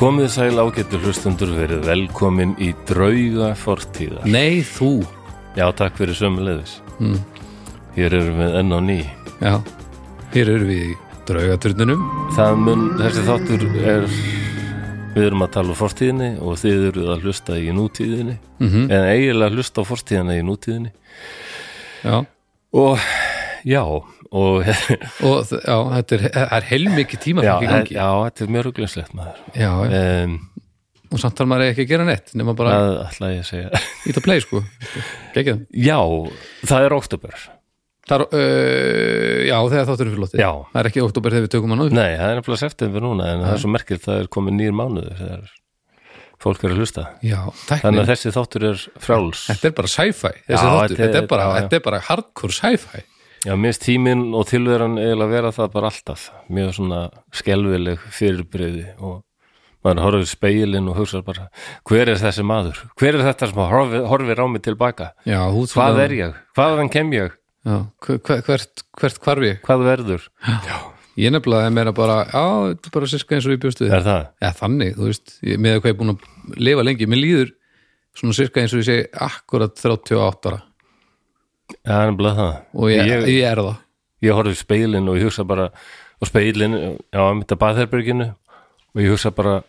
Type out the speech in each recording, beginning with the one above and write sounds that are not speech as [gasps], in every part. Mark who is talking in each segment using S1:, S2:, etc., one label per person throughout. S1: Komið sæl ágættu hlustundur verið velkomin í drauga fortíðar.
S2: Nei, þú
S1: Já, takk fyrir sömulegðis. Hér erum við enn á ný.
S2: Já, hér erum við í draugaturninum
S1: Það mun, þessi þáttur er, við erum að tala um fortíðinni og þið eruð að hlusta í nútíðinni. -hmm. En eiginlega hlusta á fortíðina í nútíðinni.
S2: Já,
S1: Og já, og [laughs] já,
S2: og þ- já, þetta er, það er heilmikið tíma já,
S1: já,
S2: já,
S1: þetta er mjög ruglingslegt maður.
S2: já, já.
S1: Um,
S2: og samt þarf maður ekki að gera neitt nema bara
S1: það ætla ég að segja. [laughs]
S2: ít að play, sko Gekið
S1: Já, það er oktober.
S2: Þar, uh, Já, þegar þáttur er fyrir lotið
S1: Já.
S2: Það er ekki oktober þegar við tökum hann á
S1: Nei, það er nefnilega september núna en það er svo merkilt það er komið nýjur mánuður þegar fólk er að hlusta
S2: Já,
S1: Þannig
S2: tæknir
S1: að þessi þáttur er fráls
S2: Þetta er bara sci-fi, þessi
S1: Já, þetta
S2: þáttur,
S1: er-
S2: þetta er bara,
S1: já, já.
S2: þetta er bara hardcore sci-fi
S1: Já, minnst tíminn og tilveran eiginlega vera það bara alltaf mjög svona skelfileg fyrirbreyði og maður horfir í speilin og hugsar bara hver er þessi maður? Hver er þetta sem horfir, horfir á mig tilbaka?
S2: Já, húð
S1: Hvað er ég? Hvaðan kem ég?
S2: Já, hver, hvert, hvert hvarf ég?
S1: Hvað verður?
S2: Ég nefnilega er meira bara, já, þetta er bara sérska eins og ég bjóstu
S1: Er það?
S2: Já, þannig, þú veist, ég- með að hvað ég er búin að lifa lengi, mér líður svona cirka eins og ég segi akkurat 38 ára
S1: Já, nefnilega það.
S2: og ég, ég, er það
S1: ég horfði í speilin og ég hugsa bara og speilin, já, mitt að baðherberginu og ég hugsa bara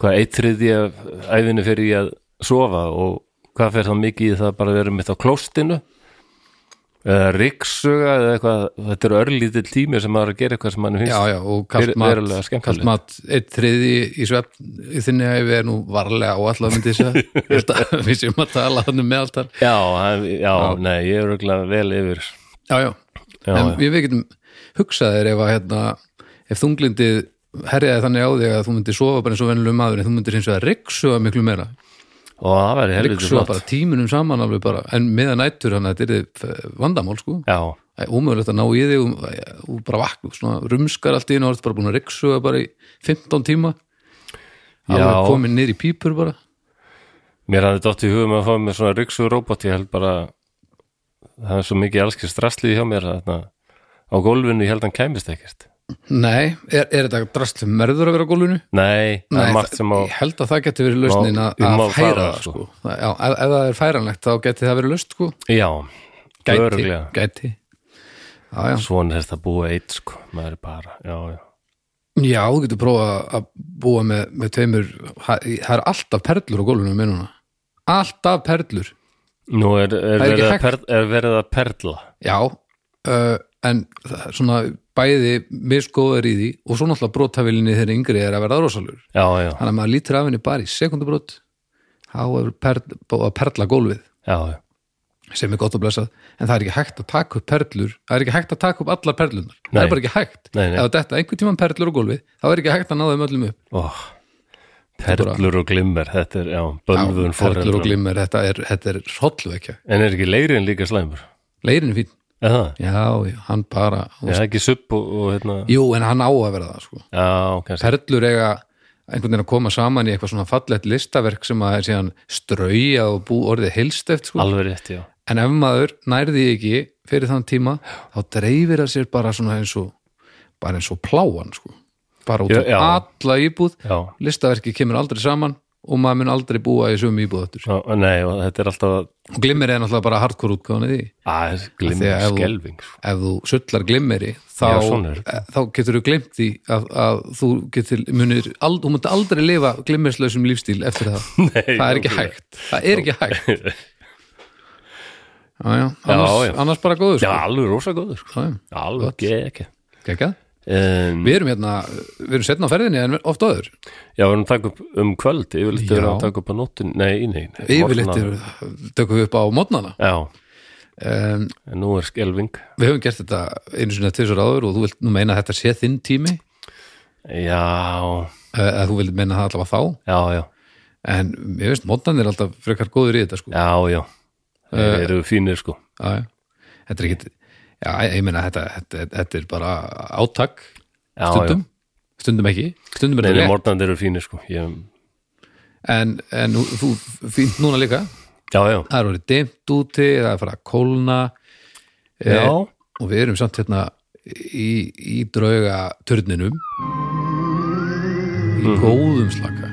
S1: hvað eitt þriði af æfinu fyrir ég að sofa og hvað fer það mikið í það bara að vera mitt á klóstinu eða riksuga eða eitthvað, þetta er örlítill tími sem maður er að gera eitthvað sem mann finnst
S2: Já, já, og kalt
S1: Ver- verulega
S2: mat,
S1: skemmtilegt.
S2: kalt mat eitt þriði í svefn í þinni að við erum nú varlega áallega
S1: [laughs]
S2: myndi þess að Ég held að við séum að tala hann um meðaltal
S1: já, það- já, nei, ég er örugglega vel yfir
S2: Já, já,
S1: Já,
S2: en
S1: já.
S2: við, við getum hugsað þér ef að hérna, ef þunglindið herjaði þannig á þig að þú myndir sofa bara eins og venlum maður en þú myndir hins vegar ryksuga miklu meira
S1: og það væri helviti
S2: ryksuga bara
S1: flott
S2: tímunum saman alveg bara en meðan nættur hann að þetta er vandamál sko
S1: já,
S2: Það er ómögulegt að ná í þig og, og bara vakna, svona rumskar allt í einu og ertu bara búin að ryksuga bara í 15 tíma
S1: Já.
S2: alveg komin niður í pípur bara
S1: mér hafði dótt í hugum að fá mér svona riksuga robot, ég held bara það er svo mikið allskir strasslið hjá mér þarna, á gólfinu, ég held hann kæmist ekkert
S2: Nei, er, er þetta drast sem verður að vera á gólfinu?
S1: Nei, það
S2: Nei,
S1: er margt sem á
S2: ég held að það geti verið lausnin
S1: Má-
S2: að
S1: um
S2: að
S1: að
S2: færa
S1: fara,
S2: það
S1: sko.
S2: sko. Það- Já, ef, ef það er færanlegt þá geti það verið laust sko
S1: Já,
S2: Gæti,
S1: örugglega.
S2: gæti Já, já.
S1: Svona er þetta að búa eitt sko maður er bara, já, já
S2: já, þú getur prófað að búa með, með tveimur það það er alltaf perlur á gólfinu með núna Alltaf perlur
S1: Nú er, er,
S2: Það er ekki
S1: verið, að
S2: hægt.
S1: per, er verið að perla
S2: Já, uh, en það er svona bæði misgóðar í því og svo náttúrulega brotavilinni þegar yngri er að verða rosalur.
S1: Já, já,
S2: Þannig að maður lítur af henni bara í sekundubrót þá er perl, búið að perla gólfið
S1: já, já
S2: sem er gott að blessað, en það er ekki hægt að taka upp perlur, það er ekki hægt að taka upp allar perlunar það
S1: Nei.
S2: er bara ekki hægt,
S1: Nei, nei.
S2: ef þetta einhvern tímann perlur á gólfið, þá er ekki hægt að ná þeim öllum upp
S1: Ó, Oh, Perlur og glimmer, þetta er, já, bölvun
S2: perlur og
S1: foreldrum.
S2: glimmer, þetta er, þetta er hrollvekja,
S1: En er ekki leirin líka slæmur?
S2: leirin er fín
S1: Er það?
S2: já, já, hann bara
S1: Já, ekki sub og, og hérna
S2: jú, en hann á að vera það, sko
S1: Já, kannski
S2: perlur eiga einhvern veginn að koma saman í eitthvað svona fallegt listaverk sem að er síðan strauja og bú orðið heilsteft sko.
S1: Alveg rétt, já
S2: en ef maður nærði ekki fyrir þann tíma þá dreifir það sér bara svona eins og bara eins og pláan sko. bara út
S1: Já,
S2: um
S1: já.
S2: alla íbúð
S1: Já,
S2: listaverki kemur aldrei saman og maður mun aldrei búa í sömu íbúð aftur
S1: já nei, og þetta er alltaf að,
S2: og glimmeri er náttúrulega bara hardcore útgáðan í því
S1: að
S2: Af því
S1: glimmer
S2: að ef þú-
S1: skelving sko.
S2: ef þú sullar glimmeri þá,
S1: Já, svona er
S2: þá getur þú glimt því að, að þú getur munir ald, þú mútt aldrei lifa glimmerslausum lífstíl eftir það,
S1: [laughs] Nei,
S2: það er ekki
S1: nákvæmlega.
S2: hægt það er ekki hægt já, já. Annars,
S1: [laughs] já.
S2: annars bara góður
S1: Já,
S2: sko.
S1: alveg rosa góður sko.
S2: já.
S1: Alveg ekki
S2: Gekka.
S1: um,
S2: við erum hérna, við erum setna á ferðinni en oft áður,
S1: Já, við erum að taka upp um kvöld yfirleitt erum við að
S2: Já.
S1: taka upp á nóttin Nei, í nei, nei
S2: yfirleitt
S1: morgna.
S2: eru- tökum við upp á mótnana
S1: Já,
S2: um,
S1: en nú er skelving
S2: við höfum gert þetta einu sinni að tvisar áður og þú vilt nú meina að þetta sé þinn tími
S1: Já,
S2: eh, að þú vilt meina það allavega þá
S1: já, já
S2: en ég veist, mótnan er alltaf frekar góður í þetta sko.
S1: Já, já
S2: Eh,
S1: Þeir eru fínir sko
S2: já, já. þetta er ekki já, ég meina þetta, þetta, þetta er bara átak
S1: Já,
S2: stundum, stundum ekki stundum er
S1: Nei,
S2: þetta
S1: nei,
S2: rétt,
S1: morgnandi eru fínir sko ég,
S2: en, en nú- þú fínt núna líka
S1: Já, já,
S2: það er orðið dimt úti, það er farið að kólna Eh,
S1: já
S2: og við erum samt hérna í, í drauga turninum í
S1: Mhm.
S2: góðum slaka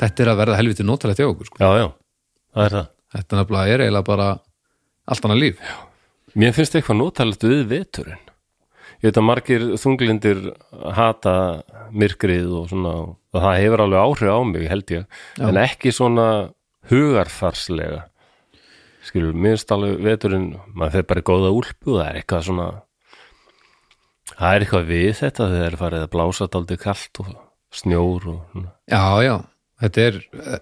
S2: þetta er að verða helviti notalegt hjá okkur sko.
S1: já, já, það er það
S2: þetta nefnilega er eiginlega bara allt annað líf
S1: Mér finnst eitthvað notalegt við veturinn Ég veit að margir þunglindir hata myrkrið og svona og það hefur alveg áhrif á mig held ég en ekki svona hugarfarslega skilur, minnst alveg veturinn maður fer bara í góða úlpu það er eitthvað svona það er eitthvað við þetta þegar er farið að blása daldið kalt og snjór og svona.
S2: já, já, þetta er eh,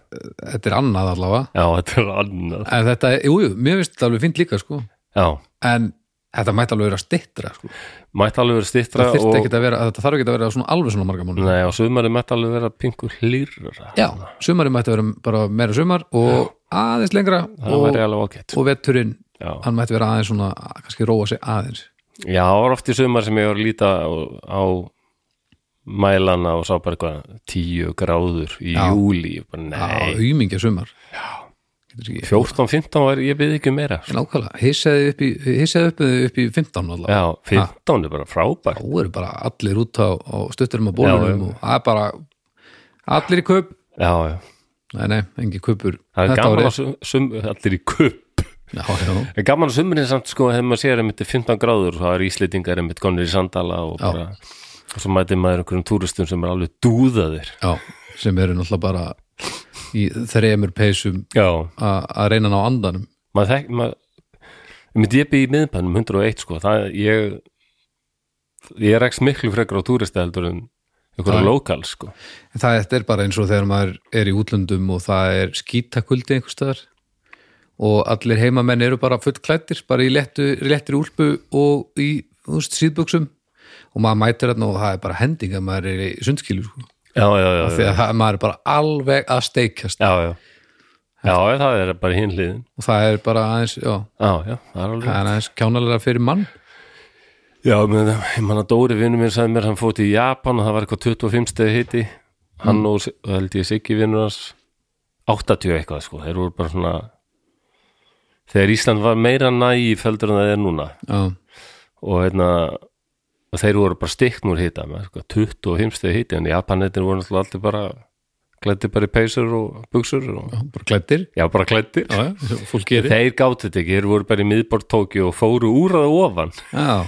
S2: þetta er annað allavega
S1: já, þetta er annað
S2: en þetta, er- jú, jú, mér finnst þetta alveg fínt líka sko.
S1: já,
S2: en þetta mætti alveg vera stittra sko.
S1: mætt alveg verið stittra
S2: það
S1: og,
S2: þyrfti ekki að vera, þetta þarf ekki að vera svona alveg svona marga mánu
S1: nei, og sömari mætt alveg vera pingur hlýrra
S2: já, sumari mætti vera bara meira sumar og aðeins lengra
S1: það
S2: og,
S1: væri alveg ágætt
S2: og veturinn,
S1: Já.
S2: hann mætti vera aðeins svona kannski róa sig aðeins
S1: Já, það var oft í sumar sem ég var að líta á, á mælana og sá bara eitthvað tíu gráður í
S2: Já.
S1: júli ég bara,
S2: á
S1: nei,
S2: auðmingja sumar Getur ekki-
S1: 14-15 var ég byrði ekki um meira
S2: En Nákvæmlega, hissaði upp í, hissaði upp, upp í 15 allavega.
S1: Já, 15 er bara frábært
S2: Þá eru bara allir út á, á stutturum og bólunum og það er bara allir í kaup.
S1: Já, já,
S2: Nei, nei, engin kaupur.
S1: það er
S2: þetta
S1: gaman
S2: árið.
S1: að sum, sum, allir í kupp
S2: Já, já,
S1: En gaman að sumurinn samt sko þegar maður sér einmitt 15 gráður og það er íslendingar einmitt konir í sandala og bara og svo mætir maður einhverjum túristum sem er alveg dúðaðir
S2: já, sem eru náttúrulega bara í þremur peysum
S1: Já,
S2: a- að reyna að ná andanum.
S1: maður þekk maður, myndi ég byrja í miðbænum 101 sko, það ég ég rekst miklu frekar á túristi heldur en einhverja
S2: Já.
S1: lokal sko
S2: En það þetta er bara eins og þegar maður er í útlöndum og það er skítakuldi einhvers staðar og allir heimamenn eru bara fullklættir, bara í lettu, lettir úlpu og í úst, síðbuxum og maður mætir þarna og það er bara hending að maður er í sundskilu sko.
S1: já, já, já, já, já,
S2: þegar það, maður er bara alveg að steikjast
S1: já. já já, það er bara hinn hliðin
S2: og það er bara aðeins, já,
S1: já, já, það er alveg
S2: það er aðeins kjánalega fyrir mann
S1: já, menn, ég man að Dóri vinnu mér sagði mér hann fótt í Japan og það var eitthvað 25 stegi hiti hann og S- og held ég Siggi vinnur hans 80 eitthvað sko, þeir voru bara svona þegar Ísland var meira nægif heldur en það er núna
S2: já,
S1: og hérna og þeir voru bara stiknur hita með, sko, 25 stegi hiti en Japanetin voru náttúrulega alltaf bara klæddir bara í peysur og buksur og,
S2: já, bara klættir
S1: já, bara klæddir
S2: já, já, fólk gerir
S1: þeir gátu þetta ekki, þeir voru bara í miðbort Tókíu og fóru úr að ofan
S2: já,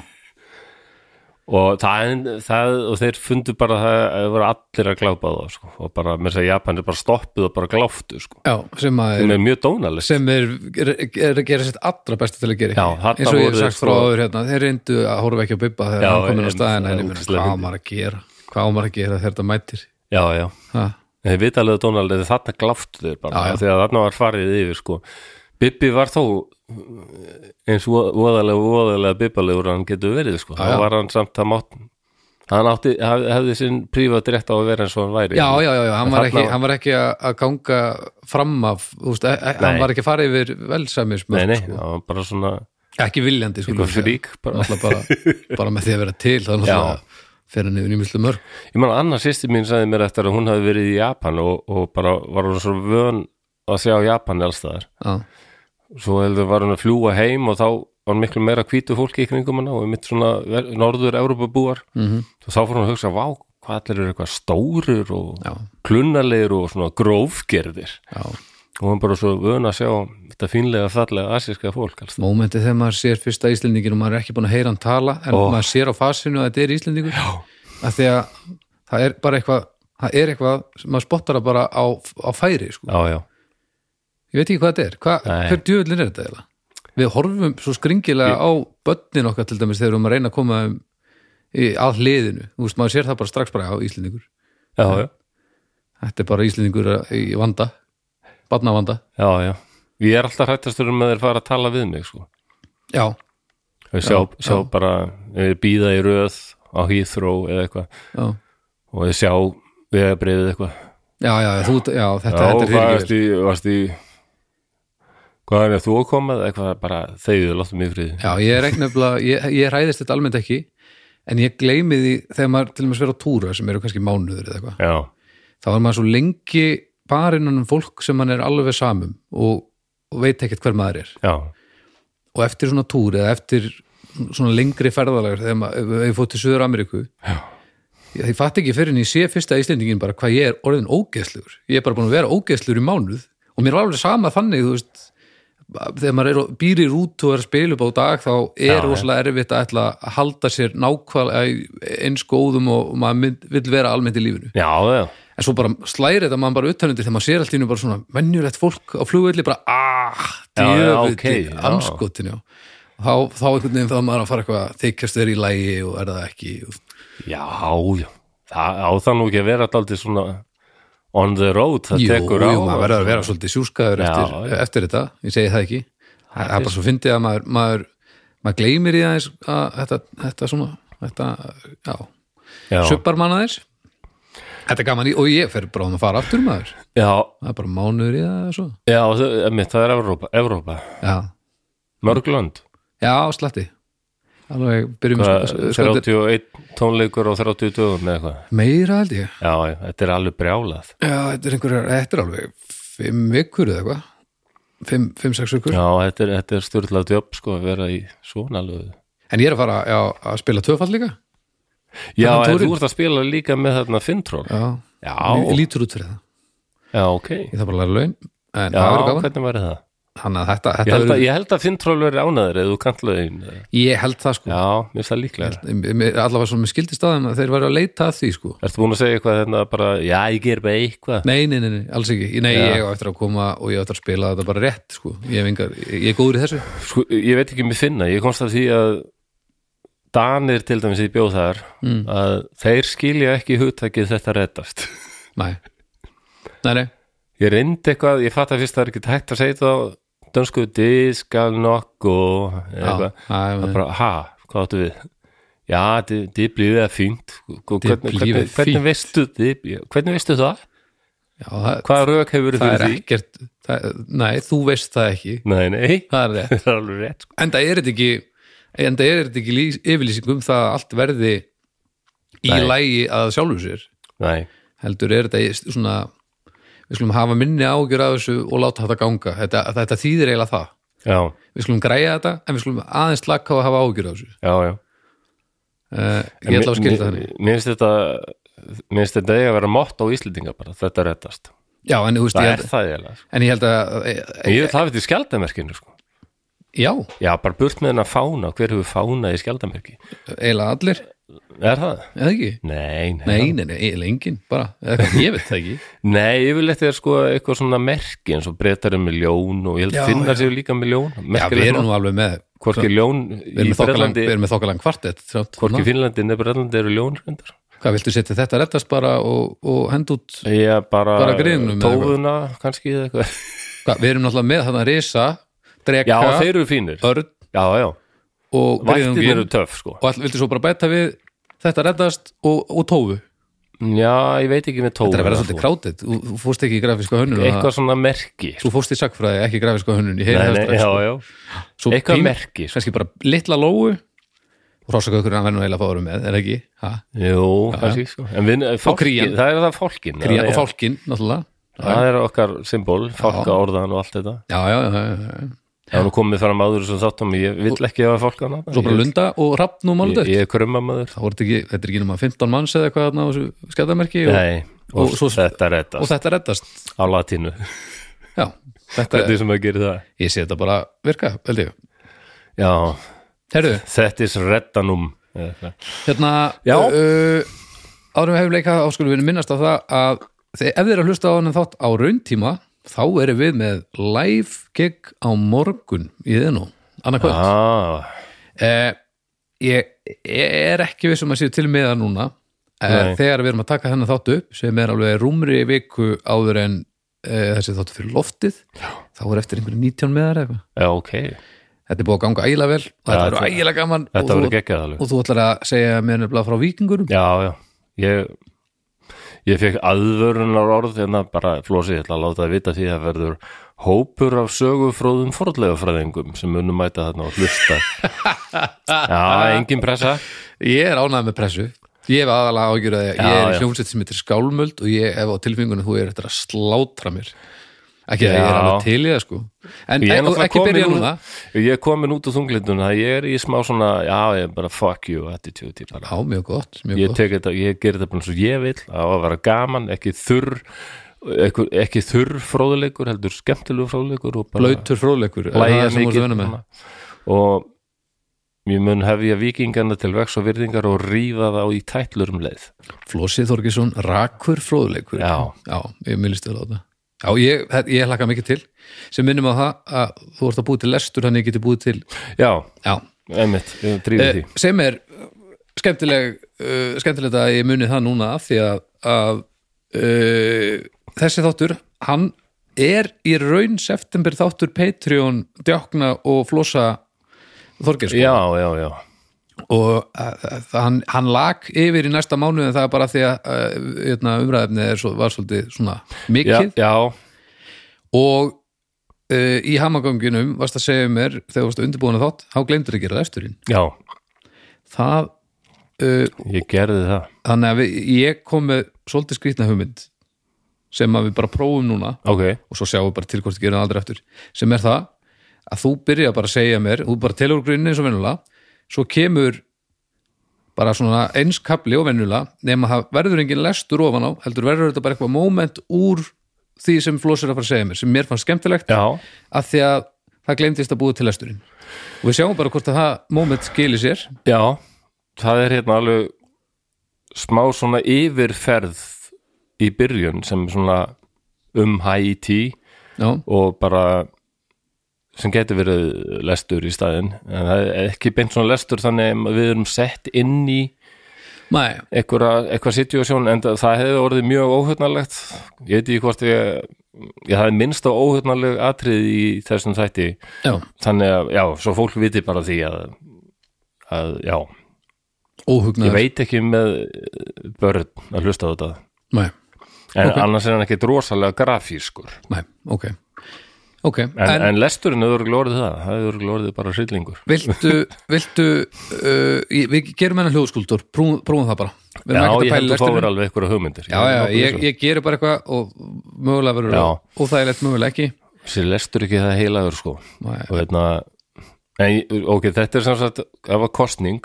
S1: og, það, það, og þeir fundu bara það að það voru allir að glápa það sko. og bara, með þess að Japan er bara stoppuð og bara gláftu, sko,
S2: já, sem maður
S1: sem er mjög dónalegt
S2: sem er, er, er að gera sitt allra besta til að gera ekki.
S1: Já, þarna
S2: eins og ég hef
S1: voru
S2: sagt
S1: þeir
S2: frá
S1: sko-
S2: áður hérna, þeir reyndu að horfa ekki á Bubba þegar
S1: Já,
S2: hann komin á
S1: en-
S2: staðina en ég
S1: en
S2: meina,
S1: ógeðslega
S2: hvað á
S1: fyndið.
S2: maður að gera hvað á maður að gera þegar þetta mætir
S1: já, já
S2: ha?
S1: Þeir vita alveg að Donald er þarna gláftu þeir bara,
S2: Já, já.
S1: því að þarna var farið yfir sko. Bibbi var þó eh, eins voðalega voðalega bibbalegur hann getur verið sko.
S2: já.
S1: þá var hann samt að mátt hann átti, haf- hefði sinn prívat rétt á að vera eins og hann væri
S2: já, já, já, já, hann
S1: þarna
S2: var ekki,
S1: var-
S2: hann var ekki að að ganga fram af úst, e e hann
S1: Nei.
S2: var ekki að fara yfir
S1: nei,
S2: velsamismörk
S1: nei,
S2: sko.
S1: hann var bara svona
S2: ekki viljandi sko,
S1: eitthvað frík bara.
S2: bara, bara, bara með því að vera til þá náttúrulega fer hann yfir nýmislu mörk
S1: ég man að Anna sýsti mín sagði mér eftir að hún hafi verið í Japan og, og bara var hún svo vön að sjá Japan allstaðar
S2: já,
S1: svo heldur var hún að fljúa heim og þá var miklu meira hvítu fólki í kringum hana og mitt svona ver- norður-európa-búar -hmm. og þá fór hún að hugsa, vá, hvað allir eru eitthvað stórir og
S2: Já.
S1: klunnalegir og svona grófgerðir
S2: já
S1: og hún bara svo vön að sjá þetta fínlega fallega asíska fólk alls.
S2: Mómentið þegar maður sér fyrsta Íslendingin og maður er ekki búin að heyra hann tala en
S1: Ó.
S2: maður sér á fasinu að þetta er Íslendingur Já. að því að það er bara eitthvað það er eitthvað, sem maður spottar það bara á, á færi sko.
S1: Já, já,
S2: ég veit ekki hvað þetta er, Hva,
S1: Nei.
S2: hver djöfullin er þetta eiginlega? við horfum svo skringilega á börnin okkar til dæmis þegar við erum að reyna að koma um, í, að hliðinu, þú veist maður sér það bara strax bara á Íslendingur,
S1: já, já,
S2: þetta er bara Íslendingur í vanda, barnavanda
S1: já, já. Ég er alltaf hrættastur um að þeir fara að tala við mig sko.
S2: Já,
S1: og sjá, sjá bara eh, bíða í röð á hýþró eða eitthvað
S2: já,
S1: og þeir sjá vegabriðið eitthvað
S2: já, já, þú, já þetta,
S1: Já,
S2: þetta er
S1: hvað
S2: fyrirgefið.
S1: varst í, varst í hvað er þú að koma eða eitthvað bara þegiðu, láttu mig í friði
S2: Já, ég er ekki nefnilega, ég, ég ræðist þetta almennt ekki en ég gleymi því þegar maður til og með sver á túra sem eru kannski mánuður eða eitthvað,
S1: Já,
S2: þá er maður svo lengi barinnan um fólk sem mann er alveg samum og, og veit ekkert hver maður er
S1: já,
S2: og eftir svona túr eða eftir svona lengri ferðalagur þegar maður, ef ég fótt til Suður Ameríku
S1: Já.
S2: ég, ég fatt ekki fyrir en ég sé fyrsta íslendingin bara hvað ég er orðin ógeðslugur ég er bara búin að vera ógeðslugur í mánuð og mér er alveg sama þannig þú veist þegar maður er, og- býr í rút og er að spila upp á dag þá er
S1: Já, já.
S2: rosalega erfitt að, ætla að halda sér nákvæmlega í eins góðum og og maður mynd, vill vera almennt í lífinu
S1: já, já,
S2: en svo bara slæri þetta maður bara utanundir þegar maður sér allt í hennu bara svona venjulegt fólk á flugvelli bara ah,
S1: Já, já,
S2: djöfull,
S1: ókei, já.
S2: andskotin já þá, þá einhvern veginn það maður að fara eitthvað að þykjast þeir í lægi og er það ekki og,
S1: já, já. það á það nú ekki að vera alltaf svona on the road, það
S2: jú, jú,
S1: tekur á
S2: maður verður að vera svolítið sjúskaður
S1: Já,
S2: eftir,
S1: já.
S2: eftir þetta, ég segi það ekki það er bara svo fyndið að maður maður, maður gleymir í það eins að þetta, þetta svona, þetta já,
S1: já,
S2: subbar manna þess þetta er gaman í, og ég fer bráðum að fara aftur maður,
S1: já,
S2: það er bara mánuður í það eða svo,
S1: já það, einmitt, það er Evrópa, Evrópa.
S2: já
S1: mörglönd
S2: Já, slatti Alveg byrjum að sko- sko-
S1: 31 tónleikur og 30 dögum eða eitthvað
S2: Meira held ég
S1: já, já, þetta er alveg brjálað
S2: Já, þetta er einhverjar, þetta er alveg Fimm vikur eða eitthvað Fimm, fimm, sex vikur
S1: já, þetta er, þetta er styrlað djöp sko að vera í svona lögu
S2: En ég er að fara já, að spila töfall líka
S1: já,
S2: Þannig
S1: en
S2: túrinn.
S1: þú ert að spila líka með þarna Fintról
S2: Já,
S1: Já.
S2: Lí- Lítur út fyrir það
S1: já, ok já,
S2: Ég þarf bara að læra laun En það verður gaman
S1: hvernig væri það?
S2: Þannig að þetta,
S1: Ég
S2: þetta
S1: held, að,
S2: verður ég...
S1: ég held að Fintról veri ánæður eða þú kantlaði einn já,
S2: held það sko
S1: mér finnst það líklega
S2: Ég- mér- Allavega svona með skildi staðum að þeir verður að leita að því sko
S1: Ertu búin að segja eitthvað þarna bara já, ég ger bara eitthvað
S2: Nei, nei, nei, nei alls ekki Nei,
S1: Já.
S2: ég á eftir að koma og ég á eftir að spila þetta bara rétt sko Ég, hef engar, ég er góður í þessu
S1: sko, ég veit ekki mér finna, ég komst að því að Danir til dæmis í bjóð þar
S2: Mm.
S1: að þeir skilja ekki hugtakið þetta reddast [laughs]
S2: Nei, nei, nei
S1: Ég reyndi eitthvað, ég fatt að fyrst það er ekki hægt að segja það á dönsku diskal nokku
S2: Já,
S1: eitthvað,
S2: já,
S1: það
S2: já.
S1: er bara, ha, hvað áttu við? Já, þið blíðið að fínt Sko, hvernig,
S2: bliver
S1: hvernig,
S2: fínt.
S1: hvernig veistu þið, hvernig veistu það?
S2: Já, það,
S1: Hvaða rauk hefur verið
S2: það er
S1: fyrir því?
S2: ekkert það, Nei, þú veist það ekki
S1: Nei, nei, [laughs]
S2: Það er rétt
S1: það er alveg rétt sko.
S2: Enda er þetta ekki, enda er þetta ekki lýs, yfirlýsing um það að allt verði í
S1: Nei.
S2: lægi að sjálfu sér
S1: Nei,
S2: heldur er þetta í- svona við skulum hafa minni ágjur af þessu og láta þetta ganga þetta, þetta þýðir eiginlega það
S1: já,
S2: við skulum græja þetta en við skulum aðeins slaka á að hafa ágjur af þessu
S1: já, já
S2: uh, ég ætla að skilja það þannig
S1: Mér mér finnst þetta mér finnst þetta eiga að vera mott á Íslendinga bara, þetta er reddast
S2: já, en, þú veist,
S1: Það er
S2: ég, held-
S1: það eiginlega sko.
S2: en ég held að e,
S1: En Ég vil hafa þetta í skjaldamerkinu sko.
S2: já,
S1: Já, bara burt með hennar fána, hver hefur fána í skjaldamerki?
S2: eiginlega allir
S1: Er það?
S2: eða ekki
S1: Nei, nei.
S2: Nei, nei, nei, eiginlega enginn, bara, eða hvað, ég veit það ekki
S1: Nei, yfirleitt er sko eitthvað svona merki eins og breytar er með ljón og ég held
S2: Já,
S1: að finna sér líka með ljón.
S2: Já,
S1: Merkilegt
S2: við erum
S1: nokk.
S2: nú alveg með
S1: Hvorki ljón
S2: Við
S1: í
S2: erum með þokkalang,
S1: Bretlandi,
S2: við erum með þokkalang kvartett samt.
S1: hvorki
S2: Ná,
S1: í Finnlandi, nefnir Bretlandi eru ljón reyndar.
S2: Hvað viltu setja þetta rettast bara og, og hend út
S1: Ég bara,
S2: Bara grinnum eða
S1: tóðuna kannski eða eitthvað.
S2: [laughs] hvað, Við erum náttúrulega með þarna risa
S1: Já,
S2: Dreka,
S1: þeir eru fínir.
S2: örn
S1: Já, já.
S2: og
S1: Vættin eru
S2: griðungin
S1: töff sko.
S2: og all, viltu svo bara bæta við þetta rettast og, og tófu
S1: Já, ég veit ekki með tóðuna.
S2: Þetta er að vera svolítið krátið, þú, þú fórst ekki í grafíska hönnun
S1: Eitthvað svona merki.
S2: Þú fórst í sakfræði, ekki í grafíska hönnun Ég heyri
S1: Nei,
S2: það
S1: nei,
S2: strax,
S1: já,
S2: sko.
S1: já.
S2: Svo
S1: Eitthvað
S2: pín-
S1: merki. sko.
S2: Kannski bara litla lóu og rosakaukur hann verður nú eiginlega að fá að vera með, er ekki? Ha?
S1: Jú, kannski sko. En við, fólki,
S2: krían.
S1: það er það fólkin.
S2: Kría,
S1: já,
S2: og
S1: já.
S2: fálkin, náttúrulega
S1: Það er okkar symbol, fálka orðan og allt þetta
S2: Já, já, já, já, já.
S1: Það er nú komið fram áður sem þáttum Ég vill ekki hafa fálka hana
S2: Svo bara
S1: Ég-
S2: lunda og rafn og
S1: Ég,
S2: máludött
S1: ég er krummamaður
S2: Þá er þetta ekki, þetta er ekki nema 15 manns eða eitthvað þarna á þessu skjæðamerki og,
S1: Nei, og,
S2: og svo-
S1: þetta er þetta
S2: og Eh. þetta reddast
S1: á latínu
S2: Já, þetta
S1: Þetta er sem að gera það
S2: Ég sé þetta bara virka, held ég
S1: Já,
S2: Herðu,
S1: þetta er reddanum Eða eitthvað.
S2: hérna
S1: Já.
S2: uh, Árum við hefum leikað á skulum við minnast á það að þið, ef þið eru að hlusta á hann þátt á rauntíma þá erum við með live gig á morgun í þennu annarkvöld ah.
S1: ah,
S2: eh, ég, ég er ekki vissum að séu til með það núna eh,
S1: Nei.
S2: þegar við erum að taka þennan þátt upp sem er alveg rúmri viku áður en eh, þessi þáttu fyrir loftið Já. þá er eftir einhverjum 19 meðar eða eitthvað
S1: Já, ok
S2: þetta er búið að ganga ægilega vel og þetta
S1: Já,
S2: verður
S1: þetta-
S2: ægilega gaman
S1: Þetta
S2: og,
S1: verður
S2: þú,
S1: geggjað alveg
S2: og þú ætlar að segja mér nefnilega frá vikingurum
S1: Já, já Ég, ég fekk aðvörunar orð hérna bara flósi, ég ætla að láta það vita því það verður hópur af sögufróðum forðlegafræðingum sem munum mæta þarna og
S2: [laughs]
S1: hlusta Já, engin pressa
S2: ég er ánægð með pressu ég hef aðalega ágjur að ég
S1: Já,
S2: er í
S1: já.
S2: hljómsveit sem heitir skálmöld og ég hef á tilfingunum þú er eftir að slátra mér ekki að ég er
S1: Já.
S2: alveg til í það sko en
S1: Ég er
S2: en- og
S1: náttúrulega
S2: ekki
S1: komin
S2: byrja
S1: úr-
S2: núna
S1: Ég er komin út úr þunglindun það ég er í smá svona, já ég er bara fuck you attitude, ég bara
S2: já, mjög gott, mjög
S1: ég
S2: gott.
S1: tek þetta, ég ger þetta bara eins og ég vil á að vera gaman, ekki þurr ekki, ekki þurr fróðuleikur heldur skemmtilegu fróðuleikur og bara
S2: blöytur fróðleikur, er það
S1: hlæja
S2: sem voru að vinna með
S1: mikið og ég mun hefja vikingana til vex og virðingar og rífa þá í tætlur um leið
S2: Flósið Þorgesson, rakur fróðleikur
S1: Já.
S2: ég mylist vel á þetta Já, ég, ég hlakka mikið til sem minnum á það að þú ert að búið til lestur þannig ég geti búið til
S1: já,
S2: Já,
S1: einmitt, ég drífi
S2: eh,
S1: því
S2: sem er eh, skemmtileg uh, skemmtilegt að ég muni það núna af því að, að uh, þessi þáttur, hann er í raun september þáttur Patreon, Djákna og Flosa Þorgesson
S1: já, já, já,
S2: og að, að, hann, hann lag yfir í næsta mánuð en það er bara því að eitna, umræðefni er svo, var svolítið svona
S1: já,
S2: mikið
S1: já
S2: og uh, í hamagöngunum varst að segja mér þegar þú varst undirbúin að þátt, þá glemdur að gera lesturinn
S1: já,
S2: það, uh,
S1: ég gerði það
S2: þannig að við, ég kom með svolítið skrýtna hugmynd sem að við bara prófum núna
S1: ok,
S2: og svo sjáum við bara til hvort þið gerum það aldrei eftir sem er það að þú byrja bara að segja mér þú bara telur úr grunni eins og venjulega svo kemur bara svona eins kapli og venjulega nema það verður engin lestur ofan á heldur verður þetta bara eitthvað moment úr því sem Floss er að fara að segja mér sem mér fannst skemmtilegt
S1: já,
S2: að því að það glemdist að búa til lesturinn og við sjáum bara hvort að það moment skilir sér
S1: já það er hérna alveg smá svona yfirferð í byrjun sem svona um Haiti
S2: já,
S1: og bara sem getur verið lestur í staðin en það er ekki beint svona lestur þannig að við erum sett inn í
S2: mæ,
S1: einhverja, eitthvað situasjón en það það hefði orðið mjög óhugnarlegt ég veit ekki hvort ég ég hafði minnst á óhugnarleg atrið í þessum þætti
S2: já
S1: þannig að, já, svo fólk viti bara því að, að já, ég
S2: óhugnaður,
S1: veit ekki með eh, börn að hlusta á þetta
S2: mæ,
S1: en annars er hann ekkit rosalega grafískur
S2: mæ, ok ok,
S1: en, en, lesturinn hefur örugglega orðið það, það hefur örugglega orðið bara hryllingur [laughs]
S2: Viltu, viltu uh, ég- við gerum hennar hljóðskuldur prófum, prófum það bara Við erum
S1: Já,
S2: ekkert að
S1: ég
S2: pæla í
S1: held að
S2: lestinni.
S1: fáir alveg einhverja hugmyndir
S2: Já, já, ég, ég gerir bara eitthvað og mögulega verður
S1: Já.
S2: og það er lett mögulega ekki
S1: Sér lestur ekki það heilagur sko
S2: Nei.
S1: og hérna en, ég- ok, þetta er sem sagt það var kostning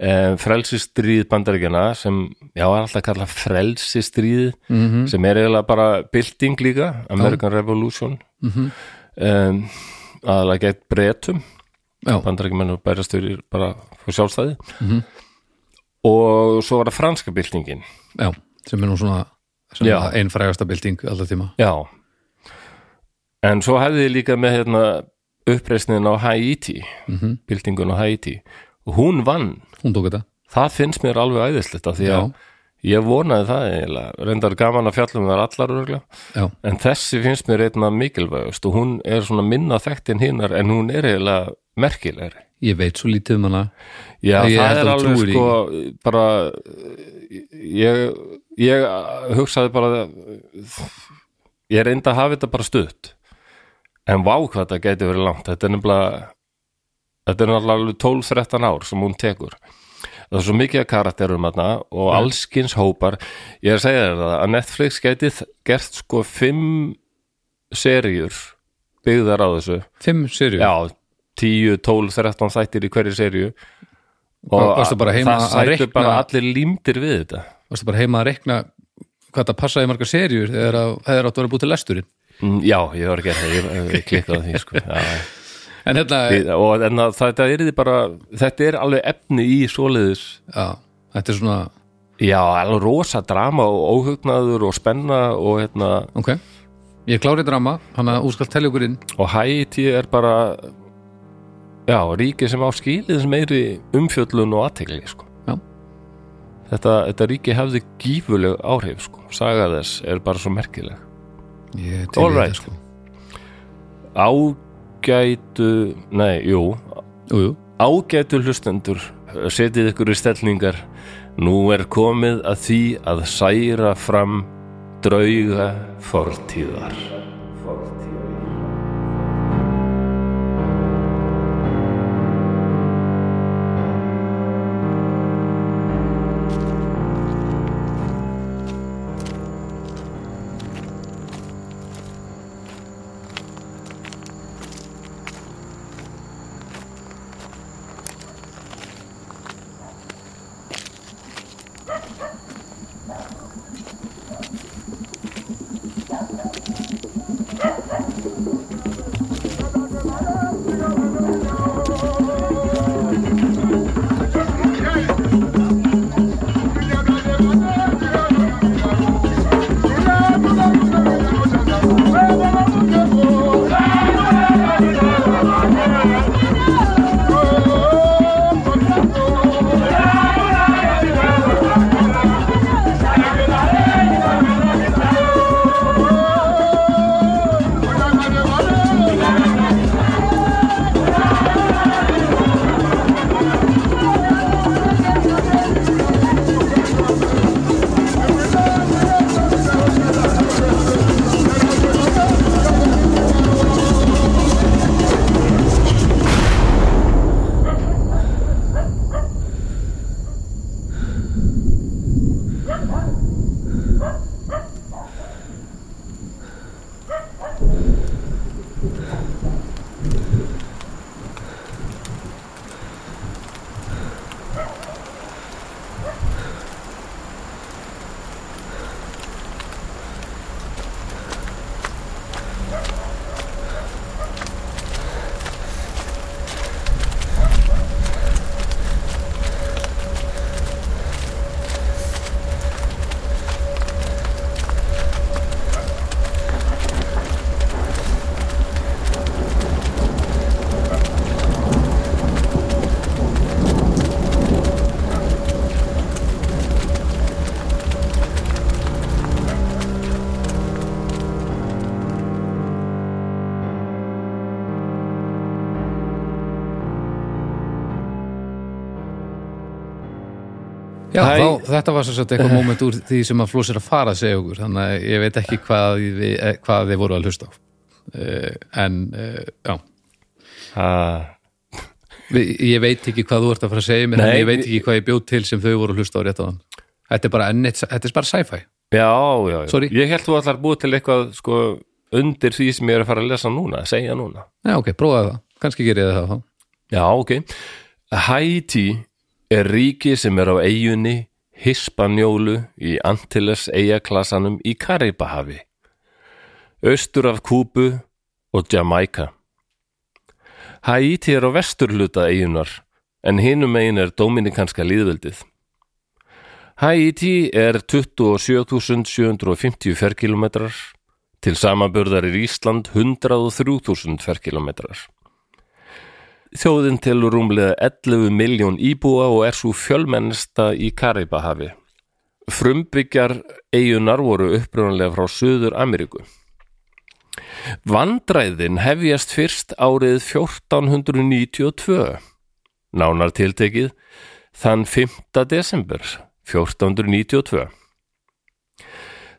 S1: eh, frelsistríð bandaríkjana sem, já, er alltaf að kalla frelsistríð
S2: Mhm.
S1: -hmm. sem er eiginlega bara bylting líka, American Revolution mm
S2: Mhm.
S1: -hmm. um, aðalega gett bretum
S2: Já,
S1: bandaríkjumenn og bærastur bara fyrir sjálfstæði -hmm. og svo var það franska byltingin
S2: já, sem er nú svona,
S1: Já.
S2: svona einn frægasta bylting alltaf tíma
S1: Já En svo hefði ég líka með hérna, uppreisnin á Haiti mm á Haiti og hún vann,
S2: Hún tók þetta
S1: það finnst mér alveg æðislegt af því að
S2: Já.
S1: ég vonaði það eiginlega, reyndar gaman að fjallum þar allar örgulega,
S2: Já,
S1: en þessi finnst mér einna mikilvægust og hún er svona minna þekkt en hinnar en hún er eiginlega merkilegri
S2: ég veit svo lítið um hana
S1: Já,
S2: Ég held
S1: það er
S2: að þú
S1: alveg
S2: trúir í
S1: sko bara ég, ég hugsaði bara ég reyndi að hafa þetta bara stutt en vá hvað þetta gæti verið langt þetta er nefnilega þetta er náttúrulega alveg 12-13 ár sem hún tekur það er svo mikið af karakterum þarna og allskins hópar ég er að segja þér það að Netflix gæti þ- gert sko 5 seríur byggðar á þessu
S2: Fimm serjur,
S1: já, 10, 12, 13 þættir í hverju serju
S2: Var- varstu bara heima
S1: það
S2: að
S1: sættu
S2: reikna-
S1: bara allir límdir við þetta
S2: varstu bara heima að rekna hvað það passaði margar serjur þegar að- þegar áttu að vera búið til lesturinn
S1: Mm, já, ég var ekki að það, ég, ég klikkaði á því sko. [laughs] já,
S2: En hérna,
S1: ég, og en að þetta er bara þetta er alveg efni í svoleiðis
S2: já, þetta er svona
S1: já, alveg rosa drama og óhugnaður og spenna og hérna
S2: Ok, ég klári drama hann að úrskalt telja okkur inn
S1: og Haiti er bara já, ríki sem á skilið meiri umfjöllun og aðtegli sko.
S2: Já.
S1: þetta, þetta ríki hefði gífuleg áhrif sko. saga þess er bara svo merkileg
S2: Ég er til í
S1: All
S2: þetta,
S1: right.
S2: sko.
S1: ágætu nei, jú,
S2: Jú, jú
S1: ágætu hlustendur setið ykkur í stellningar nú er komið að því að særa fram drauga fortíðar
S2: Já,
S1: Hæ. Uh-huh.
S2: þá, þetta var svo satt eitthvað moment úr því sem að Floss er að fara að segja okkur þannig að ég veit ekki hvað, við, eh, hvað þið voru að hlusta á uh, en uh, já
S1: Ah,
S2: Vi- ég veit ekki hvað þú ert að fara að segja mér
S1: Nei,
S2: en ég veit ekki hvað ég bjóð til sem þau voru að hlusta á rétt á hann Þetta er bara, enn eitt- þetta er bara sci-fi
S1: já, já, já.
S2: Sorry.
S1: Ég held þú allar búið til eitthvað sko undir því sem ég er að fara að lesa núna, segja núna.
S2: Já, ok, prófaði það, kannski gerir ég það þá
S1: Já, ok. Haiti er ríki sem er á eigunni Hispanjólu í Antilles eigaklasanum í Karibahafi, austur af Kúbu og Jamaika. Haiti er á vesturhluta eigunar, en hinum eigin er Dominikanska líðveldið. Haiti er 27.750 ferkilometrar, til samanburðar er Ísland 103.000 ferkilometrar. Þjóðin telur rúmlega 11 miljón íbúa og er svo fjölmennsta í Karibahafi. Frumbyggjar eigunar voru upprjónlega frá Suður Ameríku. Vandræðin hefjast fyrst árið 1492, nánar tiltekið þann 5. desember 1492.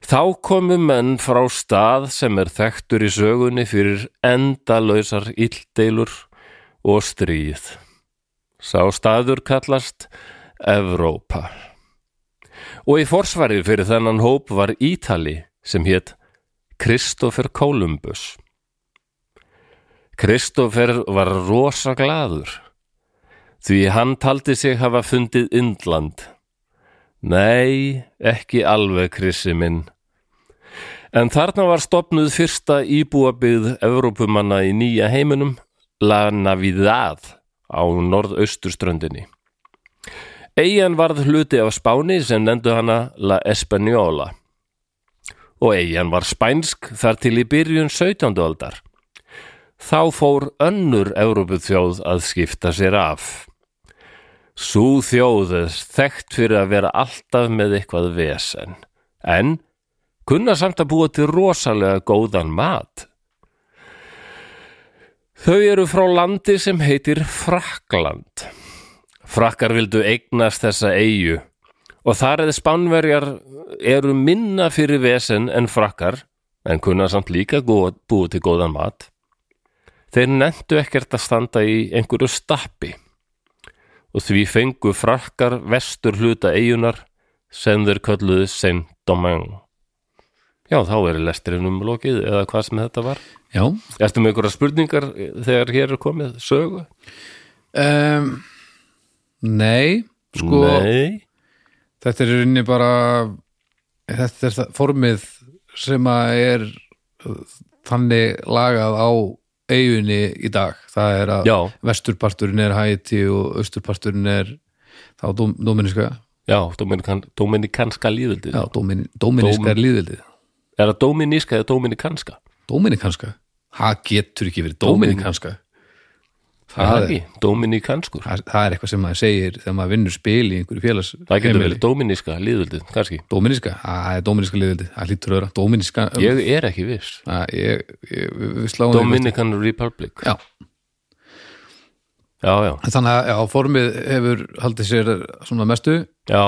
S1: Þá komu menn frá stað sem er þekktur í sögunni fyrir endalausar illdeilur og stríð. Sá staður kallast Evrópa. Og í forsvarið fyrir þennan hóp var Ítali sem hétt Kristoffer Kolumbus. Kristoffer var rosa gladur því hann taldi sig hafa fundið Indland. Nei, ekki alveg krissi minn. En þarna var stopnuð fyrsta íbúabið Evrópumanna í nýja heiminum, La Navidad á norðausturströndinni. Eyjan varð hluti af Spáni sem nendu hana La Española og eyjan var spænsk þar til í byrjun 17. aldar. Þá fór önnur Evrópuþjóð að skipta sér af. Sú þjóð er þekkt fyrir að vera alltaf með eitthvað vesen, en kunna samt að búa til rosalega góðan mat. Þau eru frá landi sem heitir Frakland. Frakkar vildu eignast þessa eigu og þar eða spánverjar eru minna fyrir vesen en frakkar en kunna samt líka góð, búa til góðan mat. Þeir nentu ekkert að standa í einhverju stappi og því fengu frakkar vestur hluta eigunar sem þeir kölluðu Saint-Domingue. Já, þá er lesturinn um lokið eða hvað sem þetta var.
S2: Já,
S1: Ertu með einhverja spurningar eh, þegar hér er komið sögu?
S2: um, nei sko,
S1: Nei,
S2: þetta er í rauninni bara þetta er það formið sem að er uh, þannig lagað á eigunni í dag það er að
S1: Já.
S2: vesturparturinn er Haiti og austurparturinn er þá dóm, dóminiska
S1: já, dominikan, dominikanska líðildi.
S2: já, dómin, dóminiska
S1: Dóm-
S2: er líðveldið
S1: Er það dominíska eða dominikanska?
S2: dóminikanska, það getur ekki verið dóminikanska
S1: Það er
S2: er-
S1: ekki, dominikanskur.
S2: það, það er eitthvað sem maður segir þegar maður vinnur spil í einhverju félags
S1: Það getur verið dominíska líðildi, kannski.
S2: dóminiska, það er dóminiska liðildi það lítur öðra, dóminiska
S1: Ég er ekki viss.
S2: Að ég, ég, við sláum
S1: Dominican Republic.
S2: Já.
S1: Já, já,
S2: þannig að já, formið hefur haldið sér svona mestu
S1: já.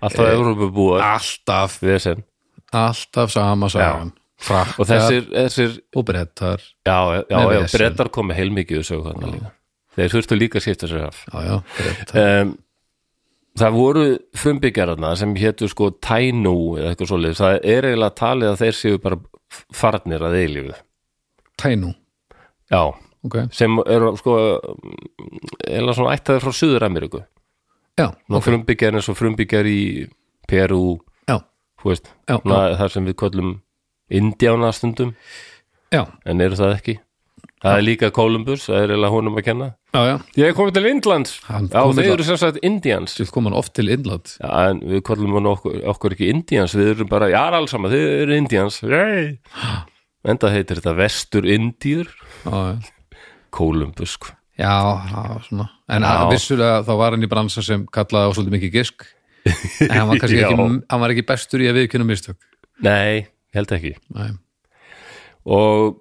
S1: Alltaf e... Európa-búar,
S2: alltaf,
S1: vesen.
S2: alltaf sama sagan Frakkar,
S1: Og þessir, þessir,
S2: og brettar
S1: já, já, já,
S2: Nei,
S1: já
S2: vesen.
S1: brettar komið heilmikið og sögu þarna líka. Þeir þurftu líka að skipta sér af.
S2: já, já, brettar,
S1: um, það voru frumbyggjarna sem hétu sko Tainu eða eitthvað svoleiðis, það er eiginlega talið að þeir séu bara farnir að eilífu
S2: tænú
S1: já,
S2: ok,
S1: sem eru sko eiginlega svona ættaði frá Suður Ameríku
S2: já,
S1: okay. frumbyggjar eins og frumbyggjar í Perú,
S2: já,
S1: þú veist
S2: Já,
S1: svona, þar sem við köllum Indjána stundum,
S2: já,
S1: en eru það ekki það er líka Columbus, það er eiginlega honum að kenna
S2: já, já
S1: ég er komið til Indlands
S2: Hann
S1: já,
S2: kom
S1: þeir
S2: til-
S1: eru sem sagt Indians
S2: Þú kom hann oft til Indland
S1: Já, en við kollum hann okkur, okkur ekki indians, við erum bara, já, allsama, þið eru indians. Yay! Enda heitir þetta vestur indýr,
S2: Já, já,
S1: Kolumbus. sko.
S2: já, já svona En já. vissulega þá var hann í bransa sem kallaði á svolítið mikið gisk En hann var
S1: [laughs]
S2: kannski
S1: Já.
S2: ekki, hann var ekki bestur í að viðkynna mistök
S1: Nei, held ekki.
S2: Nei,
S1: Og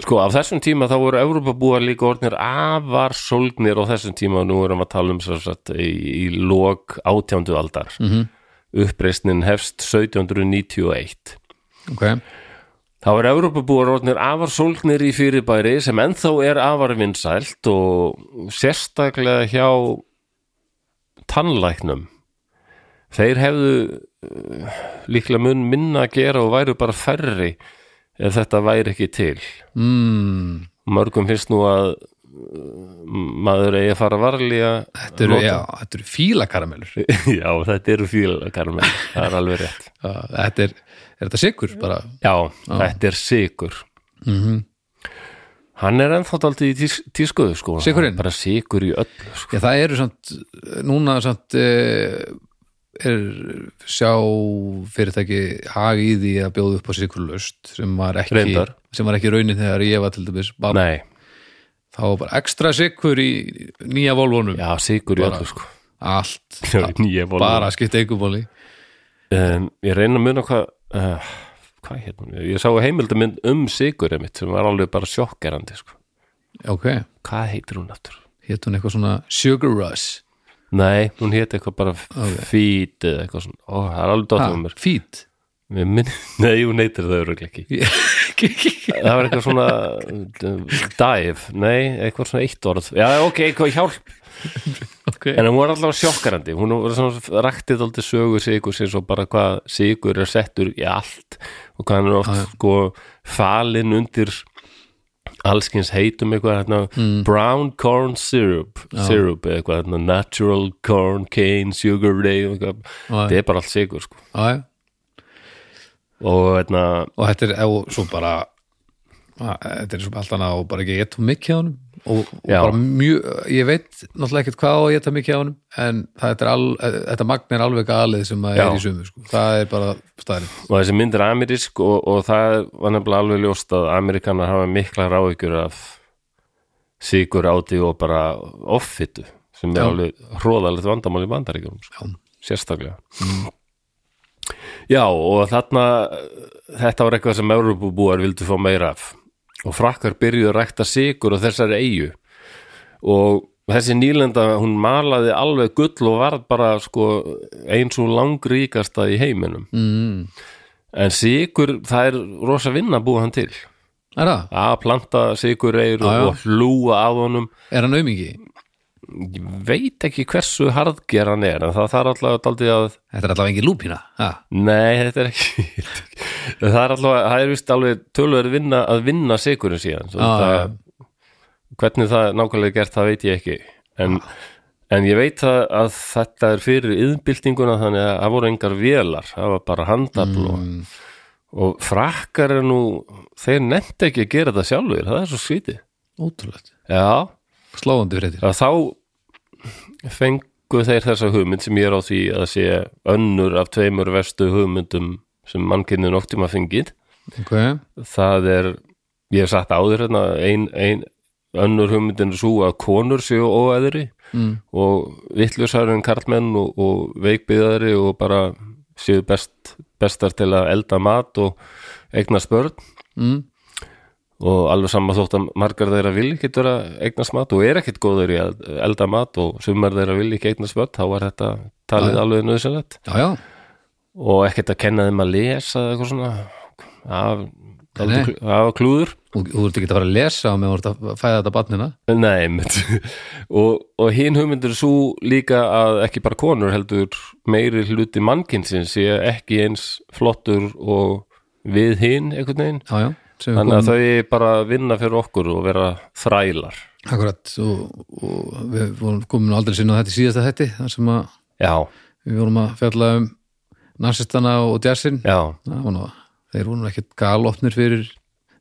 S1: sko af þessum tíma þá voru Evrópabúar líka orðnir afar sólgnir á þessum tíma og nú erum við að tala um sem sagt, í, í lok átjándu aldar mm -hmm. uppreisnin hefst 1791
S2: ok,
S1: Þá er Evrópabúar orðnir afar sólgnir í fyrirbæri sem ennþá er afar vinsælt og sérstaklega hjá tannlæknum. Þeir hefðu eh, líklega mun minna að gera og væru bara færri ef þetta væri ekki til.
S2: mm,
S1: Mörgum finnst nú að eh, maður eigi að fara varlega
S2: þetta eru, já, þetta eru fílakaramellur
S1: [laughs] Já, þetta eru fílakar með, það er alveg rétt.
S2: þetta er, er þetta sikur bara
S1: Já, þetta er sigur.
S2: mm
S1: Hann er ennþá daldið í tís, tískuðu sko
S2: Sykurinn?
S1: Hann er Bara sigur í öllu sko.
S2: Já, það eru samt, núna samt eh, er sjá fyrirtæki hag í því að bjóða upp á sikurlust sem var ekki,
S1: Reyndar.
S2: sem var ekki raunin þegar ég var til dæmis bab,
S1: Nei,
S2: þá var bara ekstra sikur í nýja volvunum
S1: já, sigur í
S2: Bara-
S1: öllu sko
S2: allt,
S1: [laughs] Nýja volum
S2: bara skipta einhverjum
S1: um, Ég reyna að muna hvað uh, Hvað hér hún? Ég sá heimildamind um sigurinn mitt sem var alveg bara sjokkerandi sko
S2: ok,
S1: Hvað heitir hún aftur?
S2: hétt hún eitthvað svona sugar rush
S1: Nei, hún héti eitthvað bara okay. fít eða eitthvað svona Ó, það er alveg dottum um mér
S2: [laughs] fít
S1: Ég minn, [laughs] Nei, hún heitir það örugglega ekki Það var eitthvað svona uh, dive, nei, eitthvað svona eitt orð Já, ok, eitthvað hjálp
S2: okay.
S1: En hún var allavega sjokkarandi, hún var svona raktið aldrei sögu sigur sem svo bara hvað sigur er settur í allt og hvað hann er oft sko falinn undir allskins heitum eitthvað hérna, brown corn syrup, syrup eða eitthvað hérna, natural corn cane sugar day og eitthvað, þetta er bara allt sigur sko.
S2: Á, já.
S1: og hérna,
S2: og þetta er og svo bara að, þetta er svo allt annað og bara ekki geta of mikið af honum og, og
S1: Já.
S2: bara mjög, ég veit náttúrulega ekkert hvað á að geta mikið af honum en þetta, er al, þetta magn er alveg galið sem að
S1: Já.
S2: er í sumu sko. það er bara stærið
S1: og þessi mynd er amerísk og, og það var nefnilega alveg ljóst að amerikanar hafa mikla ráðugjur af sigur áti og bara offitu sem er
S2: Já.
S1: alveg hróðalegt vandamál í bandaríkjum sko.
S2: Já. Mm.
S1: sérstaklega já og þarna þetta var eitthvað sem Európubúar vildu fá meira af og frakkar byrjuðu að rækta sigur á þessari eigu og þessi nýlenda hún malaði alveg gull og varð bara sko eins og langríkasta í heiminum
S2: mm.
S1: en sigur það er rosa vinna að búa hann til
S2: er, það?
S1: að planta sigureyr
S2: Já,
S1: og,
S2: já.
S1: og hlúa að honum
S2: er hann aumingi?
S1: ég veit ekki hversu harðger hann er en það þarf alltaf daldið að
S2: þetta er allavega engin lúpína ha?
S1: nei, þetta er ekki [laughs] það er alltaf, það er vist alveg tölverð vinna að vinna sigurinn síðan Svo
S2: Já,
S1: það, hvernig það er nákvæmlega er gert það veit ég ekki en, en ég veit að, að þetta er fyrir yðbyltinguna þannig að það voru engar vélar það var bara handafl og og frakkar er nú þeir nefndi ekki að gera þetta sjálfur það er svo skrítið
S2: ótrúlegt,
S1: já,
S2: sláandi fréttir
S1: að þá fengu þeir þessa hugmynd sem ég er á því að sé önnur af tveimur verstu hugmyndum sem mannkynni noktum að fengið
S2: okay.
S1: það er, ég hef sagt áður hérna, ein, ein önnur hugmyndin er svo að konur séu óæðri
S2: Mm.
S1: og vittlusæður en karlmenn og, og veikbyðari og bara séu best, bestar til að elda mat og eigna spörn
S2: mm.
S1: og alveg sama þótt að margar þeirra vil ekki vera eignast mat og er ekkit góður í að elda mat og sumar þeirra vil ekki eignast mat þá var þetta talið alveg nöðsynlegt
S2: já, já,
S1: og ekkert að kenna þeim að lesa eða eitthvað svona af,
S2: Nei.
S1: dálítið kl- af klúður
S2: og þú ert ekki að fara að lesa á meðan þú ert að fæða þetta hérna. batnina
S1: Nei, mitt [laughs] og, og hinn hugmyndur svo líka að ekki bara konur heldur meiri hluti mannkinsins sé ekki eins flottur og við hinn einhvern veginn
S2: já, já, sem við
S1: þannig
S2: komum
S1: að þau bara vinna fyrir okkur og vera þrælar
S2: Akkurat og, og við vorum komin aldrei sinna þetta í síðasta þetti þar sem að
S1: Já,
S2: við vorum að fjalla um narsistana og jazzin
S1: já
S2: Það var nú- þeir voru nú ekkert galopnir fyrir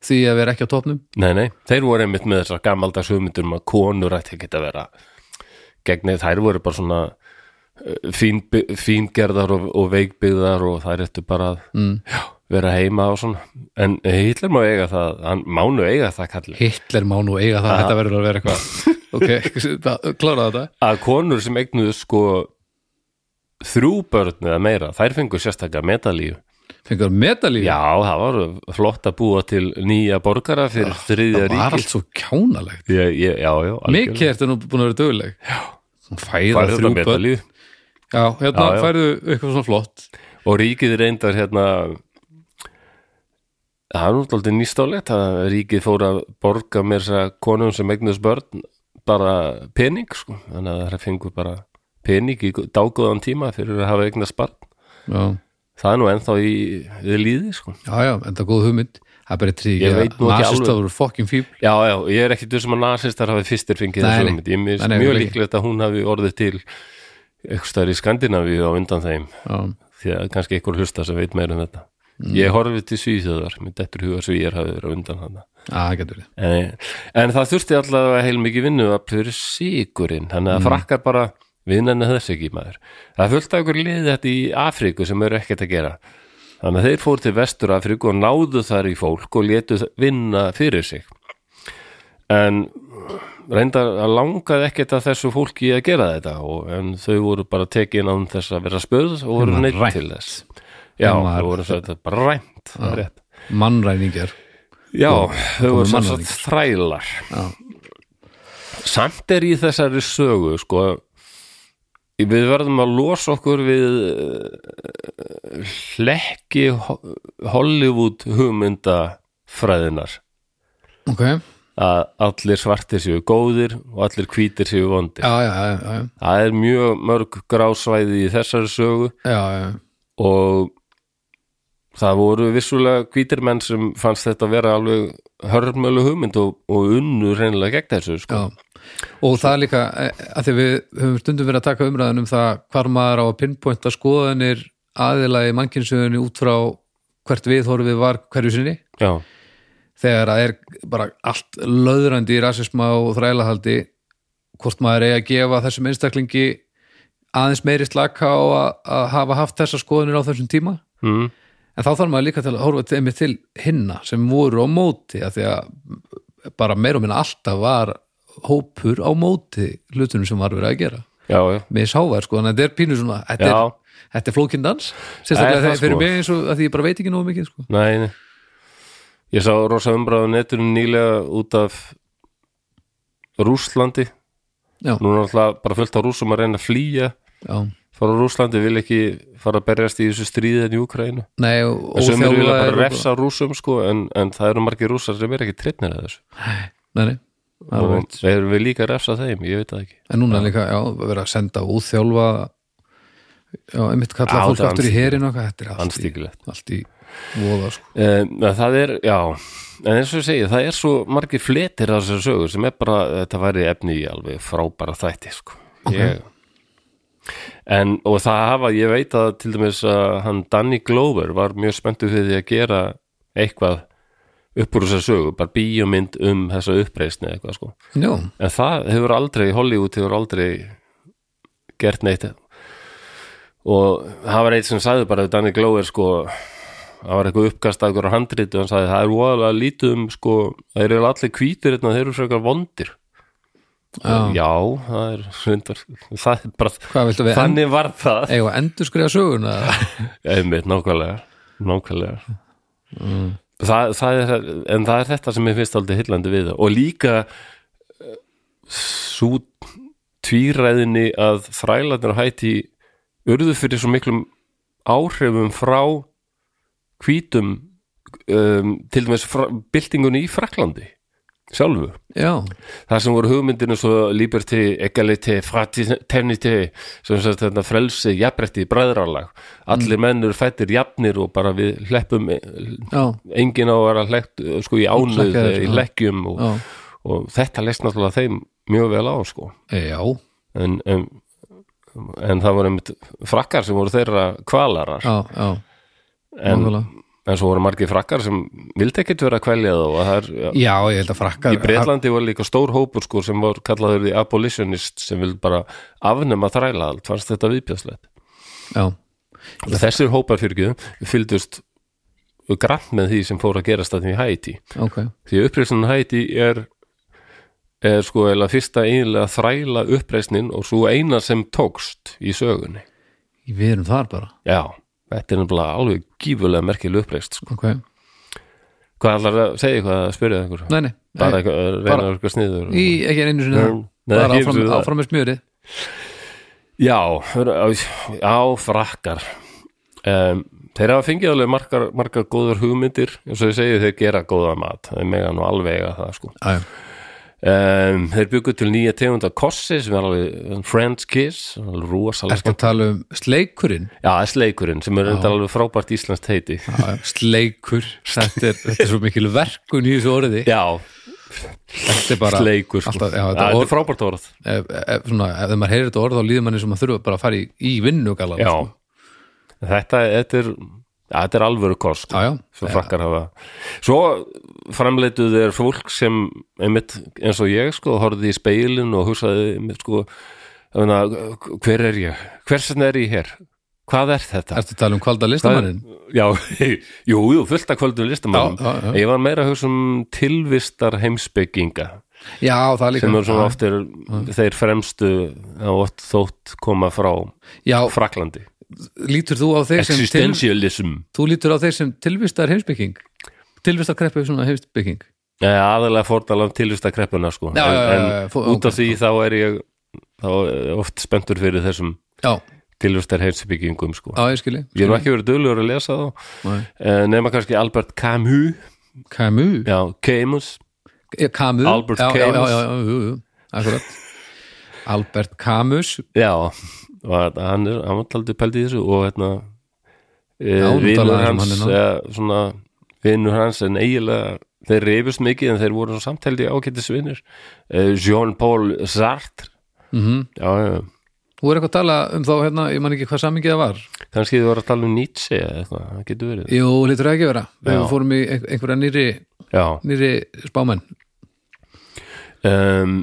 S2: því að vera ekki á topnum
S1: Nei, nei, þeir voru einmitt með þessar gamaldags hugmyndur um að konur ætti ekki að vera gegnið, þær voru bara svona uh, fín, fíngerðar og, og veikbyggðar og þær ættu bara að
S2: mm.
S1: vera heima og svona en eh, Hitler má eiga það, hann mánu eiga það kallir,
S2: Hitler má nú eiga það, þetta verður að vera eitthvað [laughs] ok, það- klára þetta
S1: að konur sem eignuðu sko þrjú börn eða meira, þær fengu sérstaklega metalíu
S2: fengur medalíu
S1: Já, það var flott að búa til nýja borgara fyrir þriðja
S2: Ah, það var
S1: ríkil
S2: allt svo kjánalegt
S1: Já, já, já, algjörlega.
S2: mikið ertu nú búin að vera döguleg já, fæða
S1: Færðu
S2: þrjú
S1: þetta
S2: börn
S1: medalíu.
S2: já, hérna
S1: Já, já.
S2: færðu eitthvað svona flott
S1: og ríkið reyndar hérna það er náttúrulega nýstálegt að ríkið fór að borga mér þess að konum sem eignast börn bara pening sko. þannig að það fengur bara pening í dágóðan tíma fyrir að hafa eignast barn
S2: já,
S1: það er nú ennþá í, í líði sko.
S2: já, já, en það er góð hugmynd það er bara
S1: Ég
S2: trygg
S1: veit nú ekki alveg.
S2: voru fokkin fíbl
S1: já, já, ég er ekki þessum að nasistar hafi fyrstir fengið
S2: Nei,
S1: þessu
S2: nei.
S1: hugmynd. ég
S2: Nei,
S1: mér
S2: nei,
S1: mjög
S2: vel ekki.
S1: líklegt að hún hafi orðið til eitthvað stær í Skandinavíu á undan þeim
S2: já,
S1: því að kannski einhver hlusta sem veit meira um þetta ég horfið til Svíþjóðar mér dettur huga Svíjar hafið verið á undan hana
S2: Já, það getur verið
S1: en, en það þurfti allavega heil mikið vinnu að plöður sigurinn þannig að
S2: Mm.
S1: frakkar bara vinnan er þess ekki maður það er fullt af ykkur liði þetta í Afríku sem eru ekkert að gera þannig að þeir fóru til Vestur Afríku og náðu þar í fólk og létu þ- vinna fyrir sig en reyndar að langaði ekkert að þessu fólki að gera þetta og, en þau voru bara tekin án þess að vera spöð og voru
S2: Þeim var
S1: neitt
S2: rænt.
S1: til þess já,
S2: Þeim var-
S1: þau voru
S2: [laughs]
S1: svo þetta bara ræmt það er rétt.
S2: mannræningar
S1: já, þau
S2: komu
S1: voru sem
S2: mannvæðingar.
S1: sagt þrælar
S2: Já.
S1: samt er í þessari sögu sko við verðum að losa okkur við eh, hlekki Ho- Hollywood hugmyndafræðinar
S2: ok, já,
S1: að allir svartir séu góðir og allir hvítir séu vondir
S2: já, já, já,
S1: Það er mjög mörg grásvæði í þessari sögu
S2: já, já.
S1: og það voru vissulega hvítir menn sem fannst þetta vera alveg hörmölu hugmynd og, og unnu reynilega gegn þessu sko.
S2: Já. Og það er líka, eh, að því við höfum stundum verið að taka umræðan um það hvar maður á að pinpointa skoðanir aðila í mannkynsöðunni út frá hvert viðhorfið var hverju sinni
S1: Já.
S2: þegar það er bara allt löðrandi í rasisma og þrælahaldi hvort maður eigi að gefa þessum einstaklingi aðeins meiri slaka á að, að hafa haft þessar skoðanir á þessum tíma
S1: Mm.
S2: en þá þarf maður líka til að horfa til, einmitt til hinna sem voru á móti að því að bara meir og minna alltaf var hópur á móti hlutunum sem var verið að gera
S1: já, já,
S2: með sávar sko, þannig að þetta er pínu svona þetta
S1: Já.
S2: er, þetta er flókindans
S1: Það er
S2: sérstaklega
S1: það,
S2: þegar fyrir
S1: sko.
S2: mig eins og að því ég bara veit ekki nógu mikið sko.
S1: nei, nei Ég sá rosa umræðu netinu nýlega út af Rússlandi
S2: Já.
S1: Nú er alltaf bara fullt á Rússum að reyna að flýja
S2: já,
S1: fara á Rússlandi, vil ekki fara að berjast í þessu stríðin í Ukraínu
S2: nei og
S1: og sem eru vilja bara
S2: óþjálfaðir og-
S1: refsa Rússum sko, en, en það eru margir Rússar sem eru ekki trittnir að þessu
S2: nei, nei, það er
S1: og
S2: veit
S1: erum við líka að refsa þeim, ég veit það ekki
S2: en núna líka, já, verið að senda og úþjálfa já, einmitt kalla
S1: Já,
S2: fólk
S1: þetta er
S2: aftur í
S1: andstygg-
S2: herin og hvað, þetta er allt í,
S1: anstíkulegt
S2: allt í voða sko.
S1: um, það er, já en eins og ég segi, það er svo margir fletir af þessar sögur sem er bara, þetta væri efni í alveg frábæra þætti sko. ég, en, og það hafa, ég veit að til dæmis að hann Danny Glover var mjög spenntu fyrir því að gera eitthvað upp úr þessar sögur, bara bíómynd um þessa uppreisni eða eitthvað sko
S2: já,
S1: En það hefur aldrei, Hollywood hefur aldrei gert neitt og það var eitt sem sagði bara við Danny Glover sko það var eitthvað uppkast af einhverju handriti og hann sagði það er voðalega lítið um sko það eru allir hvítir hérna, þeir eru frekar vondir
S2: Já.
S1: Já, það er reyndar, það er bara
S2: hvað viltu við
S1: þannig var það
S2: Eða endur skrifa [laughs] söguna
S1: einmitt, nákvæmlega nákvæmlega Mm. það, það er, en það er þetta sem ég finnst aldrei hillandi við það. og líka svo tvíræðinni að þrælandir á hætti urðu fyrir svo miklum áhrifum frá hvítum um, til dæmis fra, byltingunni í Fraklandi sjálfu
S2: Já,
S1: það sem voru hugmyndinu svo liberty, egality, fraternity sem sagt þetta frelsi, jafnrætti, bræðralag
S2: Mm.
S1: allir menn eru fættir jafnir og bara við hleppum
S2: já,
S1: engin á að vera hleppt sko í ánöð,
S2: Hlekkaður,
S1: í
S2: já.
S1: hlekkjum og,
S2: já
S1: og þetta leist náttúrulega þeim mjög vel á sko
S2: E, Já,
S1: en, en, en það voru einmitt frakkar sem voru þeirra kvalarar
S2: já, já
S1: en,
S2: nákvæmlega.
S1: en svo voru margir frakkar sem vildi ekkit vera kveljað og það er
S2: Já, ég held að frakkar
S1: í Breitlandi var líka stór hópur sko sem var kallaður því abolitionist sem vil bara afnema þræla allt fannst þetta viðbjöðslegt
S2: Já,
S1: og þessir hópar fyrir ekki fylgdust grann með því sem fór að gerast að því í Haiti
S2: ok
S1: því uppreisnin í Haiti er er sko eða fyrsta eiginlega þræla uppreisnin og svo eina sem tókst í sögunni
S2: Við erum þar bara
S1: já, Þetta er nefnilega alveg gífulega merkileg uppreist sko.
S2: ok,
S1: Hvað allar að segja eitthvað að spyrja einhver?
S2: nei, nei,
S1: Bara
S2: nei.
S1: eitthvað, reyna
S2: bara-
S1: eitthvað sniður og-
S2: Í, ekki einu sinni það,
S1: Nei, ekki
S2: bara
S1: einu
S2: áfram,
S1: sinni það.
S2: áfram með smjörið
S1: Já, á, á frakkar um, Þeir hafa fengið alveg margar, margar góðar hugmyndir eins og ég segi þeir gera góða mat þeir mega nú alveg að það sko
S2: Æ,
S1: um, Þeir byggu til nýja tegunda kossi sem er alveg French Kiss alveg rosalega
S2: Ertu
S1: skemmt
S2: að tala um sleikurinn?
S1: Já, það er sleikurinn sem er enda alveg frábært íslenskt heiti
S2: Já, já, Sleikur, þetta er, þetta er svo mikil verkun í þessu orði
S1: Já,
S2: Þetta er bara
S1: sleikur sko.
S2: alltaf, já,
S1: Já,
S2: þetta
S1: þetta
S2: orð,
S1: er frábært orð
S2: ef, ef, svona, ef þegar maður heyrir þetta orð þá líður manni sem maður þurfa bara að fara í, í vinnu galan
S1: Já,
S2: sko.
S1: þetta, þetta er ja, þetta er alvöru kost sko.
S2: Já, já.
S1: svo frakkar hafa svo framleituð þeir fólk sem einmitt, eins og ég sko horfði í speilin og hugsaði einmitt, sko, öfna, hver er ég hversin er ég hér, hvað er þetta
S2: Ertu að tala um kvalda listamannin?
S1: já, [laughs] jú, jú, fullt af kvöldum listamannum
S2: Já, já, já.
S1: ég var meira að hugsa um tilvistar heimspekinga
S2: Já, það er líka
S1: sem eru svona oft er, þeir fremstu og oft þótt koma frá
S2: Já,
S1: Fraklandi
S2: lítur þú á þeir sem til,
S1: existentialism
S2: þú lítur á þeir sem tilvistar heimsbygging Tilvistar kreppu svona heimsbygging
S1: Nei, aðalega fórnalam tilvistakreppuna sko. en,
S2: Já, já, já, já,
S1: en
S2: fó-
S1: út af því þá er ég þá er oft spenntur fyrir þessum
S2: Já,
S1: tilvistar heimsbyggingum sko.
S2: já, ég skilji
S1: ég hef ekki verið dölur að lesa þá
S2: Nei.
S1: Eh, nema kannski Albert Camus
S2: Camus
S1: já, Camus
S2: Já, Camus
S1: Albert
S2: já, já,
S1: Camus.
S2: já, já, jú, jú, akkurat Albert Camus
S1: já, og að- hann er hann var aldrei pældi í þessu og hérna
S2: Já, nú
S1: vinnur
S2: talaði
S1: hans
S2: um hann
S1: ja, svona, vinnur hans en eiginlega þeir reyfust mikið en þeir voru samtældi ágættisvinnir Eh, Jean-Paul Sartre
S2: mm
S1: já, já, já
S2: Þú er eitthvað að tala um þá hérna, ég man ekki hvað samingi það var
S1: kannski þið voru að tala um Nietzsche eða eitthvað, það getur verið
S2: Jú, lítur það ekki vera Við
S1: Já.
S2: fórum í ein- einhverja nýri,
S1: já,
S2: nýri spámenn
S1: um,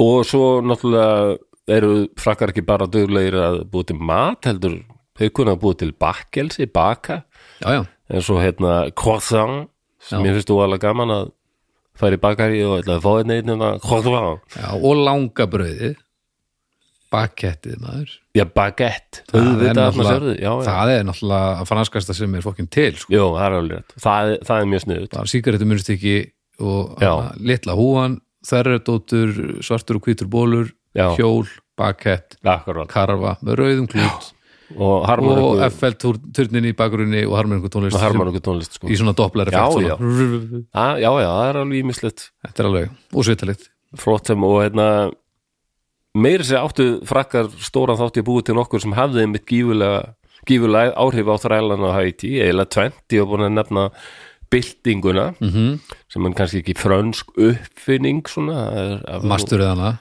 S1: og svo náttúrulega eru frakkar ekki bara duglegir að búi til mat heldur, þau kunna að búi til bakkelsi, baka,
S2: Já, já,
S1: en svo hérna croissant, sem
S2: Já.
S1: mér finnst þú alveg gaman að færi bakari og ætla að fá einn einn hérna croissant,
S2: já og langabrauðið Bakettið, maður
S1: já baguette
S2: Það er
S1: auðvitað þarna
S2: náttúrulega-
S1: sérðu, já, já,
S2: Það er náttúrulega að franskasta sem er fokkin til sko.
S1: Jú, það er alveg rétt það, er- það er mjög sniðut,
S2: Bara sígarettu munstiki og
S1: Já.
S2: hana, litla húan Þerredóttur, svartur og hvítur bólur
S1: Já.
S2: Hjól, bakett,
S1: akkurat
S2: karfa með rauðum klút
S1: og harmar
S2: og
S1: ykkur,
S2: FL-turnin í bakgrunni og harmenningu tónlist
S1: harmar ykkur tónlist sko.
S2: í svona dopplar
S1: Já,
S2: effekt
S1: já.
S2: svona.
S1: Ah, já, já, það er alveg ímislegt
S2: Þetta er alveg, og svitalit
S1: flott sem og hérna meiri sér áttu frakkar stóran þátt ég búið til nokkur sem hafði einmitt gífulega, gífulega áhrif á þrælan á Haiti, eiginlega 20 og búin að nefna byltinguna
S2: Mhm.
S1: sem er kannski ekki frönsk uppfinning svona það er- af-
S2: Masturðið hana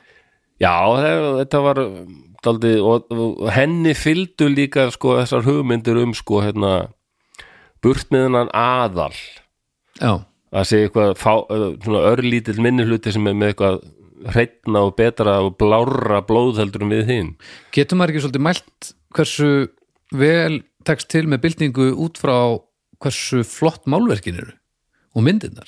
S1: Já, það- þetta var daldi, og, og henni fylgdu líka sko þessar hugmyndir um sko hérna burt með hennan aðal
S2: Já,
S1: að segja eitthvað fá, eh, svona örlítill minnihluti sem er með eitthvað hreitna og betra og blárra blóðheldur en við hinn
S2: getur maður ekki svolítið mælt hversu vel tekst til með byltingu út frá hversu flott málverkin eru og myndirnar,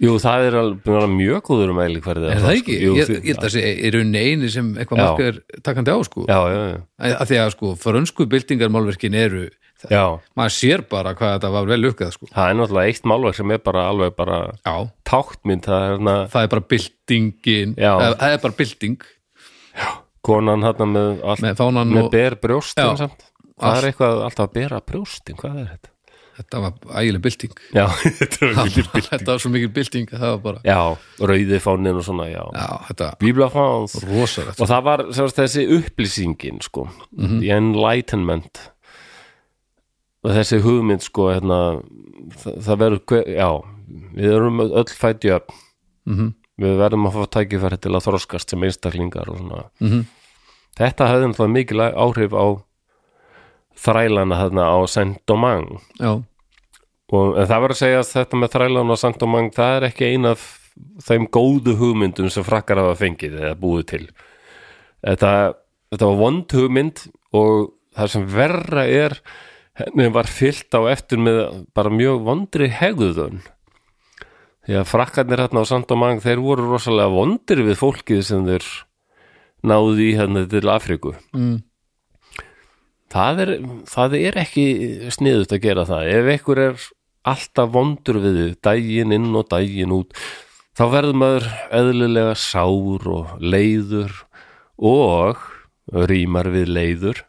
S1: Jú, það er alveg búin að vera mjög góður um eili hverði
S2: er það ekki?
S1: Jú,
S2: ég,
S1: því-
S2: ég held að sé, er unni eini sem
S1: Já.
S2: eitthvað mark er takandi á sko
S1: Já, já, já,
S2: að því að sko, frönsku byltingar málverkin eru, það,
S1: já
S2: maður sér bara hvað þetta var vel lukkað sko
S1: Það er náttúrulega eitt málverk sem er bara alveg bara
S2: Já,
S1: táknmynd, það er hérna
S2: það er bara byltingin
S1: Já.
S2: það það er bara bylting
S1: konan hérna með, allt, með,
S2: með fánan og
S1: ber brjóstin
S2: Já.
S1: samt Það
S2: Allt.
S1: er eitthvað alltaf að bera brjóstin, hvað er þetta?
S2: þetta var ægileg bylting
S1: Já, [laughs] þetta
S2: [laughs]
S1: er ekki
S2: þetta var svo mikil bylting að það var bara
S1: Já, rauði fánin og svona, já
S2: já, þetta
S1: Bíbla fáns
S2: var rosalegt
S1: og það var semast, þessi upplýsingin sko,
S2: Mhm.
S1: the enlightenment og þessi hugmynd sko, hérna, það, það verður hver, já, við erum öll fætt jöfn
S2: Mhm.
S1: við verðum að fá tækifæri til að þroskast sem einstaklingar og svona
S2: Mhm.
S1: þetta hafði náttúrulega mikil áhrif á þrælana þarna á Saint-Domingue
S2: já,
S1: og en það var að segja að þetta með þrælan og sanktumang það er ekki eina af þeim góðu hugmyndum sem frakkar hafa fengið eða búið til þetta, þetta var vond hugmynd og það sem verra er henni var fyllt á eftir með bara mjög vondri hegðun því að frakkarnir hérna á sanktumang þeir voru rosalega vondir við fólkið sem þeir náðu í hérna til Afríku
S2: mm.
S1: það er, það er ekki sniðut að gera það ef einhver er alltaf vondur við þig daginn inn og daginn út þá verður maður eðlilega sár og leiður og rýmar við leiður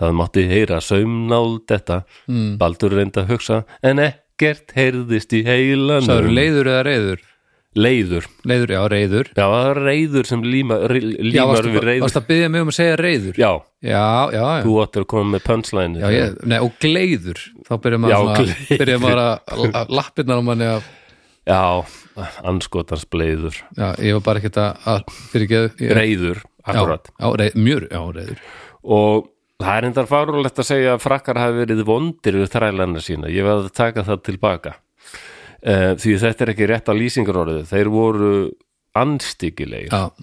S1: það mátti heyra saumnál þetta
S2: Mm.
S1: Baldur reyndi að hugsa en ekkert heyrðist í heilanum
S2: Sáður leiður eða reyður?
S1: leiður,
S2: Leiður, já, reyður.
S1: já það er reyður sem líma, rí-
S2: Já,
S1: límar
S2: varstu,
S1: við reyður
S2: varstu að byggja mig um að segja reyður?
S1: já,
S2: já, já. já.
S1: þú áttir að koma með punchline
S2: Já, ég, nei, og gleiður þá byrjar
S1: Já,
S2: maður, svona,
S1: gleiður.
S2: byrjar maður að, að lappirnar á manni að,
S1: Já, anskotans bleiður
S2: já, ég var bara ekkert að, að fyrirgeðu ég-
S1: reyður, akkurat
S2: Já, já reyð, mjör, já, reyður
S1: og það er endar fárúlegt að segja að frakkar hafi verið vondir við þrælana sína ég veð að taka það tilbaka uh, því þetta er ekki rétt á lýsingarorðu þeir voru anstíkilegir
S2: Já,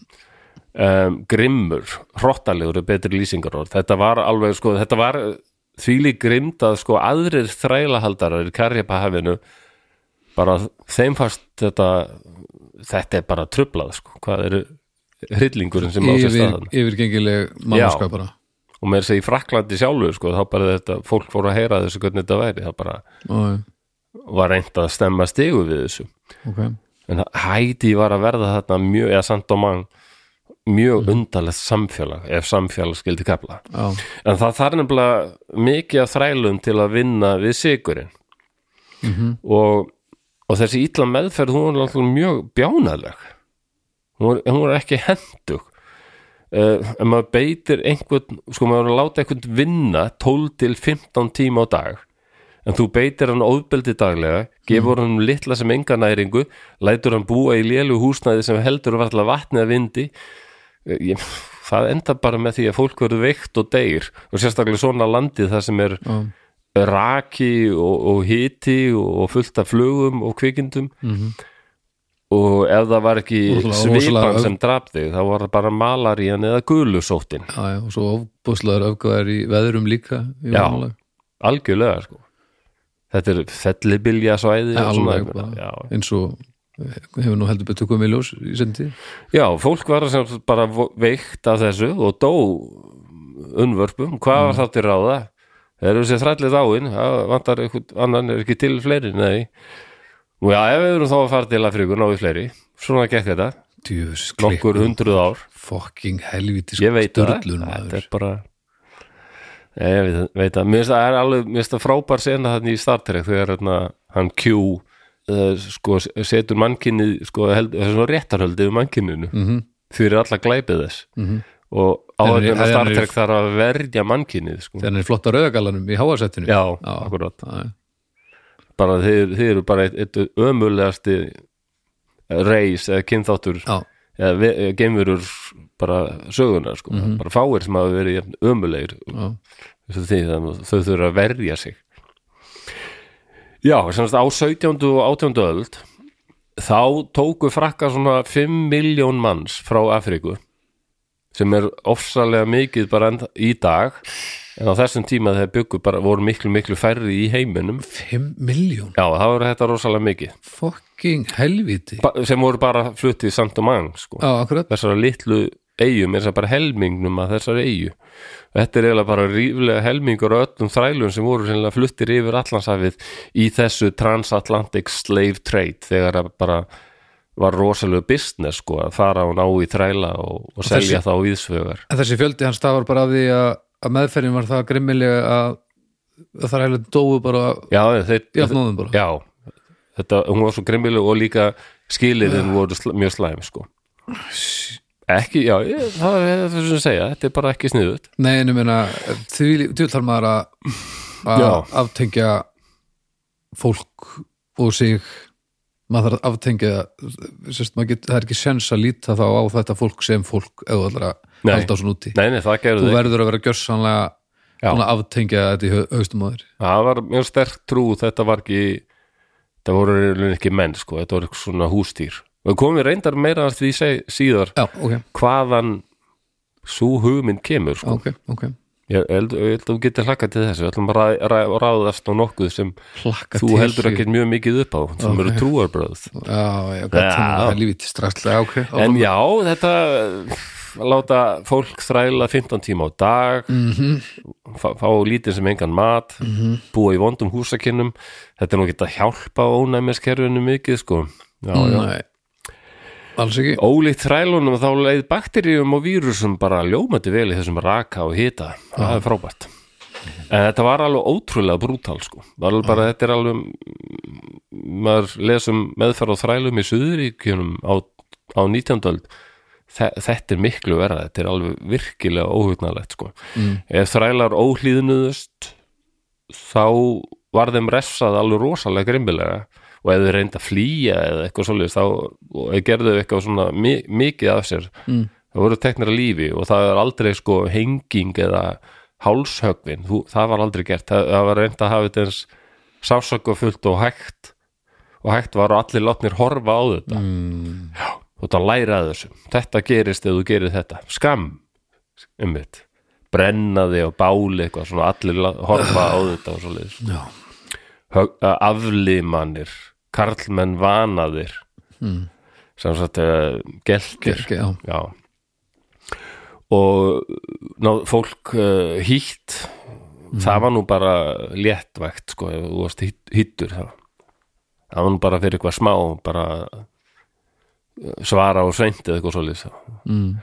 S1: um, grimmur, hrottalegur er betri lýsingarorð, þetta var alveg sko, þetta var þvíli grimmt að sko aðrir þrælahaldarar í Karjapahafinu bara þeim fast þetta þetta er bara trublað sko, hvað eru hryllingurinn sem á sér
S2: yfir,
S1: staðan
S2: yfirgengileg mannskap bara
S1: og með þess að í Fraklandi sjálfu sko, þá bara þetta, fólk fór að heyra þessu hvernig þetta væri, það bara
S2: Ó,
S1: var reynd að stemma stigu við þessu
S2: ok,
S1: en Heidi var að verða þarna mjög, eða samt og mann mjög mm. undarlegt samfélag ef samfélag skildi kefla
S2: já,
S1: en það þarf nefnilega mikið af þrælum til að vinna við sigurinn -hmm. og, og þessi ítla meðferð hún var náttúrulega mjög bjánaleg hún var, hún var ekki hendug uh, en maður beitir einhvern, sko maður er að láta einhvern vinna 12 til 15 tíma á dag en þú beitir hann óðbeldi daglega gefur mm. hann litla sem enga næringu lætur hann búa í lélu húsnæði sem heldur varla vatni að vindi ég, það enda bara með því að fólk verður veikt og deyr og sérstaklega svona landið það sem er
S2: já,
S1: raki og, og hiti og fullt af flugum og kvikindum
S2: mhm,
S1: og ef það var ekki
S2: Rosalega- rosalega-
S1: svipan sem draf þig þá var það bara malarían eða gulusóttin
S2: já, já og svo ofbúslaður öfgæðar í veðrum líka í
S1: Já.
S2: vanlag.
S1: algjörlega sko þetta er fellibilja svæði
S2: Alveg bara.
S1: já,
S2: eins og eh, hefur nú heldur betur komið í ljós í sendi
S1: já, fólk var sem sagt bara vo- veikt af þessu og dó unnvörpum, hvað var það til ráða þeir eru sér þrællið áinn það vantar einhvern annan er ekki til fleiri nei, og já, ef við erum þá að fara til að fríkur náðu fleiri, svona gekk þetta
S2: djöfus
S1: nokkur
S2: klikk,
S1: hundruð ár
S2: fucking helvítis
S1: ég veit það,
S2: sturlun
S1: þetta
S2: maður
S1: er bara Nei, ég veit, veit að, mér finnst það er alveg mér finnst það frábær sena þannig í Star Trek þegar hérna, hann Q uh, sko, setur mannkinni sko, held, þessu réttarhöldi við mannkinninu
S2: mm -hmm.
S1: fyrir alla glæpið þess
S2: Mhm.
S1: og
S2: Henry-
S1: áhverjum að Star
S2: Henry-
S1: Trek þarf að verja mannkinnið sko.
S2: þannig er flott á rauðagallanum í háasettinu
S1: já,
S2: Já.
S1: akkurat
S2: já, já.
S1: bara þeir, þeir eru bara eitt, eitt ömulegasti reis eða kynþáttur
S2: já
S1: eða ve- eh, geimverur bara sögunar sko, bara fáir sem hafa verið jafn ömulegir
S2: Já,
S1: Þessu því, þannig að þau þurfa að verja sig já, semst á 17. og 18. öld þá tóku frakka svona 5 miljón manns frá Afríku sem er ofsalega mikið bara enn í dag en á þessum tíma þegar byggu bara voru miklu miklu færri í heiminum
S2: 5 miljón,
S1: já, það voru þetta rosalega mikið
S2: fucking helviti
S1: ba sem voru bara fluttið samt og mann sko.
S2: Já, akkurat,
S1: þessara litlu eigum er það bara helmingnum að þessari eigu þetta er eiginlega bara ríflega helmingur af öllum þrælum sem voru sennilega fluttir yfir allansafið í þessu transatlantic slave trade þegar að bara var rosalega business sko að fara og ná í þræla og, og selja þá íðsvegar
S2: En þessi fjöldi hans stafar bara af því að, að meðferðin var það grimmilega að, að það er heilig dóu bara
S1: já, þeir,
S2: jafnóðum bara
S1: já þetta, hún var svo grimmileg og líka skiliðin voru sl mjög slæm sko ekki, já, ég- það er það sem ég segja þetta er bara ekki sniðut
S2: Nei, en ég meina, því vil þarf maður að að
S1: Já.
S2: aftengja fólk og sig maður þarf að aftengja sérst, maður get, það er ekki sens að líta þá á þetta fólk sem fólk eða allra
S1: Nei.
S2: halda á svona úti
S1: nei, nei, það gerðu
S2: þú
S1: þeir
S2: verður að vera gjörsanlega
S1: Já.
S2: svona aftengja þetta í hau- haustum á þér
S1: það var mjög sterk trú þetta var ekki þetta voru í rauninni ekki menn sko, þetta voru svona hústýr og við komum reyndar meira að því seg, síðar
S2: Já, ok,
S1: hvaðan svo hugmynd kemur sko.
S2: ok, ok
S1: ég held ég held að þú getur hlakka til þessu við ætlum að ræ- ræ- ráðast á nokkuð sem
S2: Plakka
S1: þú heldur ekki mjög mikið upp á sem eru trúarbröð
S2: Já, já, gott,
S1: Já.
S2: þannig að lífið til strax Já, ok,
S1: en já, þetta láta fólk þræla 15 tíma á dag fá, fá lítið sem engan mat búa í vondum húsakinnum þetta er nú ekki að hjálpa ónæmiskerfinu mikið sko já, já.
S2: Nei. alls ekki
S1: ólíkt þrælunum þá leið bakteríum og vírusum bara ljómandi vel í þessum raka og hita, það er frábært en þetta var alveg ótrúlega brútal sko, var alveg bara þetta er alveg maður lesum meðferð á þrælum í Suðuríkjunum á, á 19. öld Þe- þetta er miklu verða, þetta er alveg virkilega óhugnalegt sko ef þrælar óhlýðnuðust þá var þeim refsað alveg rosalega grimmilega og ef þau reynda að flýja eða eitthvað svoleiðis þá og ef gerðu þau eitthvað svona mi mikið af sér mm. þá voru teknir að lífi og það er aldrei sko henging eða hálshögvin, Þú, það var aldrei gert það, það var reynda að hafa þetta eins sásökufullt og hægt og hægt var og allir látnir horfa á þetta
S2: mm.
S1: Já, og það læra að þessu þetta gerist ef þú gerir þetta skam, umvitt brenna þig á báli eitthvað svona allir la- horfa á þetta og svo
S2: Já.
S1: liðis aflimannir eh, karlmenn vanaðir
S2: Mm.
S1: sem sagt uh, geltir
S2: Ekki, já.
S1: já og ná, fólk uh, hýtt það var nú bara léttvægt sko, ef þú varst hýtt- hýttur það. það var nú bara fyrir eitthvað smá bara uh, svara og sveint eða eitthvað svoleiðis það
S2: Mm.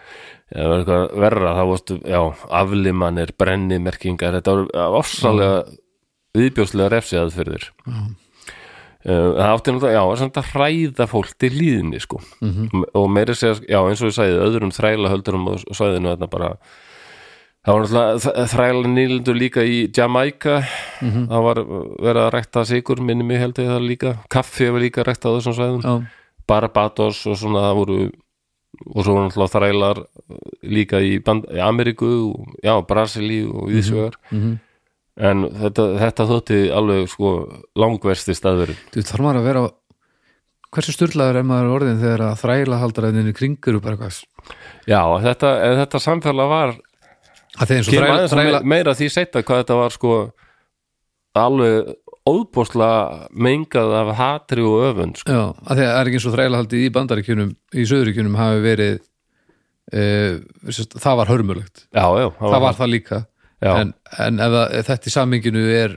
S1: eða það var eitthvað verra þá varstu, já, aflimannir, brennimerkingar þetta var ofsalega viðbjóðslega refsiðað fyrir þér Uh, það átti náttúrulega, já, samt að hræða fólk til líðinni, sko og meira að segja, já, eins og ég sagði, öðrum þrælahöldurum og sæðinu þarna bara það var náttúrulega þræla nýlendur líka í Jamaica það var verið að rækta sigur minni mig held ég það líka, kaffi var líka rækta á þessum sæðum
S2: Já.
S1: Barbados og svona það voru og svo voru náttúrulega þrælar eh, líka í, band, í Ameríku og, já, Brasilíu og Íðsjögar
S2: mhm.
S1: en þetta, þetta þótti alveg sko langversti staður
S2: Þú þarf maður að vera hversu styrlaður er maður orðin þegar að þræla haldaræðinni kringur og bara hvað
S1: já, þetta, en þetta samfélag var
S2: að þeir eins og
S1: kemur
S2: þræla,
S1: aðeins
S2: þræla
S1: þræla... meira að því setja hvað þetta var sko alveg óbúslega mengað af hatri og öfund sko.
S2: já, að þeir er ekki eins og þræla haldið í bandaríkjunum í söðuríkjunum hafi verið e, sérst, það var hörmulegt
S1: já, já,
S2: það var það líka
S1: Já.
S2: en, en ef það, þetta í saminginu er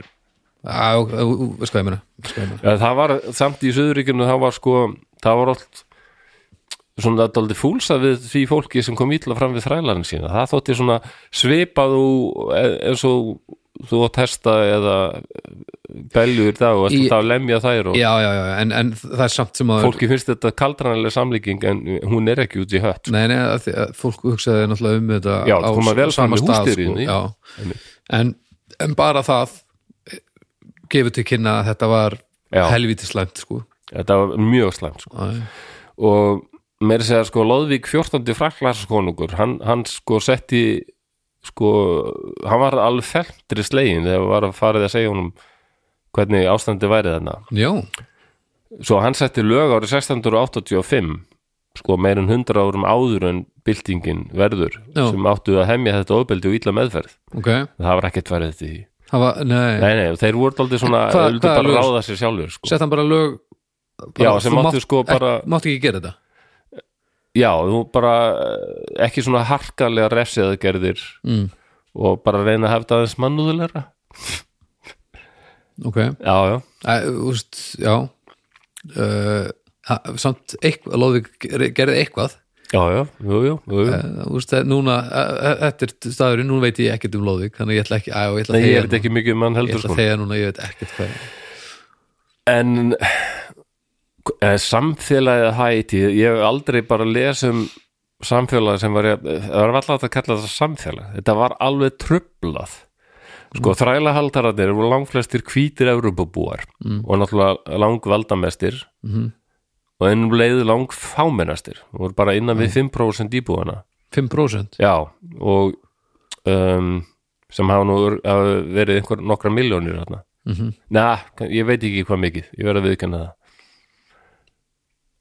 S2: að, að, að, sko ég meina veist hvað ég meina.
S1: Já, það var samt í Suðuríkjunum það var sko, það var allt svona daldi fúlsa við því fólki sem kom ítla fram við þrælarinn sína það þótti svona svipað og e, eins og þú átt hesta eða beljur í dag og
S2: Í-
S1: þetta að lemja þær og
S2: já, já, já, en, en það er samt sem að
S1: fólki finnst þetta kaldranilega samlíking en hún er ekki út í hött sko.
S2: Nei, nei, að því að fólk hugsaði náttúrulega um þetta
S1: Já,
S2: á
S1: það koma vel fram
S2: sama
S1: í
S2: stað,
S1: húsdýrin, í.
S2: sko, já. en, en bara það eh, gefur til kynna að þetta var
S1: Já.
S2: helvítið slæmt sko.
S1: þetta var mjög slæmt sko.
S2: Já, já.
S1: og meiri segja sko Lóðvík 14. fraklaskonungur hann, hann sko setti sko, hann var alveg feltri slegin þegar var að farið að segja honum hvernig ástandi væri þarna
S2: Já,
S1: svo hann setti lög árið 1685 sko meir en 100 árum áður en byltingin verður
S2: Já.
S1: sem áttu að hemja þetta ofbeldi og illa meðferð
S2: ok
S1: það var ekkert farið þetta í því
S2: það var, nei,
S1: nei, nei, þeir voru aldrei svona,
S2: En
S1: þeir
S2: hvað-
S1: vildu
S2: hvaða
S1: bara
S2: lög?
S1: ráða sér sjálfur sko.
S2: sett hann bara lög bara,
S1: Já, sem
S2: þú
S1: máttu sko bara-
S2: ek, Máttu ekki gera þetta
S1: já, þú bara eh, ekki svona harkalega refsiðagerðir
S2: mm,
S1: og bara reyna að hefta aðeins mannúðulegra
S2: Ok,
S1: já, já,
S2: Æ, úst, já uh, ha- Samt eitthvað, Lóðvík ger- gerði eitthvað
S1: já, já, jú, jú, jú, jú.
S2: Eh, Þú veist, eh, núna, eh, eh, þetta er staðurinn, núna veit ég ekkert um Lóðvík þannig ég ætla ekki, á, ég ætla
S1: Nei, ég
S2: að þegja
S1: veit
S2: núna.
S1: ekki mikið um hann
S2: ég
S1: heldur
S2: ætla
S1: sko.
S2: að þegja núna, ég veit ekkert hvað
S1: en eh, samfélagið hæti ég hef aldrei bara lesið um samfélagið sem var ég- það var alltaf að kalla þetta samfélag þetta var alveg trublað
S2: Mm.
S1: sko þrælahaldararnir voru langflestir hvítir Evropabúar
S2: Mm.
S1: og náttúrulega langvaldamestir
S2: Mhm.
S1: og ennum leiðu langfámennastir voru bara innan við
S2: Mm.
S1: 5% íbúana
S2: 5%
S1: Já, og um, sem hafa nú ör- hafa verið einhver nokkra miljónir þarna.
S2: Mhm.
S1: Næ, ég veit ekki hvað mikið, ég verð að viðkjanna það.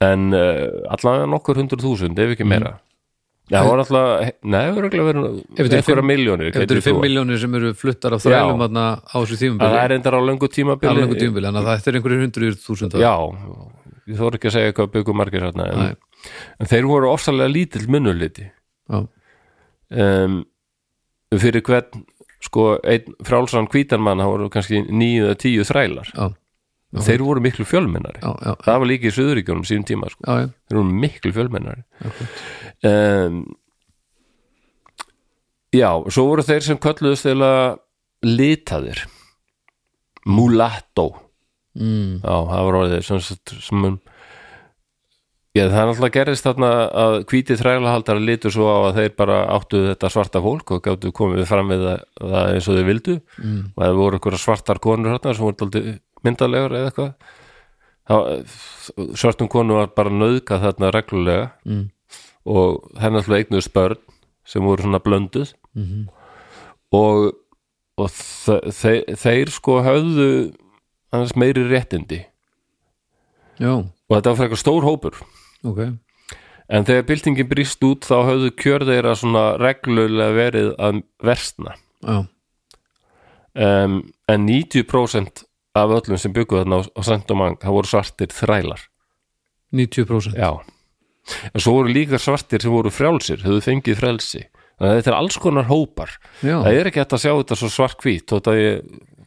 S1: En uh, allavega nokkur hundruð þúsund, ef ekki meira. Já, það var alltaf, nei, það var ekki verið
S2: Mhm. Ef þetta eru
S1: einhverja
S2: fimm-
S1: miljónir.
S2: ef þetta eru 5 miljónir sem eru fluttar af þrælum þarna á þessu
S1: Það
S2: tímabili
S1: er endar á löngu tímabili.
S2: alveg einhver tímabili, þannig að þetta er einhverjir hundruður þúsund
S1: Já, ég þóra ekki að segja hvað byggum margir þarna. En,
S2: Nei.
S1: en þeir voru ofsalega lítill munnuliti.
S2: já,
S1: um, fyrir hvern sko, einn frálsan hvítarmann þá voru kannski níu eða tíu þrælar
S2: já,
S1: þeir voru miklu fjölmennari
S2: já, já,
S1: það var líka í Suðuríkjónum síðum tíma sko.
S2: já, já,
S1: þeir voru miklu fjölmennari um, já, svo voru þeir sem kölluðust þeirla litaðir mulatto
S2: mm,
S1: Já, það var orðið sem, sem, sem um- Já, það er alltaf gerðist þarna að hvíti þrælahaldar litur svo á að þeir bara áttu þetta svarta fólk og gáttu komið fram við það, það eins og þau vildu mm. og það voru einhverja svartar konur hérna sem voru aldrei myndalegur eða eitthvað það, svartum konu var bara nöðka þarna reglulega mm. og henni alltaf eignuðu spörn sem voru svona blönduð -hmm. og, og þe þeir, þeir sko höfðu annars meiri réttindi
S2: já,
S1: og þetta var frekar stór hópur
S2: ok
S1: en þegar byltingin brýst út þá höfðu kjör þeirra svona reglulega verið að versna
S2: já,
S1: um, en 90% af öllum sem byggu þarna á, á Sandomang það voru svartir þrælar
S2: 90%
S1: já, en svo voru líka svartir sem voru frjálsir, höfðu fengið frelsi þannig að þetta er alls konar hópar
S2: Já.
S1: það er ekki hægt að sjá þetta svo svartkvít þótt að ég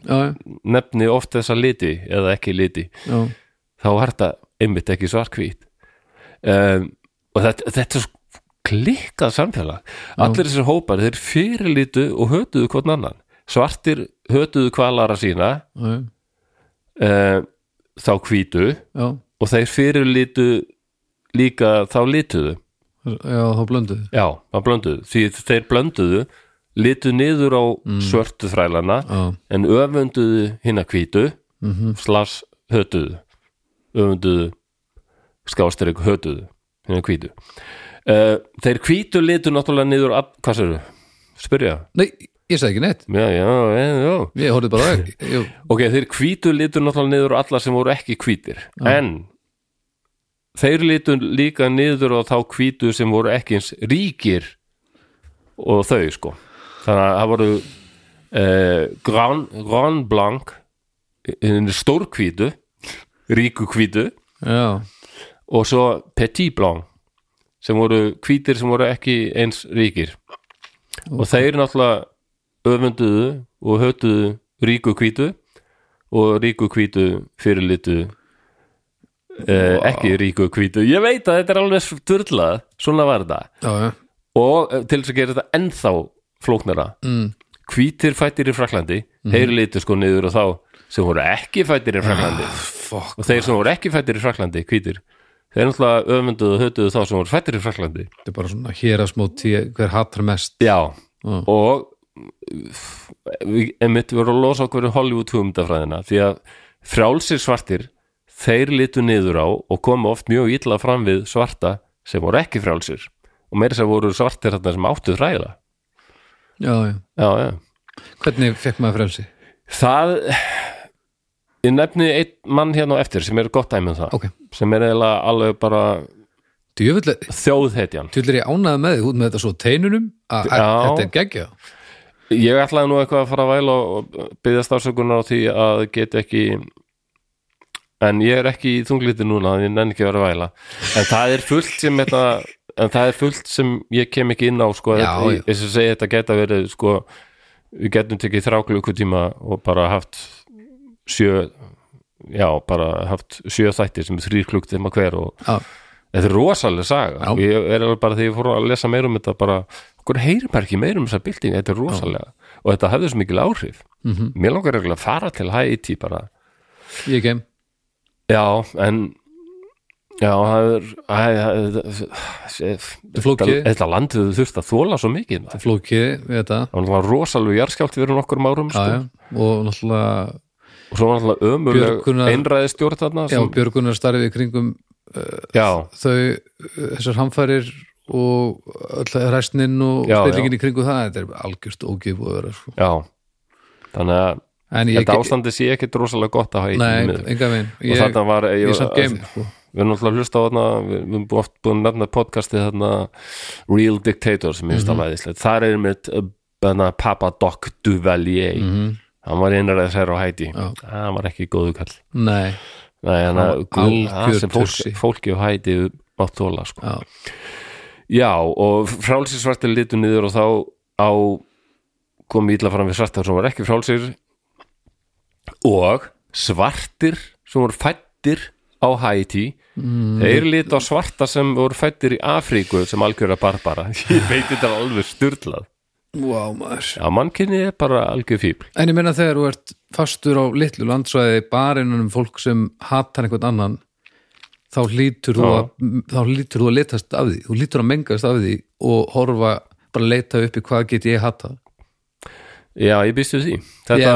S2: já, já,
S1: nefni oft þessa liti eða ekki liti
S2: já,
S1: þá er þetta einmitt ekki svartkvít um, og þetta, þetta er svo klikkað samfélag allir þessir hópar, þeir fyrirlítu og hötuðu hvort annan svartir hötuðu kvalara sína
S2: já,
S1: um, þá hvítu
S2: já,
S1: og þeir fyrirlítu líka þá lituðu
S2: já, þá blönduðu
S1: já, þá blönduðu, því þeir blönduðu litu niður á svörtu þrælana
S2: já,
S1: en öfunduðu hinn að hvítu mm -hmm. slags hötuðu öfunduðu skástrík hötuðu hinn að hvítu uh, þeir hvítu litu náttúrulega niður að, hvað sér spyrja,
S2: nei, ég sagði ekki neitt
S1: já, já, já, já
S2: ég horfði bara
S1: [laughs]
S2: á þig. ég,
S1: ok, þeir hvítu litu náttúrulega niður á alla sem voru ekki hvítir en þeir litu líka niður á þá hvítu sem voru ekki eins ríkir og þau sko þannig að það voru uh, Grand, Grand Blanc hinni stórkvítu ríku kvítu
S2: já,
S1: og svo Petit Blanc sem voru hvítir sem voru ekki eins ríkir og þeir náttúrulega öfunduðu og hötuðu ríku hvítu og ríku hvítu fyrirlitu eh, ekki ríku hvítu ég veit að þetta er alveg sturlað svona var þetta
S2: já, já,
S1: og eh, til þess að gera þetta ennþá flóknara
S2: mm, Mhm.
S1: hvítir fættir í Fraklandi þeir litu sko niður og þá sem voru ekki fættir í Fraklandi
S2: Ah, fuck
S1: og þeir sem voru ekki fættir í Fraklandi, hvítir þeir náttúrulega öfunduðu og hötuðu þá sem voru fættir í Fraklandi
S2: þetta er bara svona hér að smóti hver hattar mest
S1: Já,
S2: Já.
S1: Mm.
S2: Mm.
S1: og við- einmitt við vorum að losa okkur við Hollywood hugmyndafræðina því að frjálsir svartir þeir litu niður á og komu oft mjög illa fram við svarta sem voru ekki frjálsir og meira sem voru svartir þarna sem áttu þræla
S2: já, já,
S1: Já, já
S2: hvernig fekk maður frelsi
S1: Það ég nefni einn mann hérna á eftir sem er gott dæmið það
S2: ok,
S1: sem er eiginlega alveg bara
S2: djöfull
S1: þjóðhetjan
S2: djöfull er ég ánaði með þig út með þetta svo teinunum að að-
S1: Já.
S2: þetta er geggja
S1: Ég ætlaði nú eitthvað að fara að væla og byggðast ásökunar á því að get ekki en ég er ekki í þungliti núna þannig ég nenni ekki að vera að væla en það er fullt sem þetta en það er fullt sem ég kem ekki inn á sko,
S2: Já,
S1: þetta,
S2: já.
S1: ég- eins og segi þetta geta verið sko, við getum tekið þráklu tíma og bara haft sjö já, bara haft sjö þættir sem er þrýr klukk tíma hver og
S2: já,
S1: þetta er rosalega saga
S2: Já.
S1: og ég er alveg bara þegar ég fór að lesa meira um þetta bara, okkur heyrir bara ekki meira um þessa bylting þetta er rosalega og þetta hefði svo mikil áhrif -hmm.
S2: Mhm.
S1: mér langar eiginlega að fara til Haiti bara,
S2: ég kem
S1: já, en já, það er æ, það- það-
S2: er flókið.
S1: þetta þetta land við þurft að þóla svo mikið maður.
S2: flókið við þetta
S1: það var náttúrulega rosalega jarskjált fyrir nokkrum árum
S2: já, já.
S1: sko.
S2: og náttúrulega
S1: og svo var náttúrulega ömuleg
S2: Björgunar-
S1: einræði stjórn þarna
S2: já,
S1: sem,
S2: björgunar starfið í kringum
S1: já,
S2: þau, þessar hamfærir og öll ræstnin og
S1: Já,
S2: spillingin í kringu það, þetta er algjörst ógif og öðra sko.
S1: já þannig að
S2: en ég
S1: þetta ástandi sé ekkit rosalega gott að Haiti
S2: nei,
S1: miður.
S2: enga veginn
S1: og
S2: ég,
S1: þetta var
S2: ég er samt game sko.
S1: við erum alltaf að hlusta á þarna við við erum oft búin að nefna podcastið þarna Real Dictator sem minnst mm -hmm. alveg æðislegt. þar er mitt uh, þarna, Papa Doc Duvalier
S2: Mhm.
S1: hann var einræðið sér á hæti hann var ekki góðu kall
S2: nei,
S1: Nei, hann,
S2: Hann var
S1: hann, hann
S2: algjör
S1: sem fólk,
S2: tussi.
S1: fólki á hæti mátt þóla sko.
S2: já,
S1: Já, og frálsir svartir litu niður og þá á kom ítla fram við svartar sem var ekki frálsir og svartir sem voru fættir á Haiti
S2: Mm.
S1: þeir litu á svarta sem voru fættir í Afríku sem algjörða
S2: [laughs]
S1: barbara ég veit þetta er alveg sturlað
S2: wow, maður.
S1: Já, mannkinni er bara algjör fíbl
S2: En ég meina þegar þú ert fastur á litlu landsvæði bara innan um fólk sem hatar einhvern annan þá lítur þú
S1: Já.
S2: að, þá lítur þú að letast af því þú lítur að mengast af því og horfa bara leita upp í hvað get ég hata
S1: Já, ég býst við því Þetta
S2: Já,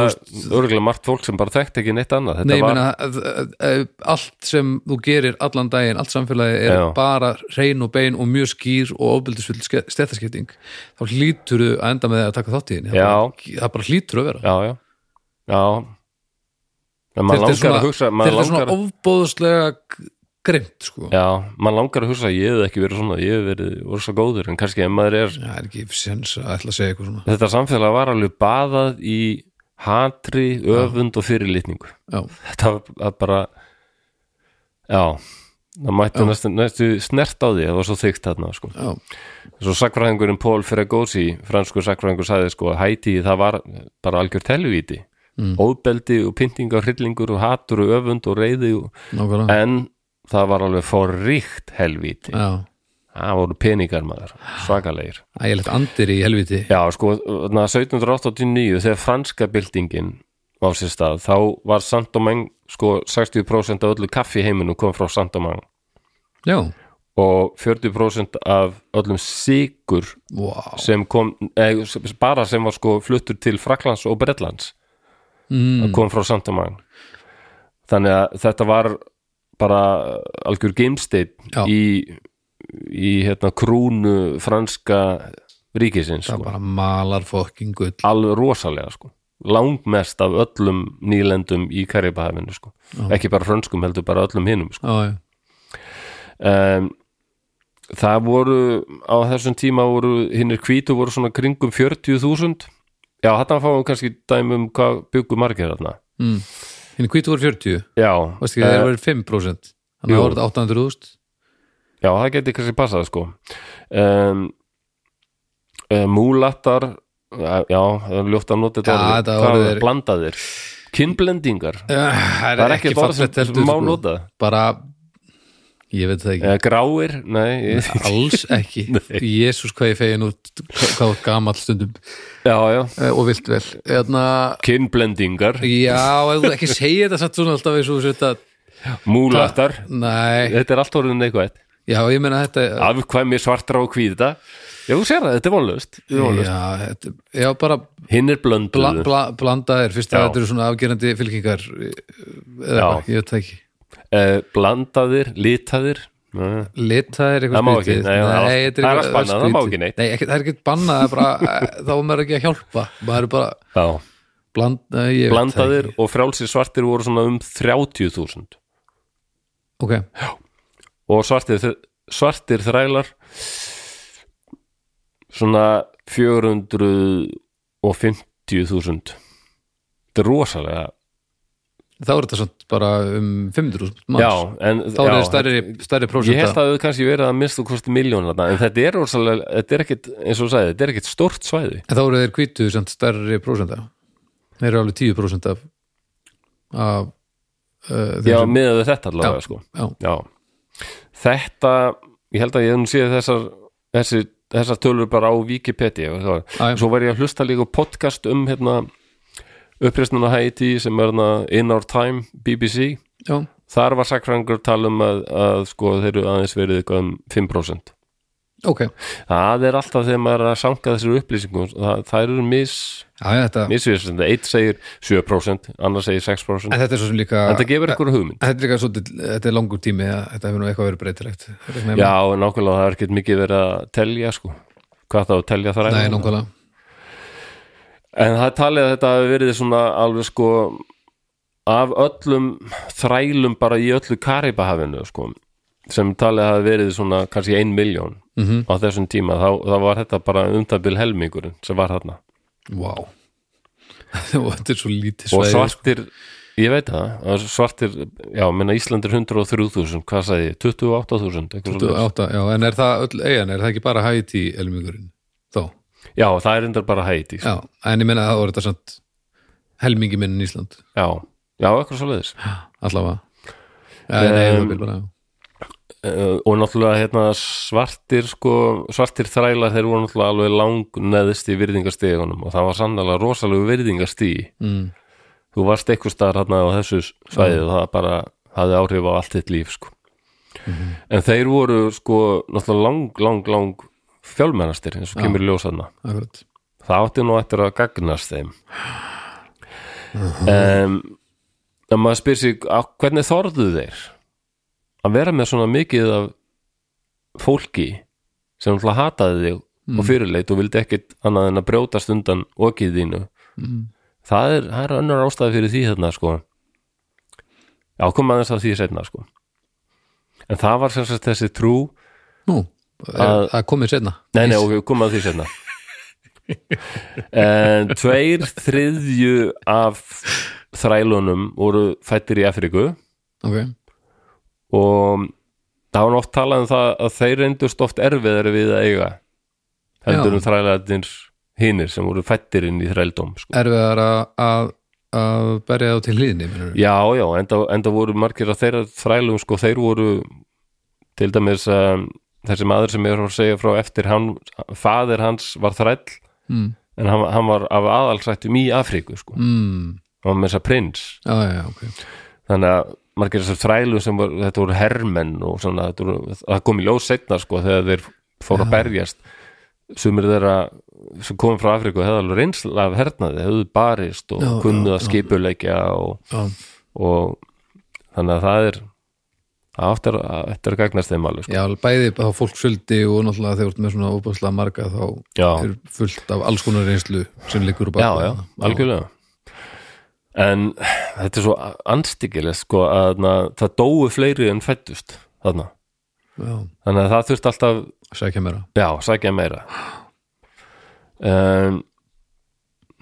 S2: þú
S1: er örgulega margt fólk sem bara þekkt ekki neitt annað Þetta
S2: Nei, ég
S1: var,
S2: meina að- að- að- allt sem þú gerir allan daginn, allt samfélagi er
S1: Já.
S2: bara hrein og bein og mjög skýr og ofbeldisfull stættaskipting þá hlýtur þú að enda með að taka þátt í henni það
S1: Já.
S2: bara- það bara hlýtur að vera
S1: Já, já Já En maður
S2: þetta er
S1: langar
S2: svona,
S1: að hugsa maður
S2: þetta er svona
S1: langar-
S2: ofbóðslega grimt sko.
S1: Já, mann langar að hugsa að ég hef ekki verið svona, ég hef verið voru svo góður, en kannski ef maður er
S2: það er ekki sens að ætla að segja eitthvað svona
S1: þetta samfélag var alveg baðað í hatri, öfund og fyrirlitningu
S2: já,
S1: þetta var að bara já, það mætti næstu, næstu snert á því, það var svo þykkt þarna sko.
S2: já,
S1: svo sakfræðingurinn Paul Ferragosi franskur sakfræðingur sagði sko að Hæti það var bara algjör telvíti mm. óbeldi og pyntingar, hryllingur og hatur og öfund og reyði og,
S2: nákvæmlega
S1: en það var alveg forríkt helvíti
S2: já,
S1: Það voru peningar maður, svakalegir.
S2: ægilegt andir í helviti
S1: Já, sko, þarna 1789 þegar franska byltingin á sér stað, þá var Sandomang sko 60% af öllu kaffi í heiminum kom frá Sandomang
S2: já,
S1: og 40% af öllum sigur
S2: wow
S1: sem kom, eð, bara sem var sko fluttur til Fraklands og Bretlands mm. kom frá Sandomang þannig að þetta var bara algjör
S2: Já.
S1: geimsteinn í, í hérna krúnu franska ríkisins
S2: það
S1: sko.
S2: bara malar fokking gull
S1: alveg rosalega sko langmest af öllum nýlendum í Karibahafinu sko, ekki bara frönskum heldur bara öllum hinum sko.
S2: já, já,
S1: um, það voru á þessum tíma voru hinnir hvítu voru svona kringum 40.000 já, þarna fáum við kannski dæmi um hvað byggu margir þarna
S2: hinn hvítu voru 40
S1: já, eh,
S2: Vast ekki, þeir eru verið 5% Þannig
S1: Jú.
S2: að voru þetta 800.000
S1: Já, það geti kannski passað sko um, um, Múlattar eh, Já, það er ljótt að nota
S2: Já,
S1: þetta orðið.
S2: þetta
S1: Hvað
S2: orðið
S1: er
S2: er-
S1: það? Blandaðir Kinnblendingar
S2: Eh, Það
S1: Það er ekki orð sem má
S2: sko.
S1: nota Eh.
S2: Bara, ég veit það ekki
S1: Eða Gráir, nei
S2: [laughs]
S1: ég-
S2: Alls ekki
S1: [laughs]
S2: Jésús hvað ég fegin út hvað hvað þú ert gamall stundum
S1: Já, já,
S2: Eh, og vilt vel Eðna,
S1: kinnblendingar
S2: Já, ef þú ekki segja þetta satt svona alltaf eins og þú þetta
S1: Múlattar
S2: Nei,
S1: Þetta er allt orðin eitthvað
S2: já, ég meina þetta
S1: Afkvæmi svartra og hvíta Já, þú sér það, þetta er vonlaust
S2: Já, þetta, já bara
S1: Hinn er
S2: bla,
S1: blönduðu
S2: bla, blanda þér fyrst að
S1: Já.
S2: þetta eru svona afgerandi fylkingar eh, eða
S1: Já.
S2: eitthvað, ég veit það ekki
S1: Eh, Blandaðir, litaðir Nei.
S2: Lita er eitthvað
S1: Það má ekki,
S2: skrítið.
S1: nei, það er allt-
S2: þetta
S1: það er allt
S2: eitthvað
S1: bannað, það má
S2: skrítið.
S1: ekki neitt.
S2: Nei, ekki, það er ekkert bannað, það er
S1: [laughs]
S2: bara, eh, þá er maður ekki að hjálpa maður er bara
S1: Já,
S2: bland, nei, ég veit það
S1: blandaðir
S2: ekki.
S1: og frjálsir svartir voru svona um 30.000
S2: Ok,
S1: og svartir, svartir þrælar svona 450.000 þetta er rosalega
S2: þá er þetta samt bara um 500.000 manns
S1: já, en
S2: þá er
S1: já,
S2: þetta stærri, stærri
S1: ég held að
S2: prósenta
S1: það hefði kannski verið að minnstu kosti miljónir þarna, en þetta er rosalega þetta er ekkit, eins og þú sagði, þetta er ekkit stórt svæði
S2: en þá eru þeir kvítu samt stærri prósenta þeir eru alveg 10 prósenta af, af uh,
S1: já, miðað við þetta allavega sko
S2: já,
S1: já. þetta, ég held að ég nú séð þessar þessi, þessar tölur bara á Wikipedia og það
S2: Já, já.
S1: var, svo var ég að hlusta líka á podcast um hérna uppreisnuna Haiti sem er hérna In Our Time BBC,
S2: já,
S1: þar var sakrangur tala um að, að sko þeir eru aðeins verið eitthvað um 5%
S2: ok já,
S1: það er alltaf þegar maður er að sanga þessar upplýsingum það, það eru mis,
S2: já, þetta,
S1: misvísandi eitt segir 7%, annar segir 6%
S2: en þetta er svo sem líka
S1: en það gefur eitthvað hugmynd
S2: þetta er líka svo, þetta er langur tími að- þetta hefur nú eitthvað verið breytilegt Þetta er ekki nema-
S1: Já, nákvæmlega, það er ekkert mikið verið að telja sko, hvað þá að telja þar
S2: Nei, nákvæmlega
S1: En það er talið að þetta hafi verið svona alveg sko af öllum þrælum bara í öllu Karibahafinu sko, sem talið hafi verið svona kannski ein miljón -hmm. á þessum tíma, þá, þá var þetta bara umtabil helmingurinn sem var þarna
S2: Vá wow. [laughs] Þetta er svo lítið
S1: og
S2: svæði
S1: svartir Ég veit það, það er svartir, já, menna Ísland er 103.000, hvað sagði ég, 28.000, eitthvað svo
S2: 28, já, en er það öll eigin, er það ekki bara Haiti helmingurinn þó?
S1: Já, það er endar bara Haiti, sko.
S2: Já, en ég meina að það voru þetta samt helmingi minn en Ísland,
S1: já, já, eitthvað svo leiðis.
S2: allavega Já, nei,
S1: Em,
S2: um, bara, já.
S1: og náttúrulega hérna svartir, sko, svartir þrælar þeir voru náttúrulega alveg lang neðist í virðingastegunum og það var sannlega rosalegu virðingastigi.
S2: Mm.
S1: Þú varst eitthvað staðar hérna á þessu svæði og það bara hafði áhrif á allt þitt líf, sko. En þeir voru, sko, náttúrulega lang, lang, lang fjálmennastir, eins og kemur í ljós þarna.
S2: Akkurat.
S1: það átti nú eftir að gagnast þeim um, en maður spyr sig á, hvernig þorðu þeir að vera með svona mikið af fólki sem alltaf hataði þig og fyrirleit og vildi ekkit annað en að brjótast undan okið þínu það, er, það er önnur ástæði fyrir því þarna sko já, koma aðeins að því setna sko en það var sem sagt þessi trú
S2: Nú, er- það komið setna
S1: Nei, nei, ok, komum að því sérna en, Tveir þriðju af þrælunum voru fættir í Afríku
S2: Ok,
S1: og það var oft talað um það að þeir reyndust oft erfiðari við að eiga heldur
S2: Já.
S1: um þrælarnir hinir sem voru fættir inn í þrældóm sko.
S2: erfiðar að- að að berja þá til hlýðni meinarðu?
S1: Já, já, enda, enda voru margir að þeirra þrælum sko, þeir voru til dæmis um, þessi maður sem ég var að segja frá eftir hann, faðir hans var þræll
S2: mm.
S1: en hann, hann var af aðalsættum í Afríku sko.
S2: Mm.
S1: hann var með þess að prins
S2: Já, já, já, ok
S1: þannig að margir þessar þrælum sem var, þetta voru hermenn og svona, þetta voru, það kom í ljós setna sko þegar þeir fóru að berjast sumir þeirra sem komum frá Afríku hefðu alveg reynsla af hernaði hefðu barist og
S2: Já, já,
S1: kunnuð að skipuleikja og,
S2: Já,
S1: og þannig að það er það áttir að þetta er að gagnast þeim alveg sko.
S2: já bæði þá fólksfjöldi og náttúrulega þegar þú ert með svona óbæðslega marga þá
S1: Já.
S2: er fullt af alls konar reynslu sem liggur úr
S1: já, já, algjörlega en þetta er svo andstíkileg sko að na, það dóu fleiri en fættust þarna,
S2: já,
S1: þannig að það þurft alltaf
S2: sækja mér að
S1: já, sækja meira um,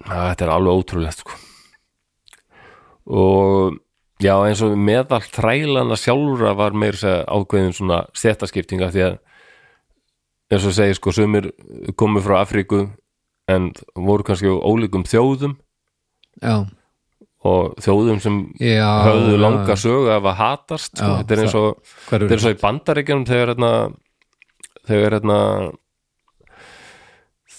S1: að, þetta er alveg ótrúlegt sko og já, eins og meðal þrælana sjálfra var meir ákveðin svona stættaskiptinga því að eins og ég segi sko, sumir komu frá Afríku en voru kannski á ólíkum þjóðum
S2: Já,
S1: og þjóðum sem
S2: já
S1: höfðu
S2: já,
S1: langa sögu af að hatast sko.
S2: Já,
S1: þetta er eins og,
S2: já. Hvar
S1: þetta er
S2: eru
S1: eins og í bandaríkjunum þegar hérna þegar hérna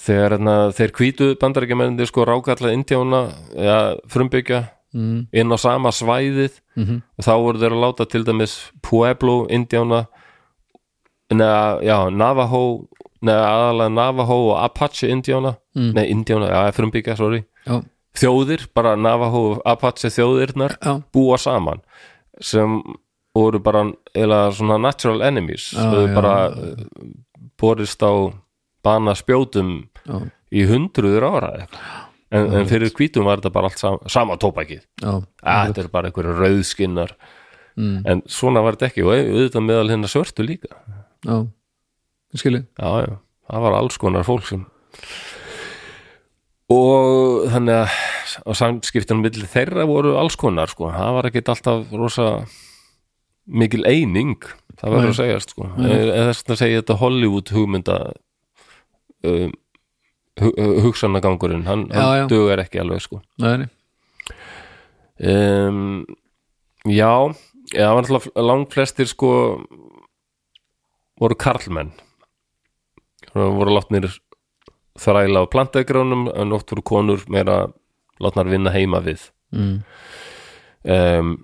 S1: þegar hérna þeir hvítu bandaríkjumennir sko rákalla indjána eða frumbyggja
S2: mm,
S1: inn á sama svæðið
S2: mm
S1: og þá voru þeir að láta til dæmis Pueblo indjána neða, já, Navajo neða aðalega Navajo og Apache indjána,
S2: Mm.
S1: nei indjána, já, frumbyggja, sorry
S2: Já,
S1: þjóðir, bara Navajo og Apache þjóðirnar
S2: já,
S1: búa saman sem voru bara eða svona natural enemies
S2: Já,
S1: höfðu
S2: já,
S1: bara já. borist á bana spjótum
S2: já,
S1: í hundruður ára eða eitthvað. en, en fyrir hvítum var þetta bara allt sama, sama tópækið
S2: já
S1: að þetta er bara einhverju rauðskinnar
S2: mm,
S1: en svona var þetta ekki og auðvitað meðal hérna svörtu líka
S2: Já, ég skilji
S1: já, já, það var alls konar fólk sem og þannig að á samskiptunum milli þeirra voru alls konar sko, það var ekkit alltaf rosa mikil eining það verður að segjast sko eða þess að segja þetta Hollywood hugmynda um, hu- hu- hugsanagangurinn, hann,
S2: Já, já.
S1: hann dugar ekki alveg sko
S2: Nei, nei,
S1: um, já já, það var náttúrulega langflestir sko voru karlmenn Svona voru látnir þræla á plantagránum en oft voru konur meira látnar vinna heima við
S2: mm,
S1: um,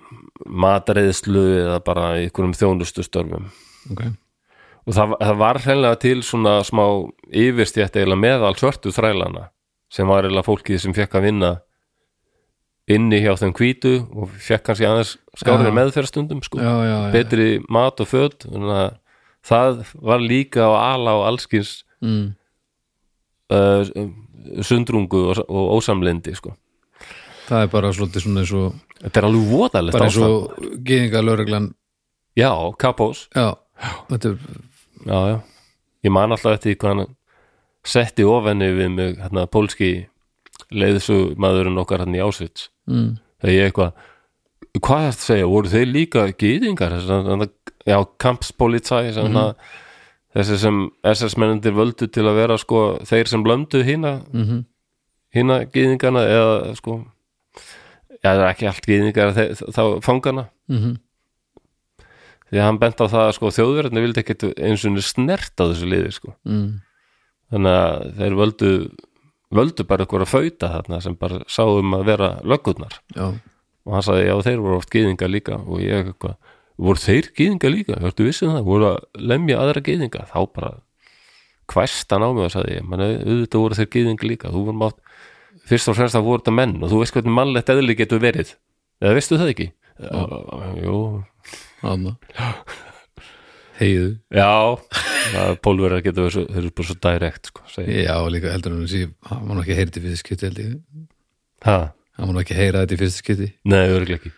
S1: matreiðslu eða bara í einhverjum þjónustustörfum
S2: ok
S1: og það, það var hreinlega til svona smá yfirstjætt eiginlega meðal svörtu þrælana sem var eiginlega fólkið sem fekk að vinna inni hjá þeim hvítu og fekk kannski aðeins skárið
S2: Já.
S1: meðferðstundum sko,
S2: Já, já, já
S1: betri mat og föt þannig að það var líka á ala og allskins
S2: mm,
S1: uh, sundrungu og, og ósamlindi sko.
S2: Það er bara svolítið svona eins og
S1: þetta er alveg voðalegt
S2: bara eins
S1: ástand.
S2: og geðinga lögreglan
S1: já, kapós
S2: Já, þetta er
S1: já, já. ég man alltaf eftir því hvað hann setti ofenni við mig hérna, pólski leiðsumæðurinn okkar hann í Ásvits
S2: mm,
S1: þegar ég eitthvað hvað þarf að segja, voru þeir líka gýðingar, þessar, já, kampspolitsæ, mm -hmm. þessi sem SS-mennendir völdu til að vera sko, þeir sem blöndu hína mm -hmm. hína gýðingana eða sko já, það er ekki allt gýðingar þeir, þá fangana
S2: mm -hmm.
S1: því að hann bent á það að sko þjóðverðinu vildi ekkit eins og snert á þessu liði sko
S2: mm.
S1: þannig að þeir völdu völdu bara ykkur að fauta þarna sem bara sáum að vera löggurnar
S2: já,
S1: og hann sagði já þeir voru oft gýðingar líka og ég eitthvað, voru þeir gýðingar líka hörtu vissið það, voru að lemja aðra gýðinga þá bara hvæstan á mig og sagði ég, mann auðvitað voru þeir gýðingar líka, þú voru mátt fyrst og fremst að voru þetta menn og þú veist hvernig mannlegt eðli getur verið, eða veistu það ekki já, jú, [gasps]
S2: ána heiðu,
S1: Já, pólverðar getur verið svo, þeir eru bara svo direkt sko, segja.
S2: já líka heldur hann að sé hann var nú ekki að heyra þetta í fyrsta skytti held ég
S1: Ha,
S2: hann var nú ekki að heyra þetta í fyrsta skytti
S1: nei, örugglega ekki.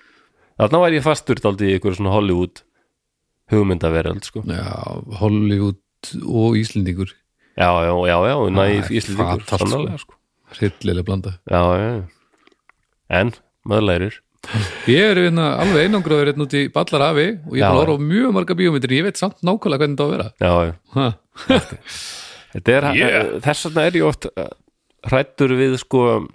S1: Þarna væri ég fastur daldi í einhverju svona Hollywood hugmyndaveröld sko.
S2: já, Hollywood og Íslendingur
S1: Já, já, já, já, næ,
S2: Það er
S1: Íslandingur
S2: fatalt, sko.
S1: sannarlega sko.
S2: hryllilega blanda
S1: Já, já, já. En, maður lærir.
S2: ég er hérna alveg einangraður hérna út í ballar afi og ég
S1: Já.
S2: er bara orðið mjög marga bíómyndir ég veit samt nákvæmlega hvernig það á að vera
S1: Já, já.
S2: ha.
S1: Þetta er, eh,
S2: Yeah.
S1: þess vegna er ég oft hrættur við sko,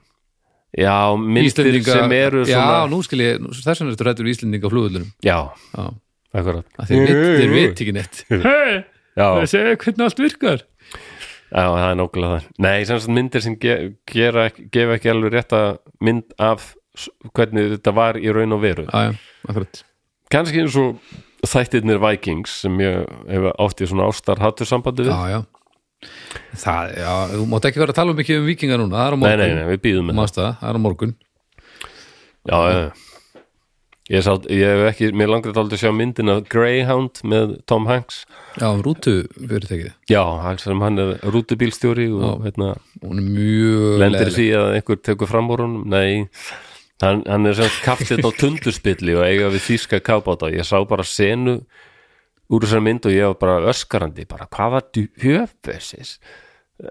S1: já, myndir sem eru
S2: já,
S1: svona.
S2: nú skil ég, nú- þess vegna ertu rættur við Íslendinga á flugvöldunum
S1: Já,
S2: já,
S1: akkurat.
S2: að þeir veit, þeir veit ekki neitt hei,
S1: Já,
S2: segja hvernig allt virkar
S1: Já, það er nákvæmlega það. Nei, sem sagt myndir sem ge gera, ekki- gefa ekki alveg rétta mynd af s- hvernig þetta var í raun og veru.
S2: já, já, akkurat
S1: Kannski eins og þættirnir Vikings sem ég hef átt í svona ástar hattur sambandi við.
S2: já, já það, já, þú mátt ekki vera að tala mikið um vikinga núna, það er á
S1: nei,
S2: morgun
S1: nei, nei, við býðum með það.
S2: Mást það, það er á morgun
S1: Já, já, já. Ég, sá, ég hef ekki, mér langar þetta aldrei að sjá myndina Greyhound með Tom Hanks.
S2: já, um rútu fyrirtækið
S1: Já, alls sem hann er rútubílstjóri og hérna,
S2: hún er mjög
S1: lendir í
S2: leiðileg.
S1: því að einhver tekur fram úr honum nei, hann, hann er sem kaftið á tundurspilli og eiga við þýska kábáta ég sá bara senu úr þessar mynd og ég var bara öskarandi bara hvað var djöfessis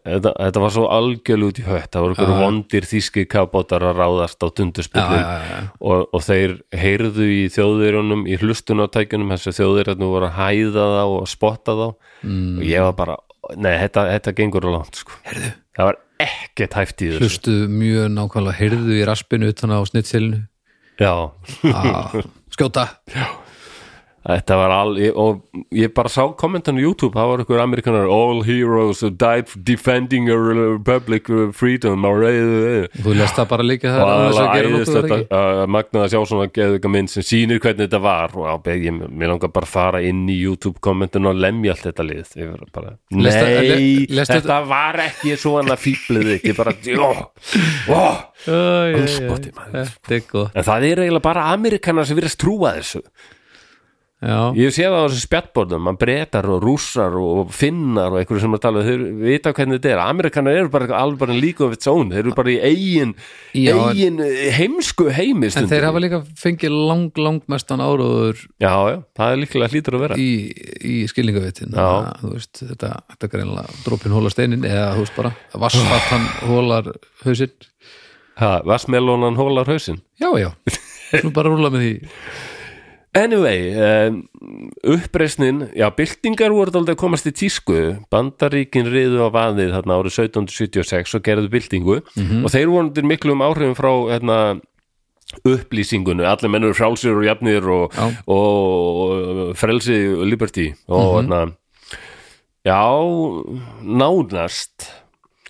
S1: þetta, þetta var svo algjörlega út í hött það voru einhverju vondir þýski kábátar að ráðast á tundurspilli
S2: Já, já, já, já.
S1: og, og þeir heyrðu í þjóðverjunum í hlustunartækjunum þessi þjóðverjunum voru að hæða þá og spotta þá mm. og ég var bara, nei, þetta, þetta gengur á langt sko. það var ekkert hæft í þessu
S2: hlustu mjög nákvæmlega, heyrðu í raspinu utan á
S1: [laughs]
S2: snittselinu
S1: já,
S2: Ah, skjóta
S1: þetta var all ég, og ég bara sá kommentan á YouTube það var ykkur amerikanar, all heroes who died defending a republic of freedom og reyðu
S2: þú lest það bara líka það
S1: eh, og
S2: er annars að
S1: aðalega
S2: gera nokkuð,
S1: æðist
S2: er það ekki?
S1: þetta að magnað að sjá svona geðvika mynd sem sýnir hvernig þetta var og á- ég, mér langar bara að fara inn í YouTube kommentin og lemja allt þetta lið Ég var bara, nei,
S2: Lestu- le- lestu-
S1: þetta var ekki svona fíblið ekki bara, jó, ó
S2: [laughs] Æ, æ, æ,
S1: Andskoti, maður.
S2: þetta er gott
S1: en það er eiginlega bara Amerikanar sem virðast trúa þessu
S2: já,
S1: ég sé það á þessu spjallbórnum, mann bretar og rússar og finnar og einhverju sem að tala um, þeir vita hvernig þetta er, Amerikanar eru bara alveg bara líka of its own, þeir eru bara í eigin
S2: Já, en-
S1: eigin eh, heimsku heimi
S2: en
S1: stundum.
S2: þeir hafa líka fengið lang, lang mestan áróður
S1: Já, já, það er líklega hlýtur að vera
S2: í, í skilningavitin
S1: Já.
S2: þú veist, þetta, þetta greinlega dropin hólar steinin eða þú veist bara, vassfatan hólar hausinn,
S1: ha, Vassmelónan hólar hausinn
S2: já, já nú bara rúla með því
S1: Anyway, um, uppreisnin Já, byltingar voru aldrei að komast í tísku Bandaríkin riðu á vaðið þarna árið 1776 og gerðu byltingu
S2: Mhm.
S1: og þeir voru undir miklum áhrifum frá hérna, upplýsingunum allir menn eru frálsir og jafnir og,
S2: Já.
S1: og frelsi og liberty og
S2: Mhm.
S1: hérna já, nánast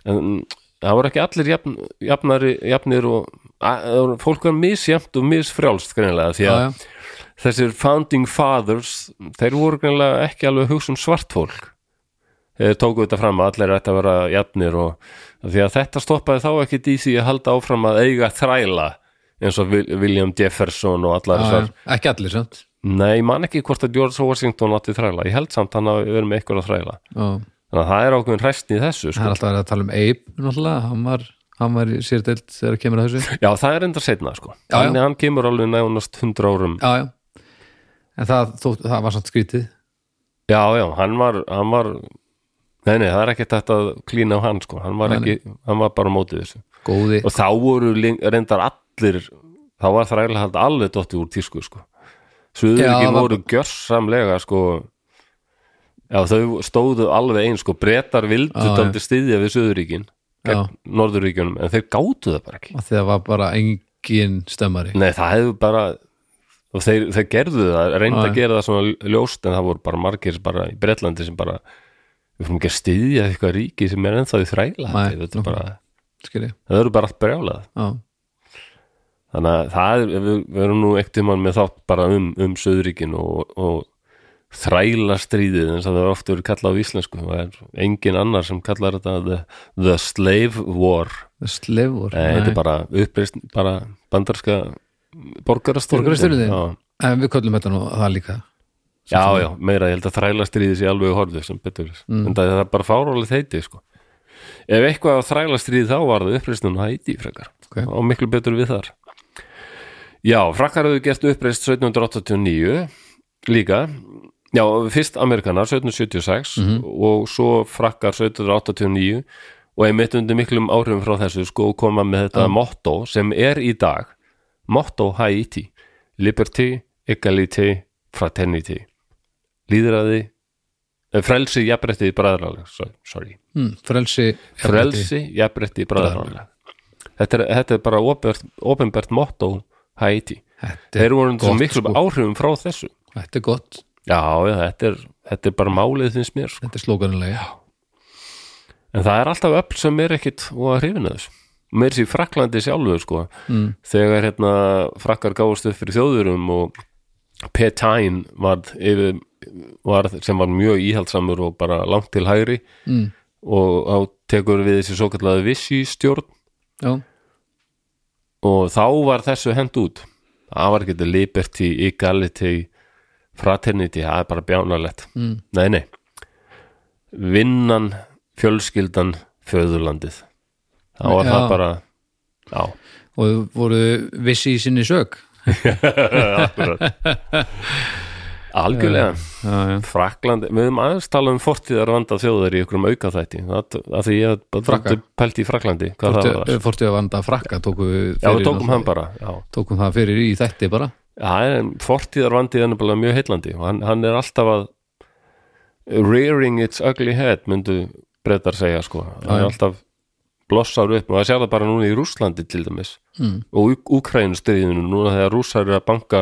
S1: en það voru ekki allir jafn, jafnari, jafnir og a- það voru- fólk var misjæmt og misfrjálst greinilega því að
S2: já, já,
S1: þessir founding fathers þeir voru greinlega ekki alveg að hugsa um svart fólk þeir tóku þetta fram að allir ætti að vera jafnir og því að þetta stoppaði þá ekki í því að halda áfram að eiga þræla eins og Vil- William Jefferson og allar
S2: Ah, já,
S1: þessar
S2: já. ekki allir, sant
S1: nei, ég man ekki hvort að George Washington átti þræla, ég held samt hann að vera með eitthvað þræla,
S2: já.
S1: þannig að það er ákveðin hræstn í þessu
S2: það
S1: sko.
S2: er alltaf verið að tala um Abe náttúrulega, hann var, hann var í sér deilt þegar að kemur að þessu
S1: já, það er enda setna sko.
S2: Já, já.
S1: þannig að hann kemur alveg nánast 100 árum
S2: já, já. en það, þó, það var samt skrítið
S1: já, já, hann var, hann var nei, nei, það er ekki þetta að klína á hann sko. hann, var ekki, hann var bara á mótið þessu
S2: góði,
S1: og þá voru ling- reyndar allir þá var þrælahald alveg dottið úr tísku sko. Suðuríkin
S2: Já, það-
S1: voru gjörsamlega sko já, þau stóðu alveg eins sko, brettar vildu
S2: Já, já.
S1: daldið styðja við Suðuríkin
S2: Já.
S1: gegn Norðuríkjunum en þeir gátu það bara ekki
S2: af því það var bara engin stemmari
S1: Nei, það hefðu bara og þeir, þeir gerðu það, reynda
S2: Já,
S1: að
S2: já.
S1: gera það svona ljóst en það voru bara margir bara í Bretlandi sem bara við fyrir ekki að styðja eitthvað ríki sem er ennþá í þræla
S2: Nei,
S1: þetta er bara,
S2: skilji,
S1: það eru bara allt brjálað
S2: já,
S1: þannig að það er, við, við erum nú ekkert tímann með þátt bara um, um söðuríkin og, og þræla stríðið eins og það er oft verið kallað á íslensku það er engin annar sem kallar þetta the, the slave war
S2: slefur
S1: Nei, þetta er bara uppreist bara bandarska borgarastyrjöldin
S2: Borgarastyrjöldin?
S1: Já.
S2: en við köllum þetta nú það líka
S1: Já, já, meira, ég held að þrælastriðið sé alveg horfðu sem betur, mm. en það það er bara fárálið heiti, sko. Ef eitthvað á þrælastriðið þá var það uppreistun á Haiti, frekar,
S2: Ok.
S1: og miklu betur við þar. Já, frakkar hefðu gert uppreist 1789 líka, já, fyrst Amerikanar 1776 og svo frakkar 1789 og einmitt undir miklum áhrifum frá þessu sko koma með þetta motto sem er í dag, motto Haiti, liberty, equality, fraternity líðræði eh, frelsi, jafnbretti, bræðralag sorry, sorry.
S2: mm, frelsi
S1: frelsi, jafnbretti, bræðralag þetta, er- þetta er bara opinbert, opinbert motto Haiti
S2: þetta er,
S1: þeir voru undir svo
S2: gott,
S1: miklum áhrifum frá þessu
S2: þetta er gott,
S1: já, já, þetta er, þetta er bara málið finnst mér sko.
S2: þetta er slókanulega
S1: en það er alltaf öll sem er ekkit og að hrifina þessu mér sér fraklandi sjálfu sko.
S2: Mm.
S1: þegar hérna frakkar gáðust upp fyrir þjóðurum og Petain varð, yfir, varð sem var mjög íhaldsamur og bara langt til hægri
S2: mm.
S1: og á tekur við þessi svo kallaði vissi stjórn
S2: já,
S1: og þá var þessu hend út það var ekki liberty, equality fraternity, það er bara bjánalegt
S2: mm.
S1: nei, nei vinnan, fjölskyldan föðurlandið þá var
S2: Já.
S1: það bara já,
S2: og voru vissi í sinni sög
S1: akkurat [laughs]
S2: Eh.
S1: algjörlega
S2: já, já,
S1: Frakland, við höfum aðeins tala um fortíðar vanda þjóðar í einhverjum aukaþætti það, að því ég hef
S2: Frakka.
S1: bara pælt í Fraklandi hvað það var,
S2: Fortu- fortið að vanda frakka tóku við
S1: já
S2: eh, fyrir
S1: við tókum hann
S2: náttúrulega.
S1: bara já.
S2: tókum það fyrir í þætti bara
S1: Já, en fortíðarvandið er nefnilega mjög heillandi og hann, hann er alltaf að rearing its ugly head myndu brettar segja sko hann er
S2: já. alltaf
S1: blossar upp og það sér það bara núna í Rússlandi til dæmis
S2: Mm.
S1: og Úkrænustriðinu núna þegar rússar eru að banka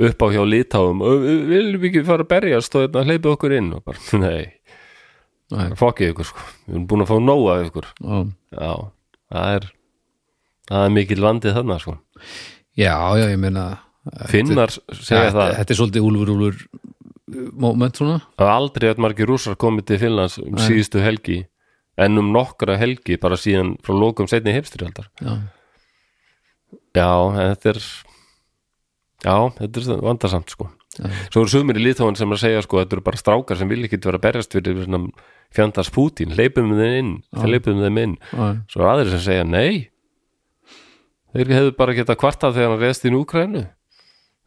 S1: upp á hjá litáum "Ö, ö, viljum við ekki fara að berjast og hérna hleypa okkur inn og bara, [laughs] nei,
S2: Nei,
S1: fokkið ykkur sko við erum búin að fá nóg af ykkur
S2: já.
S1: já, það er það er mikil vandið þarna sko
S2: já, já, ég meina þetta-
S1: finnar segja
S2: þetta,
S1: það
S2: þetta er svolítið úlfur úlfur uh, moment svona
S1: Það er aldrei að margir rússar komið til Finnlands um síðustu helgi en um nokkra helgi bara síðan frá lokum setni heimstyrjaldar
S2: já,
S1: Já, en þetta er Já, þetta er vandarsamt sko
S2: Já.
S1: Svo eru sumir í Litóin sem er að segja sko þetta eru bara strákar sem vil ekki vera að berjast fyrir svona fjandars Pútín, leipum við þeim inn það leipum við þeim inn
S2: já,
S1: Svo eru aðrir sem segja nei Þeir hefðu bara getað kvartað þegar hann reðst inn í Úkrænu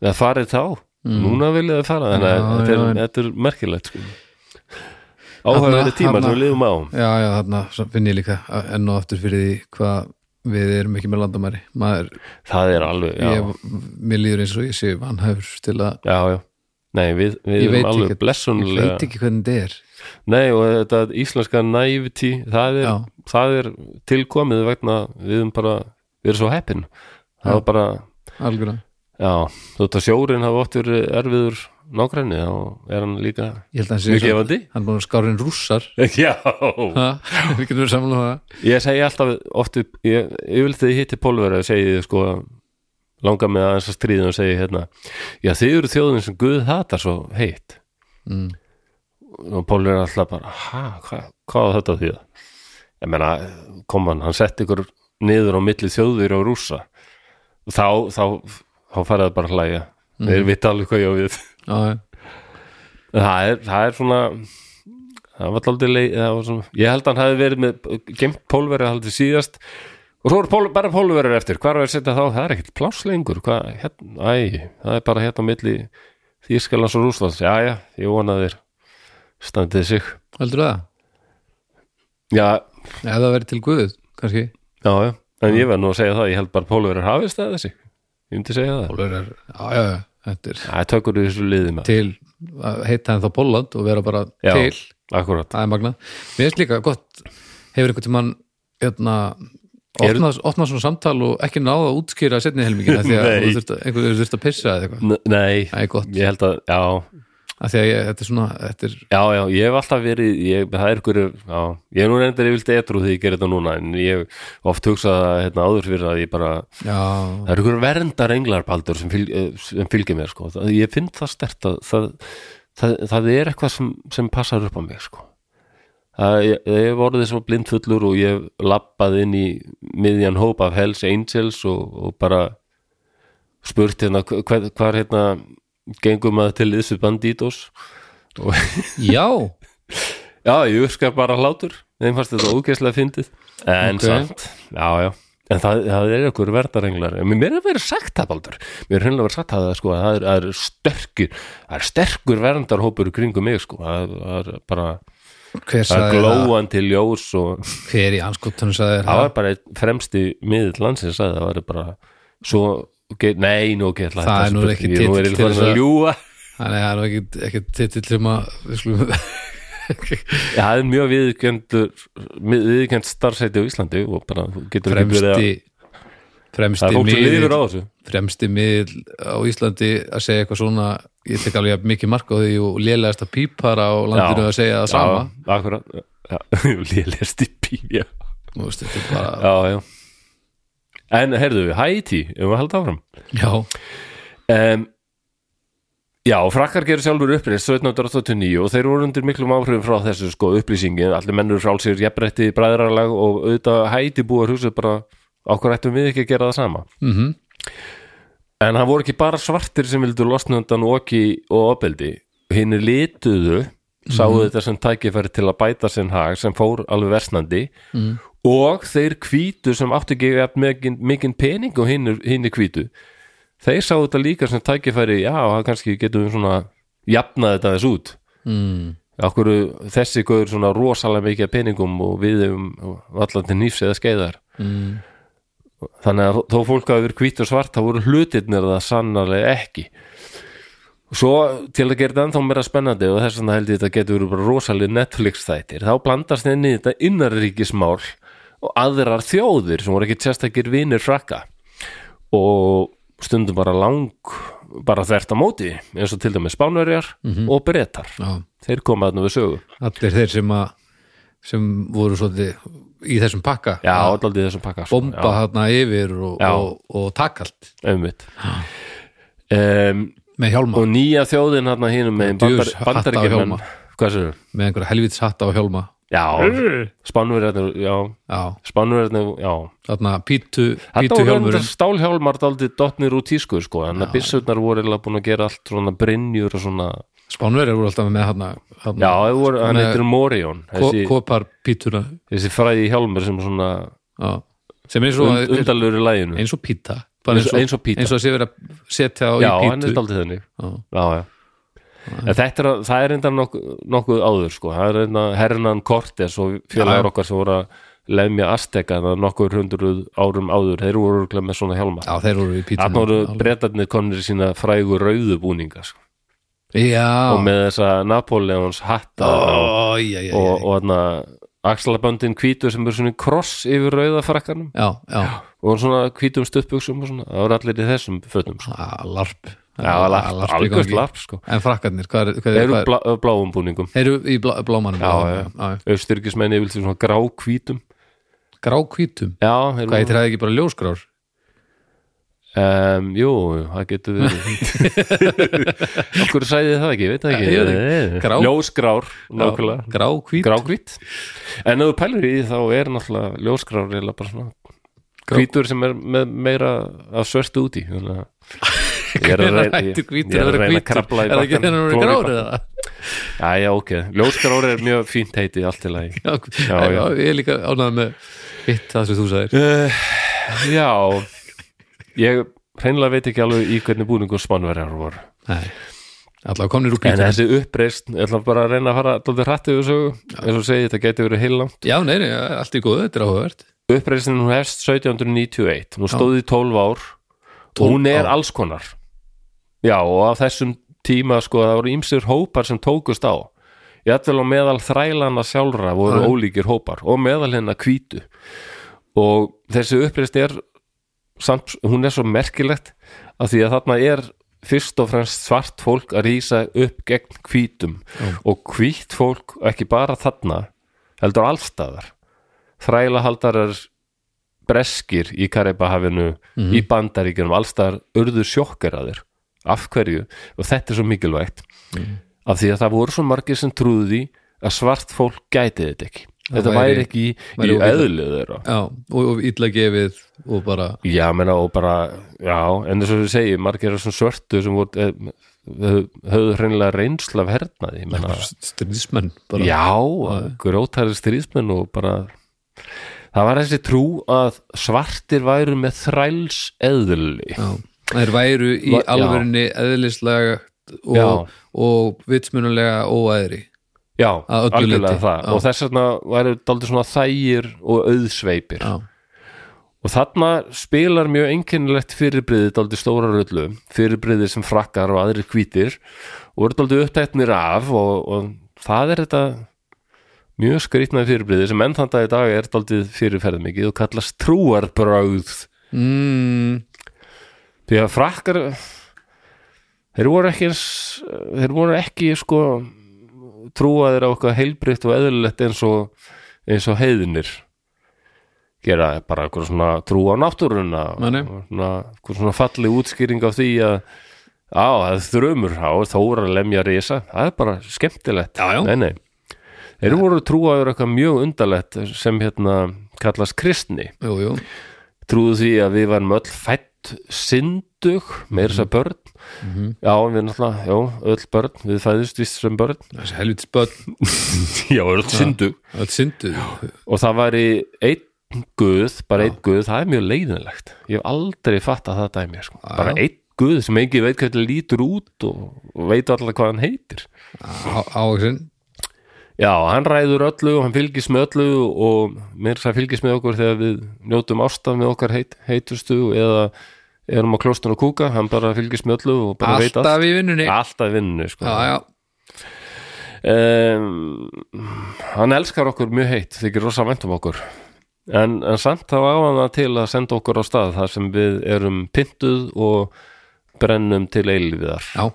S1: eða farið þá Núna viljið þið fara þannig að
S2: Mm. Já,
S1: þetta er,
S2: já,
S1: þetta er merkilegt sko. Áhugaverði
S2: Þarna-
S1: tímar sem
S2: þarna-
S1: við lifum á
S2: já, já þarna svo finn ég líka uh, enn og aftur fyrir því hvað við erum ekki með landamæri maður,
S1: Það er alveg, já,
S2: ég, mér líður eins og ég sé vanhæfur til að
S1: já, já. Nei, við, við
S2: ég veit,
S1: erum alveg
S2: ekki, ég
S1: blessunlega
S2: veit ekki hvernig þetta er
S1: Nei, og þetta íslenska naivety það er,
S2: Já.
S1: það er tilkomið vegna við erum bara, við erum svo heppin það var bara,
S2: algjörða
S1: já, þú veit að sjórinn hafa oft verið erfiður nágræni þá er hann líka
S2: ég held að hann sé
S1: mjög
S2: svo-
S1: gefandi
S2: hann er búin að skárin rússar
S1: Já,
S2: ha, við getum við samlega það
S1: ég segi alltaf oft, upp- ég, ég vil þið hitti pólverið og segi ég, sko langa með aðeins að stríða og segi hérna já þið eru þjóðin sem Guð hatar svo heitt
S2: Mm.
S1: og pólverið er alltaf bara ha, hva, hvað á þetta því það ég meina, kom hann, hann sett ykkur niður á milli þjóðir og rússa og þá, þá þá farið það bara að hlæja mm. þeir vita alveg hvað ég á við
S2: já, já.
S1: það er, það er svona það var aldrei leið það var svona, ég held að hann hafi verið með gemt pólverið haldið síðast og svo eru pól, bara pólverið eftir, hvar er að setja þá það er ekkert pláss lengur, hvað hérna, æ, það er bara hérna á milli Þýskalands og Rúslands, já já, ég vona að þeir standið sig
S2: heldur það?
S1: já, Mm.
S2: eða það verið til guð, kannski
S1: já, já, en ég verð nú að segja það ég held bara pólverið hafið staðið sig ég myndi segja það
S2: Pólur er, já, já, já, þetta er
S1: það er tökur í þessu liði maður
S2: til að heita en þá Pólland og vera bara
S1: Já,
S2: til
S1: akkurat
S2: það er magna mér finnst líka gott, hefur einhvern tímann hérna,
S1: Eru-
S2: opnað, opnað svona samtal og ekki náða að útskýra setni helmingina því að
S1: Nei.
S2: þú þurft að, einhver hefur þurft að pissa eða eitthvað
S1: N nei,
S2: það er gott,
S1: ég held að, já
S2: af því að ég, þetta er svona þetta er,
S1: Já, já, ég hef alltaf verið, ég, það er ykkur, já, ég er nú reyndar yfirlt etrú þegar ég gerir þetta núna, en ég hef oft hugsað það, hérna áður fyrir að ég bara,
S2: já,
S1: það er ykkur verndar englarpaldur sem, fylg, eh, sem fylgir mér, sko, það, ég finn það stert að það, það, það er eitthvað sem, sem passar upp á mig, sko. Það, ég, ég hef orðið svo blindfullur og ég hef lappað inn í miðjan hóp af Hells Angels og, og bara spurt hérna, hvað, hvað hérna, gengum að til þessu bandítos og
S2: já
S1: Já, ég urskar bara hlátur þeim fannst þetta ógeðslega fyndið en
S2: Ok.
S1: samt, já, já en það, það er ykkur verðarenglar en mér er að vera sagt það baldur mér er hreinlega að vera sagt það sko, að það er, það er sterkur það er sterkur verndarhópur í kringum mig sko, það, það er bara
S2: hver
S1: það er
S2: sagði það,
S1: glóandi ljós
S2: [laughs]
S1: og
S2: hver í anskotunum sagði þér
S1: það
S2: það
S1: var bara einn fremsti miðill landsins að það var bara svo ge- Nei, nú get
S2: Það er nú ekki
S1: Nú er
S2: titill
S1: ég farin
S2: til þess
S1: að
S2: að-
S1: ljúga
S2: þannig að það er ekki, ekki titill sem að við skulum
S1: Já, Það er mjög viðurkendur viðurkend starfsæti á Íslandi og bara þú getur ekki verið að
S2: fremsti
S1: Það er
S2: fremsti
S1: fólk sem lifir á
S2: miðill
S1: þessu
S2: fremsti miðill á Íslandi að segja eitthvað svona ég tek alveg jafn mikið mark á því og lélegasta pípara á landinu
S1: Já.
S2: að segja það sama
S1: Já, akkurat Já, [laughs] Lélegast í píja
S2: Þú veist, þetta er bara,
S1: Já, já En heyrðu, Haiti, ef við haldum áfram
S2: já,
S1: um, Já, frakkar gerir sjálfur uppreist 1789 og þeir voru undir miklum áhrifum frá þessu sko upplýsingin allir mennur frálsir, jafnrætti, bræðralag og auðvitað Haiti búar húsið bara okkur ættum við ekki að gera það sama
S2: mhm
S1: En það voru ekki bara svartir sem vildu losna undan oki og opeldi. Hinn lituðu, sáu þetta sem tækifæri til að bæta sinn hag sem fór alveg versnandi og þeir hvítu sem áttu ekki jafn mikinn, mikinn pening og hinn, hinn hvítu. Þeir sáu þetta líka sem tækifæri, já, það kannski getum við svona jafnað þetta þess út.
S2: mm.
S1: Akkur þessi gauður svona rosalega mikið af peningum og við um allan til nýfs eða skeiðar
S2: Mm.
S1: þannig að þó fólk hafi verið hvít og svart þá voru hlutirnir það sannarlega ekki svo til að gera þetta ennþá meira spennandi og þess vegna held ég þetta getur verið bara rosalega Netflix þættir þá blandast inn í þetta innarríkismál og aðrar þjóðir sem voru ekki sérstakir vinir frakka og stundum bara lang bara þvert á móti eins og til dæmis spánverjar og breytar
S2: Mhm. já,
S1: þeir koma þarna við sögu
S2: allir þeir sem að sem voru svolítið í þessum pakka
S1: já,
S2: að
S1: allaldi í þessum pakka sko.
S2: bomba þarna yfir og,
S1: Já.
S2: og, og takkalt
S1: já, einmitt um,
S2: með hjálma,
S1: og nýja þjóðin hérna hínum með bandar,
S2: Djöfus, hatta á
S1: bandaríkjumenn
S2: hjálma.
S1: hvað sér
S2: með einhverja helvits hatta á hjálma
S1: já, spánverjarnir já,
S2: já,
S1: spánverjarnir, já
S2: þarna pítu,
S1: þetta
S2: pítu
S1: voru reyndar
S2: hjálmurinn
S1: stálhjálmar daldið dotnir úr tísku sko, en að byssurnar voru eiginlega búin að gera allt svona brinnjur og svona
S2: Spánverjar voru alltaf með hana, hana
S1: já, þeir voru, hann
S2: Svona-
S1: heitir Morion
S2: ko
S1: þessi,
S2: kopar pítuna
S1: þessi fræði hjálmur sem svona
S2: já. sem eins og,
S1: und, undarlegur í læginu
S2: eins og píta bara
S1: eins og, eins og píta,
S2: eins og að sé verið að setja á
S1: já,
S2: í
S1: hann
S2: pítu
S1: er daldið þenni
S2: Já.
S1: já, já En þetta er, að- það er enda nokkuð, nokkuð áður sko, það er enda Hernan Cortes og
S2: Já.
S1: félagar okkar sem voru að lemja Azteka þannig nokkuð hundruð árum áður þeir voru örugglega með svona hjálma
S2: já, þeir voru í
S1: þannig voru
S2: pítunum
S1: breytarnir komnir í sína frægu rauðubúninga sko.
S2: já,
S1: og með þessa Napoleons hatta og,
S2: Ó, já, já, já,
S1: og, og þarna axlaböndin hvítur sem er svona í kross yfir rauðafrakkanum
S2: já, já.
S1: og svona hvítum stuttbuxum og svona, það voru allir í þessum fötum sko.
S2: Ah, larp
S1: Já, larp,
S2: í
S1: algjört
S2: gangi.
S1: larp sko.
S2: en frakkarnir, hvað er, hvað
S1: Þeir
S2: er,
S1: eru
S2: hvað er
S1: blá, bláum búningum
S2: þeir eru í blá, blámanum
S1: Já, já.
S2: já.
S1: Östurkismenni vil til svona gráhvítum
S2: gráhvítum,
S1: Já, þeir
S2: hvað heitir það ekki bara ljósgrár
S1: Um, jú, jú, það getur verið
S2: [laughs]
S1: Okkur sæði það ekki, ég veit það
S2: Já, ég veit
S1: ekki
S2: Grá.
S1: Ljósgrár, nákvæmlega
S2: gráhvít
S1: Grágrít En ef þú pælir í því þá er náttúrulega ljósgrár eiginlega bara svona
S2: Grá-
S1: hvítur sem er með meira af svörstu úti Þannig
S2: [laughs]
S1: að Ég er að
S2: Hvenær
S1: reyna- ég-
S2: hættir
S1: ég er
S2: hvítur að
S1: að
S2: vera
S1: reyna að
S2: hvítur?
S1: krafla í
S2: Er það ekki
S1: bakkann,
S2: þegar hann verið
S1: klóra í
S2: grár eða?
S1: Jæja, ok, ljósgrár er mjög fínt heiti allt til að
S2: Já,
S1: Já,
S2: já,
S1: já.
S2: ég er líka ánægð með hitt það sem þú sagðir
S1: uh, Já Ég hreinlega veit ekki alveg í hvernig búningu spánverjar voru
S2: Nei, allavega komnir úr
S1: En
S2: pítur
S1: þessi uppreist, ég ætla bara að reyna að fara dóttir hrættið þessu, eins og segi þetta geti verið heila.
S2: Já, nei, nei, allt í góðu, þetta er áhugavert
S1: Uppreistin hún hefst 1791, hún stóði í 12 ár
S2: Tólf
S1: hún er
S2: ár.
S1: alls konar já og af þessum tíma sko það voru ýmsir hópar sem tókust á jafnvel og meðal þrælana sjálfra voru
S2: Já.
S1: ólíkir hópar og meðal hennar hvítu og þessi uppreist er samt, hún er svo merkilegt að því að þarna er fyrst og fremst svart fólk að rýsa upp gegn hvítum og hvít fólk ekki bara þarna heldur allstaðar þrælahaldarar breskir í Karibahafinu í
S2: Mhm.
S1: bandaríkjunum, allstaðar urðu sjokkeraðir, af hverju og þetta er svo mikilvægt
S2: Mhm.
S1: af því að það voru svo margir sem trúðu því að svart fólk gæti þetta ekki þetta
S2: væri-
S1: væri, ekki í,
S2: væri
S1: í
S2: óvitað.
S1: eðlið þeirra
S2: Já, og, og illa gefið og bara
S1: Já, menna og bara, já, en þess að við segjum, margir af þessum svörtu sem voru, eh, höfðu- höfðu hreinlega reynsla af hernaði, ég menna,
S2: stríðsmenn bara.
S1: já, grótari stríðsmenn og bara, það var þessi trú að svartir væru með þræls eðli.
S2: Já. Þær væru í
S1: Va- já.
S2: alvörinni eðlislega
S1: Já.
S2: og, og vitsmunulega óæðri
S1: Já,
S2: Að öllu
S1: algjörlega
S2: leyti,
S1: það
S2: já.
S1: og þess vegna væru daldið svona þægir og auðsveipir.
S2: Já,
S1: Og þarna spilar mjög einkennilegt fyrirbriðið daldið stóra rullu, fyrirbriðið sem frakkar og aðrir hvítir og eru daldið upptæknir af og, og það er þetta mjög skrýtnað fyrirbriðið sem enn þann dag í dag er daldið fyrirferð mikið og kallast trúarbrögð
S2: mm,
S1: því að frakkar þeir voru ekki eins, þeir voru ekki sko trúaðir á eitthvað heilbritt og eðlilegt eins og eins og heiðinir gera bara eitthvað svona trú á náttúruna og
S2: Nei, nei.
S1: svona, eitthvað svona falli útskýring á því að á, það er þrömur, á, þóra lemja risa, það er bara skemmtilegt
S2: Já, já.
S1: Nei, nei. þeir voru trúaður eitthvað mjög undarlegt sem hérna kallast kristni
S2: jú, jú
S1: trúðu því að við varum öll fætt syndug, meir þess að börn
S2: Mhm.
S1: já, við náttúrulega, já, öll börn við fæðist vist sem börn
S2: Þessi helvitis börn,
S1: [laughs] já, öll syndug
S2: öll syndu
S1: og það væri einn guð bara einn guð, það er mjög leiðinlegt ég hef aldrei fatt að það dæmi sko. bara einn guð sem ekki veit hvað þetta lítur út og, og veit allar hvað hann heitir
S2: Ávaksinn
S1: Já, hann ræður öllu og hann fylgist með öllu og mér það fylgist með okkur þegar við njótum ástaf með okkar heit, heitustu eða erum á klóstun og kúka, hann bara fylgist með öllu og bara veit allt.
S2: Alltaf í vinnunni Já,
S1: Alltaf í vinnunni, sko.
S2: já,
S1: Um, hann elskar okkur mjög heitt, þykir rosa vænt um okkur. En, en samt þá á hann það til að senda okkur á stað þar sem við erum pyntuð og brennum til eilviðar.
S2: já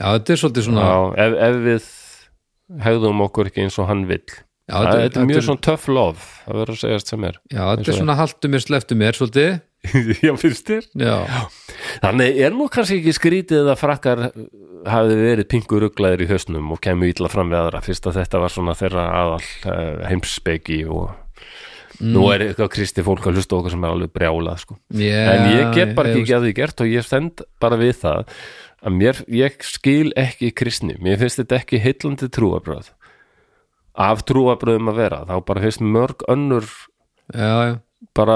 S2: Já, þetta er svolítið svona
S1: Já, ef, ef við hegðum okkur ekki eins og hann vill.
S2: Já,
S1: Það þetta er mjög
S2: þetta
S1: svona tough love að vera að segja þetta sem er
S2: Já, þetta er svona haltu mér, sleftu mér svolítið
S1: [laughs] Já, finnst þér?
S2: Já,
S1: Þannig er nú kannski ekki skrítið að frakkar eh, hafi verið pingur rugglaðir í hausnum og kemur ítla fram við aðra fyrst að þetta var svona þeirra aðal uh, heimspeki og nú
S2: Mm.
S1: er eitthvað kristi fólk að hlusta á okkur sem er alveg brjálað sko.
S2: yeah,
S1: en ég get bara ekki að því gert og ég stend bara við það að mér, ég skil ekki kristni mér finnst þetta ekki heillandi trúabröð af trúabröðum að vera þá bara finnst mörg önnur
S2: Já, já
S1: bara,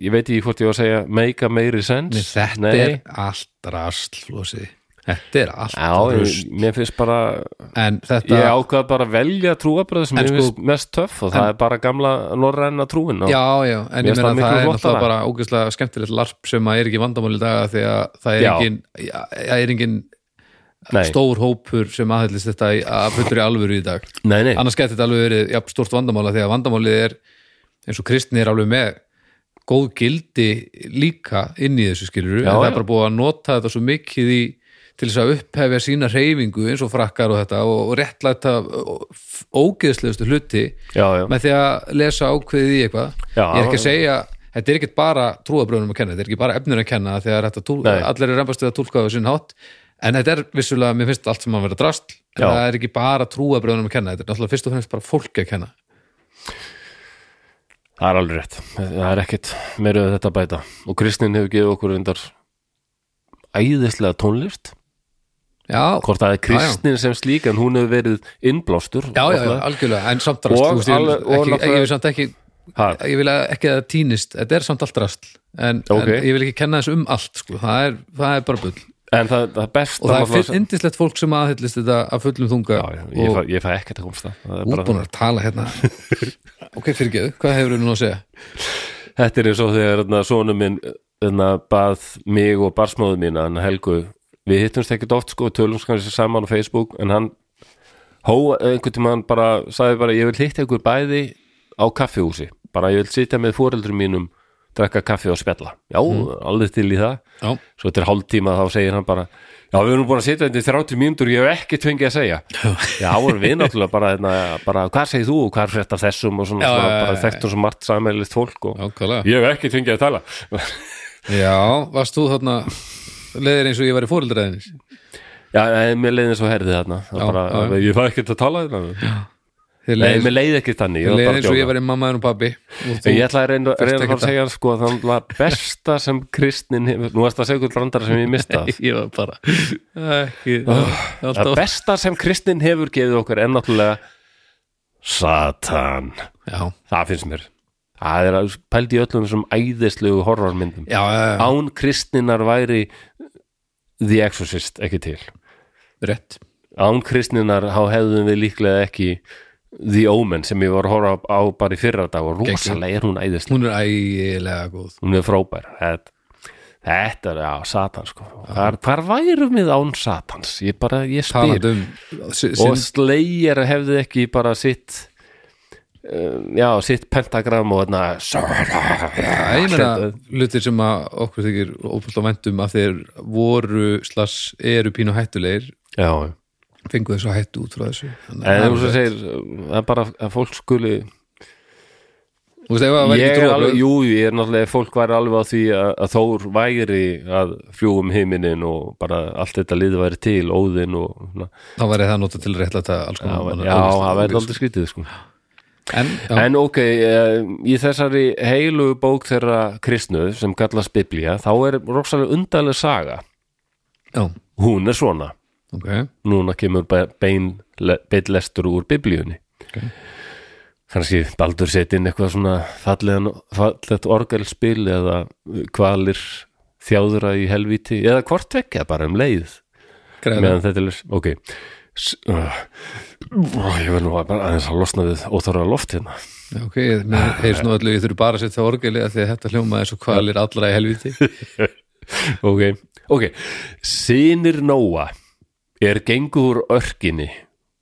S1: ég veit ekki hvort ég var að segja make a meiri sense
S2: Nei, þetta er allt rasl Lósi. Þetta er allt
S1: já,
S2: rasl
S1: ég, mér finnst bara
S2: En þetta,
S1: ég ákvað bara að velja trúabröð sem
S2: En
S1: mér
S2: sko-
S1: finnst mest töff og það er bara gamla norræna trúin og-
S2: já, já En
S1: Mér
S2: ég
S1: finnst
S2: meina
S1: það
S2: það,
S1: miklu
S2: er
S1: flottara.
S2: náttúrulega bara ógeðslega skemmtilegt larp sem að er ekki vandamál í dag af því að það er
S1: Já.
S2: engin, já, það er engin
S1: nei,
S2: stór hópur sem aðhællist þetta í- að fullur í alvöru í dag
S1: nei, nei,
S2: annars gæti þetta alveg verið jafn, stort vandamála því að vandamálið er eins og kristni er alveg með góð gildi líka inn í þessu skilur en
S1: Já,
S2: það er
S1: já.
S2: bara búið að nota þetta svo mikið í til þess að upphefja sína reyfingu eins og frakkar og þetta og, og réttlæta ó- f- ógeðslegustu hluti
S1: já, já,
S2: með því að lesa ákveðið í eitthvað
S1: Já.
S2: ég er ekki að segja, þetta er ekkit bara trúabröðunum að kenna, þetta er ekki bara efnur að kenna þegar þetta túl,
S1: Nei.
S2: allir eru reymbast við að tólka á sinn hátt, en þetta er vissulega, mér finnst allt sem að vera drast en
S1: Já.
S2: það er ekki bara trúabröðunum að kenna, þetta er náttúrulega fyrst og fremst bara fólki að kenna
S1: það er alveg rétt það er ekkit meira við þetta að bæta og kristnin hefur gefið okkur undar æðislega tónlist
S2: já,
S1: hvort það er kristnin sem slík en hún hefur verið innblástur
S2: já, já, já
S1: náttúrulega.
S2: algjörlega, en samt
S1: Og
S2: drast þú veist, ég, vil
S1: alveg- og
S2: ekki,
S1: náttúrulega-
S2: ég vil samt ekki
S1: Ha,
S2: ég vil ekki að það týnist, þetta er samt allt drast en,
S1: Ok.
S2: en ég vil ekki kenna þessu um allt sko. það, er, það er bara bull
S1: en það, það besta
S2: og það er
S1: náttúrulega-
S2: fyrst indislegt fólk sem aðhyllist þetta að fullum þunga
S1: Já, já, ég,
S2: og-
S1: fæ, ég fæ ekkert að komast það, það er bara, hérna.
S2: útbúin að tala hérna [laughs] ok, fyrirgeðu, hvað hefur þú nú að segja?
S1: Þetta er eins og þegar svona hérna, minn hérna, bað mig og barsmóðu mína hann Helgu, við hittumst ekkert oft sko, tölumst kannski saman á Facebook en hann hó einhvern tímann bara, sagði bara ég vil hitta ykkur bæði á kaffihúsi, bara ég vil sitja með fóreldrum mínum drekka kaffi og spjalla já,
S2: Mhm.
S1: alveg til í það
S2: Já.
S1: svo þetta er hálftíma þá segir hann bara já, við erum búin að sitja þetta í 30 mínútur ég hef ekki tvingið að
S2: [laughs]
S1: segja já, þá erum við náttúrulega bara, hérna, bara hvað segir þú, hvað er frétt af þessum og svona,
S2: Já,
S1: svona
S2: já, já,
S1: bara
S2: já.
S1: þekktum svo margt sammeilist fólk og
S2: ákvæðlega
S1: ég hef ekki tvingið að tala
S2: Já, varst þú þarna leðir eins og ég var í fóreldræðinni
S1: já, nei, mér leiði eins og herði þarna já,
S2: Já,
S1: bara,
S2: já,
S1: ég fæ ekkert að tala hérna. þarna
S2: Þið
S1: nei,
S2: leðir
S1: mér leiði ekki þannig ég var bara að
S2: eins og
S1: djóka.
S2: ég var í mammaðin og pabbi og þú,
S1: Ég ætla að reyna,
S2: þarft
S1: reyna að
S2: ekki
S1: fara að
S2: að-
S1: segja hann, sko að hann var besta sem kristnin hefur, nú erst að segja ykkur brandara sem ég mista
S2: [laughs] ég var bara ekki,
S1: það
S2: alltaf,
S1: besta sem kristnin hefur gefið okkur en náttúrulega Satan
S2: já,
S1: það finnst mér það er að pældi í öllum þessum æðislegu horrormyndum
S2: já, já, já,
S1: án kristninar væri The Exorcist ekki til
S2: rétt
S1: án kristninar þá hefðum við líklega ekki The Omen sem ég var að horfa á bara í fyrra dag og rosalega er hún æðislega
S2: hún er ægilega góð
S1: hún er frábær þetta, þetta er á Satan sko hvar, hvar værum við án Satans ég bara, ég spyr
S2: talandi um sin,
S1: og Slayer hefði ekki bara sitt uh, já, sitt pentagram og þarna
S2: Já, ég meina,
S1: Þetta-
S2: hlutir sem að okkur þykir óbúslega væntum að þeir voru slags eru pínu hættulegir
S1: já,
S2: fengu þessu hættu út frá þessu Þannig
S1: en
S2: að-
S1: þú sem segir eh, það er bara að fólk skuli
S2: Þú veist, ef það væri
S1: ég
S2: ekki
S1: er alveg,
S2: trúarbrögð
S1: jú, jú, ég er náttúrulega ef fólk væri alveg á því að, að Þór væri að fljúum heiminin og bara allt þetta lið væri til, óðinn og svona.
S2: þá væri það nota til rétt að þetta alls
S1: já,
S2: konar
S1: já, það væri aldrei skrítið sko.
S2: en, já,
S1: en ok, eh, í þessari heilu bók þeirra kristnu sem kallast Biblía, þá er rosalega undarlega saga,
S2: já,
S1: hún er svona
S2: ok
S1: núna kemur be- bein beinlestur úr biblíunni
S2: Ok.
S1: kannski Baldur seti inn eitthvað svona fallegan, fallegt orgelspil eða kvalir þjáðra í helvíti eða hvort vekja bara um leið
S2: greiðlega,
S1: meðan þetta er les- ok S uh, ég verð nú að bara aðeins að losna við óþóra loft hérna
S2: já, ok mér heyrst nú allir, ég þurfi bara að setja orgeli af því að þetta hljóma eins og kvalir allra í helviti
S1: [laughs] ok, ok Sinir Nóa er gengur úr örkinni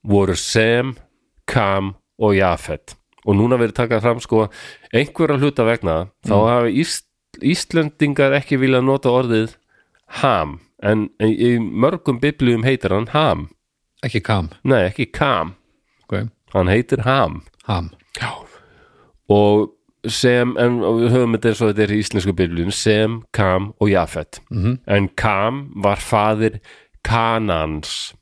S1: voru Sem, Kam og Jafet og núna verið takað fram sko einhverja hluta vegna þá hafa Ísl Íslendingar ekki vilja nota orðið Ham en en í mörgum biblíum heitir hann Ham
S2: ekki kam,
S1: nei ekki Kam,
S2: ok,
S1: hann heitir Ham
S2: ham
S1: og sem, en og við höfum þetta eins og þetta er í íslensku biblíun, sem, kam og jafet -hmm.
S2: Mhm.
S1: en kam var faðir kanans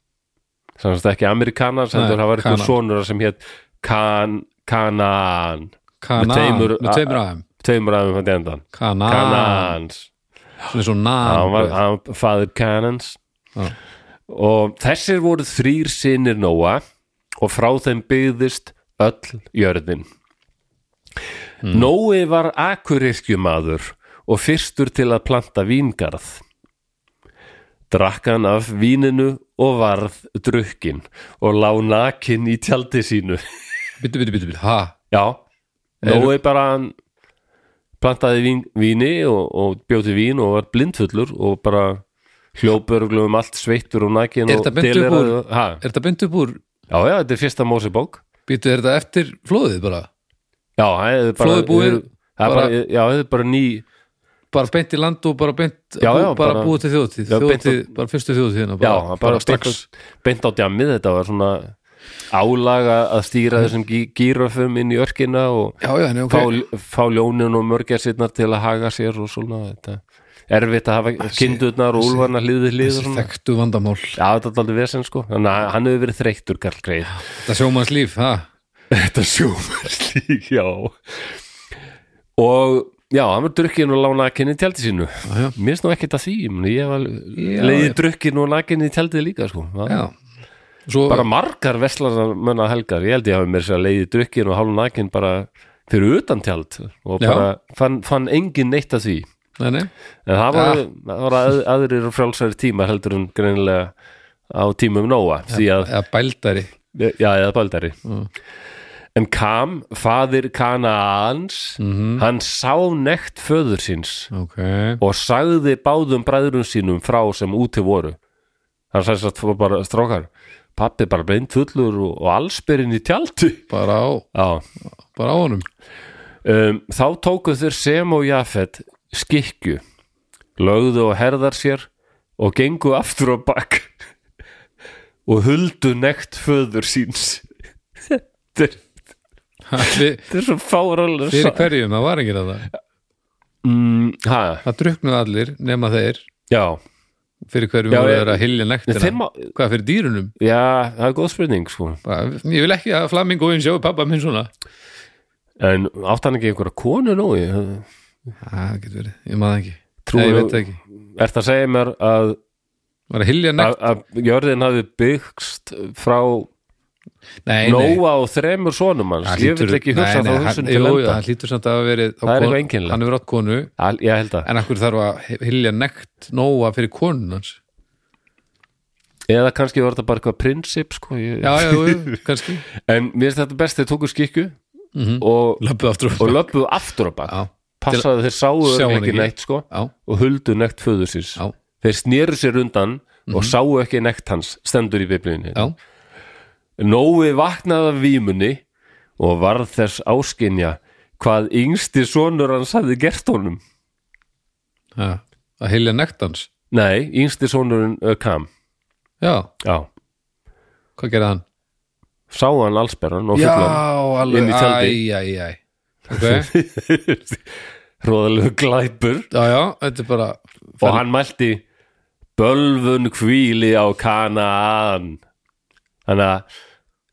S1: sannst ekki amerikanans en
S2: Nei,
S1: það var eitthvað
S2: Kanan.
S1: sonur sem hétt kan, kanan
S2: kanan,
S1: tveimur-
S2: með teimur aðeim
S1: tveimur aðeins hann endan
S2: Ah. kanan,
S1: kanans,
S2: svona svo
S1: hann var,
S2: nan
S1: hann var faðir kanans
S2: Já.
S1: og þessir voru þrýr sinir Nóa og frá þeim byggðist öll jörðin Nói var akuryrkjumadur og fyrstur til að planta víngarð. Drakk hann af víninu og varð drukkin og lá nakin í tjaldi sínu.
S2: bitu, bitu, bitu, bitu, ha
S1: Já, Nói bara hann plantaði vín, víni og, og bjóti vín og var blindfullur og bara hljópurglum um allt sveittur og nakin
S2: Er
S1: og
S2: þetta beint upp
S1: deleraði- Ha?
S2: er þetta beint upp úr,
S1: Já, já, þetta er fyrsta Mósebók
S2: bitu, er þetta eftir flóðið bara
S1: Já, það er bara,
S2: Flóðið búið,
S1: það er bara,
S2: bara-
S1: já, það er bara ný
S2: bara beint í land og bara beint
S1: Já, já,
S2: bú, bara,
S1: bara-
S2: búið til þjóðtíð,
S1: Já, beint
S2: þjóðtíð bara fyrstu þjóðtíðina,
S1: Já,
S2: bara,
S1: bara, bara strax beint á djamið þetta var svona álaga að
S2: Mm.
S1: stýra þessum gí gíröfum inn í örkina og
S2: já, já, en ok,
S1: fá, fá ljónin og mörgjarsirnar til að haga sér og svona þetta erfitt að hafa kindurnar og úlfarnar hlýðið hlýðið
S2: þessi
S1: svona
S2: þekktu vandamál
S1: Já, þetta er aldrei vesen sko þannig að hann hefur verið þreyttur Karl Greif
S2: þetta sjómanns líf, ha
S1: [laughs] Þetta sjómarslík, já Og já, hann var drukkin og lána að kynni tjaldi sínu
S2: já.
S1: Mér finnst nú ekkert að því ég meina, Ég
S2: Já,
S1: var leiði
S2: já.
S1: drukkin og nakin í tjaldið líka sko. Það-
S2: já, svo
S1: Bara margar veslaramönna helgar Ég held ég hafi mér sér að leiði drukkin og hálf nakin bara fyrir utan tjald og
S2: Já.
S1: bara fann, fann engin neitt að því
S2: nei, nei,
S1: en það var, það var að, aðrir og frjálsari tímar heldur en greinilega á tímum nóa því að
S2: eða bældari
S1: Já, eða baldari En Kam, faðir Kanaans, hann sá nekt föður síns
S2: ok,
S1: og sagði báðum bræðurum sínum frá sem úti voru. Hann sagði satt bara strókar, pappi bara beint fullur og, og allsbyrinn í tjaldi.
S2: bara á,
S1: Já,
S2: bara á honum
S1: um, þá tóku þeir sem og Jafet skikku, lögðu og herðar sér og gengu aftur á bak [laughs] og huldu nekt föður síns. [laughs] Þetta er,
S2: Fyrir-
S1: þetta er svo fáralega
S2: fyrir hverjum, það var enginn að það
S1: Mm, ha,
S2: það druknuðu allir nema þeir
S1: já,
S2: fyrir hverjum
S1: Já,
S2: voru
S1: ég-
S2: þeir að hilja nektina
S1: þeim má-
S2: hvað fyrir dýrunum
S1: já, það er góð spurning sko.
S2: bara, ég vil ekki að flamingoinn sjáu pappa minn svona
S1: En átt hann ekki einhverja konu nú í?
S2: það getur verið, ég maður ekki
S1: Trúi-
S2: Nei, ég veit það ekki,
S1: Ert það að segja mér að,
S2: var að hilja
S1: að,
S2: nekt
S1: að jörðin hafi byggst frá
S2: nei, nei,
S1: Nóa og þremur sonum hans?
S2: Það
S1: Ég vil
S2: hlýtur-
S1: ekki
S2: nei,
S1: hugsa þá
S2: nei, hann-
S1: hugsun til
S2: jú, jú,
S1: enda.
S2: hann hlýtur samt að hafa verið á
S1: Það er
S2: kon-
S1: eitthvað einkennilegt.
S2: hann hefur átt konu,
S1: Al- Ég held að.
S2: en akkur þarf að hilja nekt nóa fyrir konun hans
S1: Eða kannski var þetta bara eitthvað prinsip sko. Ég...
S2: já, já, jú, jú, [laughs] kannski
S1: En mér finnst þetta best þeir tóku skikku og,
S2: löppu aftur
S1: og löppuðu aftur á bak.
S2: Mhm. já,
S1: Passaðu þeir
S2: Sjá
S1: sáu
S2: hann
S1: ekki
S2: ekki.
S1: neitt sko
S2: já,
S1: og huldu nekt föður síns.
S2: já, Mhm.
S1: Þeir sneru sér undan og sáu ekki nekt hans stendur í biblíunni.
S2: já,
S1: Nói vaknaði af vímunni og varð þess áskinja hvað yngsti sonur hans hafði gert honum.
S2: já. að hilja nekt hans
S1: Nei, yngsti sonurinn uh, kam.
S2: já,
S1: Já,
S2: hvað gerði hann?
S1: sá hann allsberran og
S2: já,
S1: fullan. Inn í
S2: alveg, æj,
S1: tjaldið.
S2: æj, æj [laughs] ok,
S1: Róðalegu glæpur
S2: já, já, þetta er bara
S1: og hann mælti bölvun hvíli á kanaan. Þannig að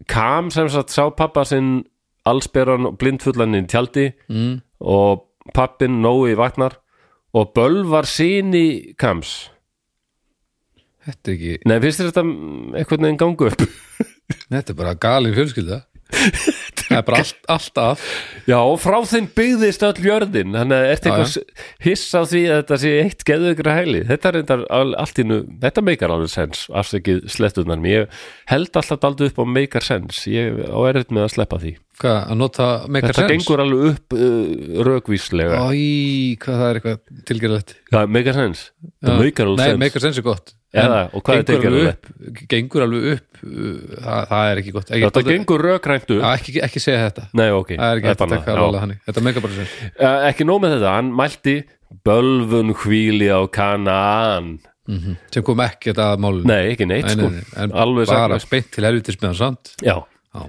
S1: kam sem sagt sá pappa sinn allsberran og blindfullan inn í tjaldi
S2: mm,
S1: og pappin Nói vaknar og bölvar síni kams.
S2: þetta er ekki,
S1: Nei, finnst þér þetta mm, einhvern veginn gangu upp?
S2: þetta er bara galin [laughs] fjölskylda það er bara allt, allt að
S1: Já, og frá þeim byggðist öll jörðin þannig að ertu
S2: Já,
S1: eitthvað s- hiss á því að þetta sé eitt geðugra hæli þetta er reyndar al- allt innu, þetta meikar alveg sens afsækið slettunar mér ég held alltaf daldi upp á meikar sens ég á erfitt með að sleppa því
S2: hvað, að nota make a
S1: þetta
S2: sense
S1: gengur alveg upp uh, rökvíslega
S2: Æ, hvað það er eitthvað tilgerðlegt
S1: Það meikar sens, það meikar alveg
S2: Nei,
S1: sens
S2: make a sense er gott
S1: Eða,
S2: En
S1: og hvað er
S2: gengur alveg
S1: tilgerðarlegt?
S2: upp, Gengur alveg upp uh, það, það er ekki gott ekki,
S1: þetta gengur rökrænt upp
S2: Já, ekki, ekki segja þetta
S1: Nei, ok,
S2: Það er ekki hægt að
S1: bannað,
S2: taka
S1: já.
S2: að rola hannig Þetta make a bara sense
S1: Eh, Ekki nóg með þetta, hann mælti bölvun hvíli á kanaan
S2: sem kom ekki þetta að málun
S1: Mhm. Nei, ekki neitt sko
S2: En
S1: Alveg
S2: bara
S1: sagði
S2: beint til helvitis meðan sant
S1: Já,
S2: Já,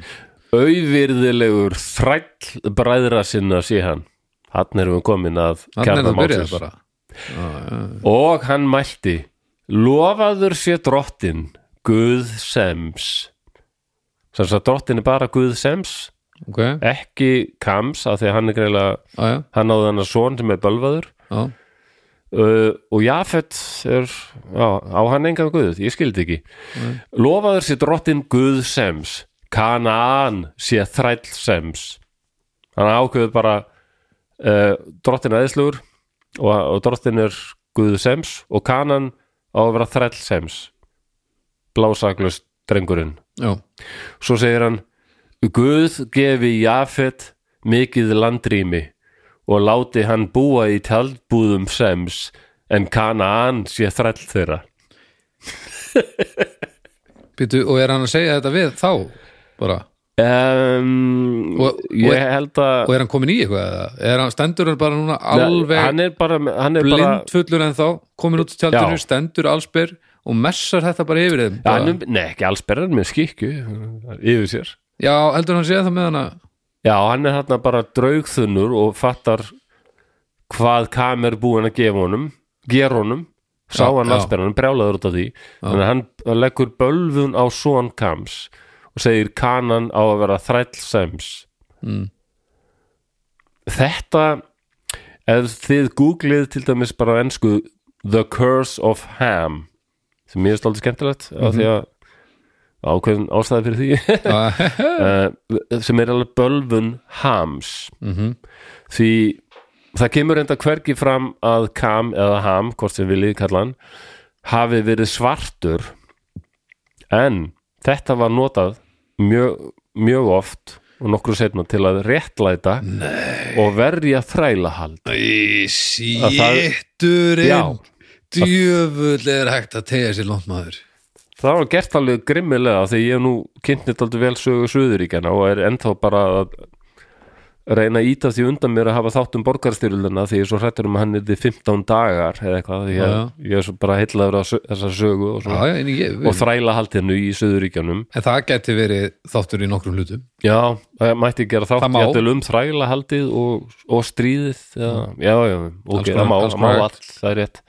S1: auðvirðilegur þræll bræðra sinna sé hann Hann erum við komin að
S2: hann er
S1: kjarna
S2: að byrja
S1: málsins.
S2: bara
S1: Og hann mælti Lofaður sé drottin Guð sems Sanns að drottin er bara Guð sems
S2: Ok, já,
S1: Ekki kams af því að hann er greiðlega
S2: já,
S1: Hann áði hann að son sem er bölvaður
S2: já
S1: uh, og Jafet er á, á hann engan guð, ég skildi ekki lofaður sé drottin guð sems Kanaan sé þræll sems hann ákveður bara uh, drottin er eðslugur og, og drottin er guð sems og Kanaan á að vera þræll sems blásaklaus drengurinn
S2: Já,
S1: svo segir hann Guð gefi Jafet mikið landrými og láti hann búa í tjaldbúðum sems en Kanaan sé þræll þeirra
S2: býtu, og er hann að segja þetta við þá bara,
S1: um,
S2: Og-
S1: ég
S2: og-
S1: held að
S2: og er hann komin í eitthvað eða? er hann, stendur hann bara núna alveg
S1: hann er bara, hann er bara
S2: blindfullur en þá komin út til tjaldinu,
S1: Já.
S2: stendur allsbyr og messar þetta bara yfir þeim
S1: Já,
S2: bara.
S1: hann er, nei, ekki alls berðan með skikku yfir sér
S2: já, heldur hann sé það með hana
S1: [laughs] Já, hann er hann bara draugþunnur og fattar hvað kam er búin að gefa honum gera honum, sá
S2: Já,
S1: hann
S2: já.
S1: allsperran hann brjálaður út af því þannig að hann leggur bölvun á son kams og segir kanan á að vera þræll sems
S2: Mm.
S1: Þetta ef þið googlið til dæmis bara á ensku The Curse of Ham sem mér er stoltið skemmtilegt af því
S2: Mhm.
S1: að ákveðin ástæði fyrir því
S2: Já,
S1: Eh, sem er alveg bölvun hams
S2: mhm,
S1: því það kemur enda hvergi fram að kam eða ham, hvort sem viljið kalla hann hafi verið svartur en þetta var notað mjög, mjög oft og nokkru setna til að réttlæta Nei. og verja þrælahald
S2: Sýtturinn Djöfull er hægt að tegja sér langt maður
S1: það var gert alveg grimmilega því ég hef nú kynnit aldrei vel sögu Suðuríkjana og er ennþá bara að reyna að íta því undan mér að hafa þátt um borgarstyrluna því ég er svo hrættur um að hann er 15 dagar eða eitthvað því ég,
S2: Já.
S1: ég er svo bara heillaður af þessa sögu og,
S2: Já,
S1: svona,
S2: já, en, ég,
S1: og þrælahaldinu í Suðuríkjanum
S2: en það geti verið þáttur í nokkrum hlutum
S1: Já, það mætti gera þátt
S2: Það má.
S1: jafnvel um þrælahaldið og, og stríðið já, já, já, ok,
S2: Mm. Alls konar-
S1: það má,
S2: alls
S1: það má
S2: konar.
S1: allt það er rétt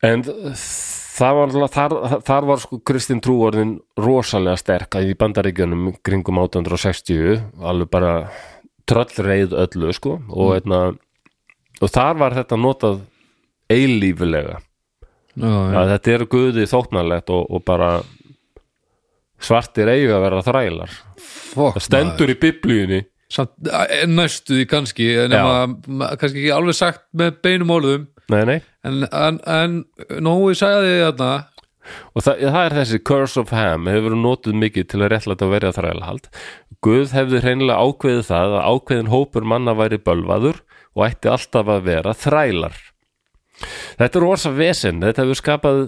S1: en það var náttúrulega- þar, þar var sko kristin trúorðin rosalega sterk að í bandaríkjunum kringum 1860 alveg bara tröllreið öllu sko
S2: Mm.
S1: og, einna, og þar var þetta notað eilífilega
S2: já, já.
S1: að þetta er guði þóknarlegt og, og bara svartir eigu að vera þrælar
S2: Fuck,
S1: Það stendur í biblíunni
S2: Samt, en næstu því kannski en nema, ma- kannski ekki alveg sagt með beinum orðum
S1: Nei, nei
S2: en, en, en Nói sagði þarna
S1: Og það, það er þessi curse of ham hefur verið notuð mikið til að réttlæta að verja þrælahald Guð hefði hreinlega ákveðið það að ákveðin hópur manna væri bölvaður og ætti alltaf að vera þrælar Þetta er orsa vesinn þetta hefur skapað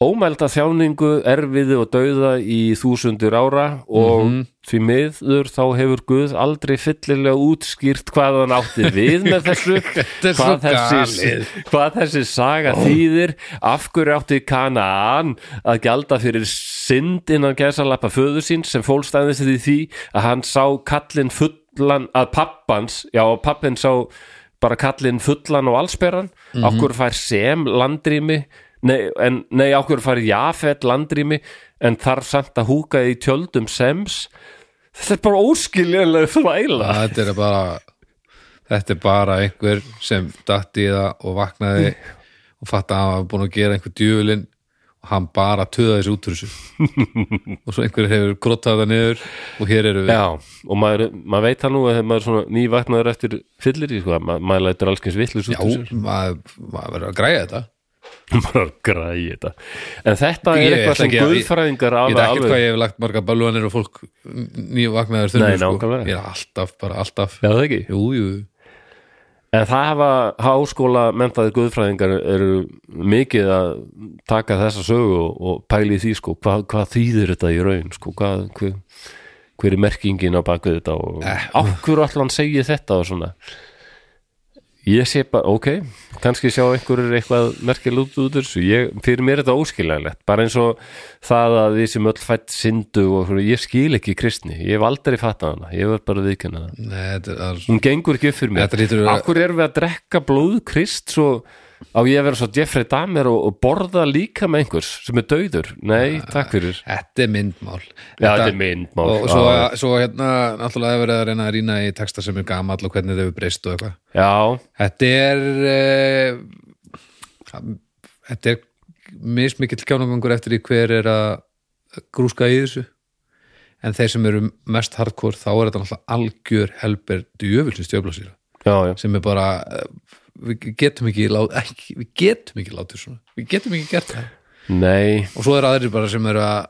S1: ómælda þjáningu, erfiði og dauða í þúsundur ára og
S2: Mhm.
S1: því miður þá hefur Guð aldrei fyllilega útskýrt hvað hann átti við með
S2: [laughs]
S1: þessu
S2: er svo
S1: hvað þessi,
S2: galið.
S1: hvað þessi saga þýðir af hverju átti Kanaan að gjalda fyrir synd innan gæsalappa föður sín sem fólstæðist í því að hann sá kallinn fullan að pappans, já pappin sá bara kallinn fullan og allsperran mm okkur fær sem landrými nei, en, nei okkur fær jafett landrými en þarf samt að húka í tjöldum sems þetta er bara óskiljanlega þvæla
S2: að þetta er bara þetta er bara einhver sem datt í það og vaknaði og fatt að hann var búin að gera einhver djöfulinn og hann bara töða þessu út
S1: [laughs]
S2: úr þessu og svo einhver hefur grottað það niður og hér eru við
S1: Já, og maður, maður veit það nú að þegar maður er svona nývaknaður eftir fyllir í sko, að ma maður lætur alls kyns vitlis út
S2: Já, maður, maður verður að græja þetta
S1: [laughs] maður er að græði þetta en þetta er
S2: Ég ætla
S1: eitthvað sem
S2: ekki að-
S1: guðfræðingar
S2: Ég veit
S1: alveg
S2: ekkert hvað
S1: alveg,
S2: ég hef lagt marga balvanir og fólk nývagnaður þunni
S1: Nei, nákvæmlega.
S2: sko. Ég er alltaf, bara alltaf
S1: já það ekki
S2: Jú, jú,
S1: en það hafa háskóla mentaði guðfræðingar eru mikið að taka þessa sögu og, og pæli í því sko, hvað, hvað þýðir þetta í raun sko, hvað, hver, hver er merkingin á bakvið þetta og eh. ákvör allan segir þetta og svona ég sé bara, ok kannski sjá einhverjur eitthvað merkil út út úr þessu, ég, fyrir mér er þetta óskiljanlegt bara eins og það að við sem öll fætt syndu og svona, ég skil ekki kristni, ég hef aldrei fattað hana ég var bara að viðkynna það
S2: nei, þetta er alls
S1: hún gengur ekki upp fyrir mér
S2: Þetta lítur að-
S1: Akkur erum við að drekka blóð krist svo á ég að vera svo Jeffrey Dahmer og, og borða líka með einhvers sem er dauður, nei, takk fyrir Já,
S2: Þetta er myndmál
S1: þetta er myndmál
S2: Og svo,
S1: Já,
S2: svo hérna, náttúrulega hefur verið að reyna að rýna í texta sem er gamall og hvernig þau hefur breyst og eitthvað
S1: já,
S2: Þetta er eh, Þetta er mismikill kjánagangur eftir í hver er að grúska í þessu en þeir sem eru mest hardcore þá er þetta náttúrulega algjör helber djöfulsins djöflasýra
S1: já, já,
S2: sem er bara eh, við getum ekki, lát, ekki við getum ekki látið svona við getum ekki gert það
S1: nei
S2: og svo er aðrir bara sem eru að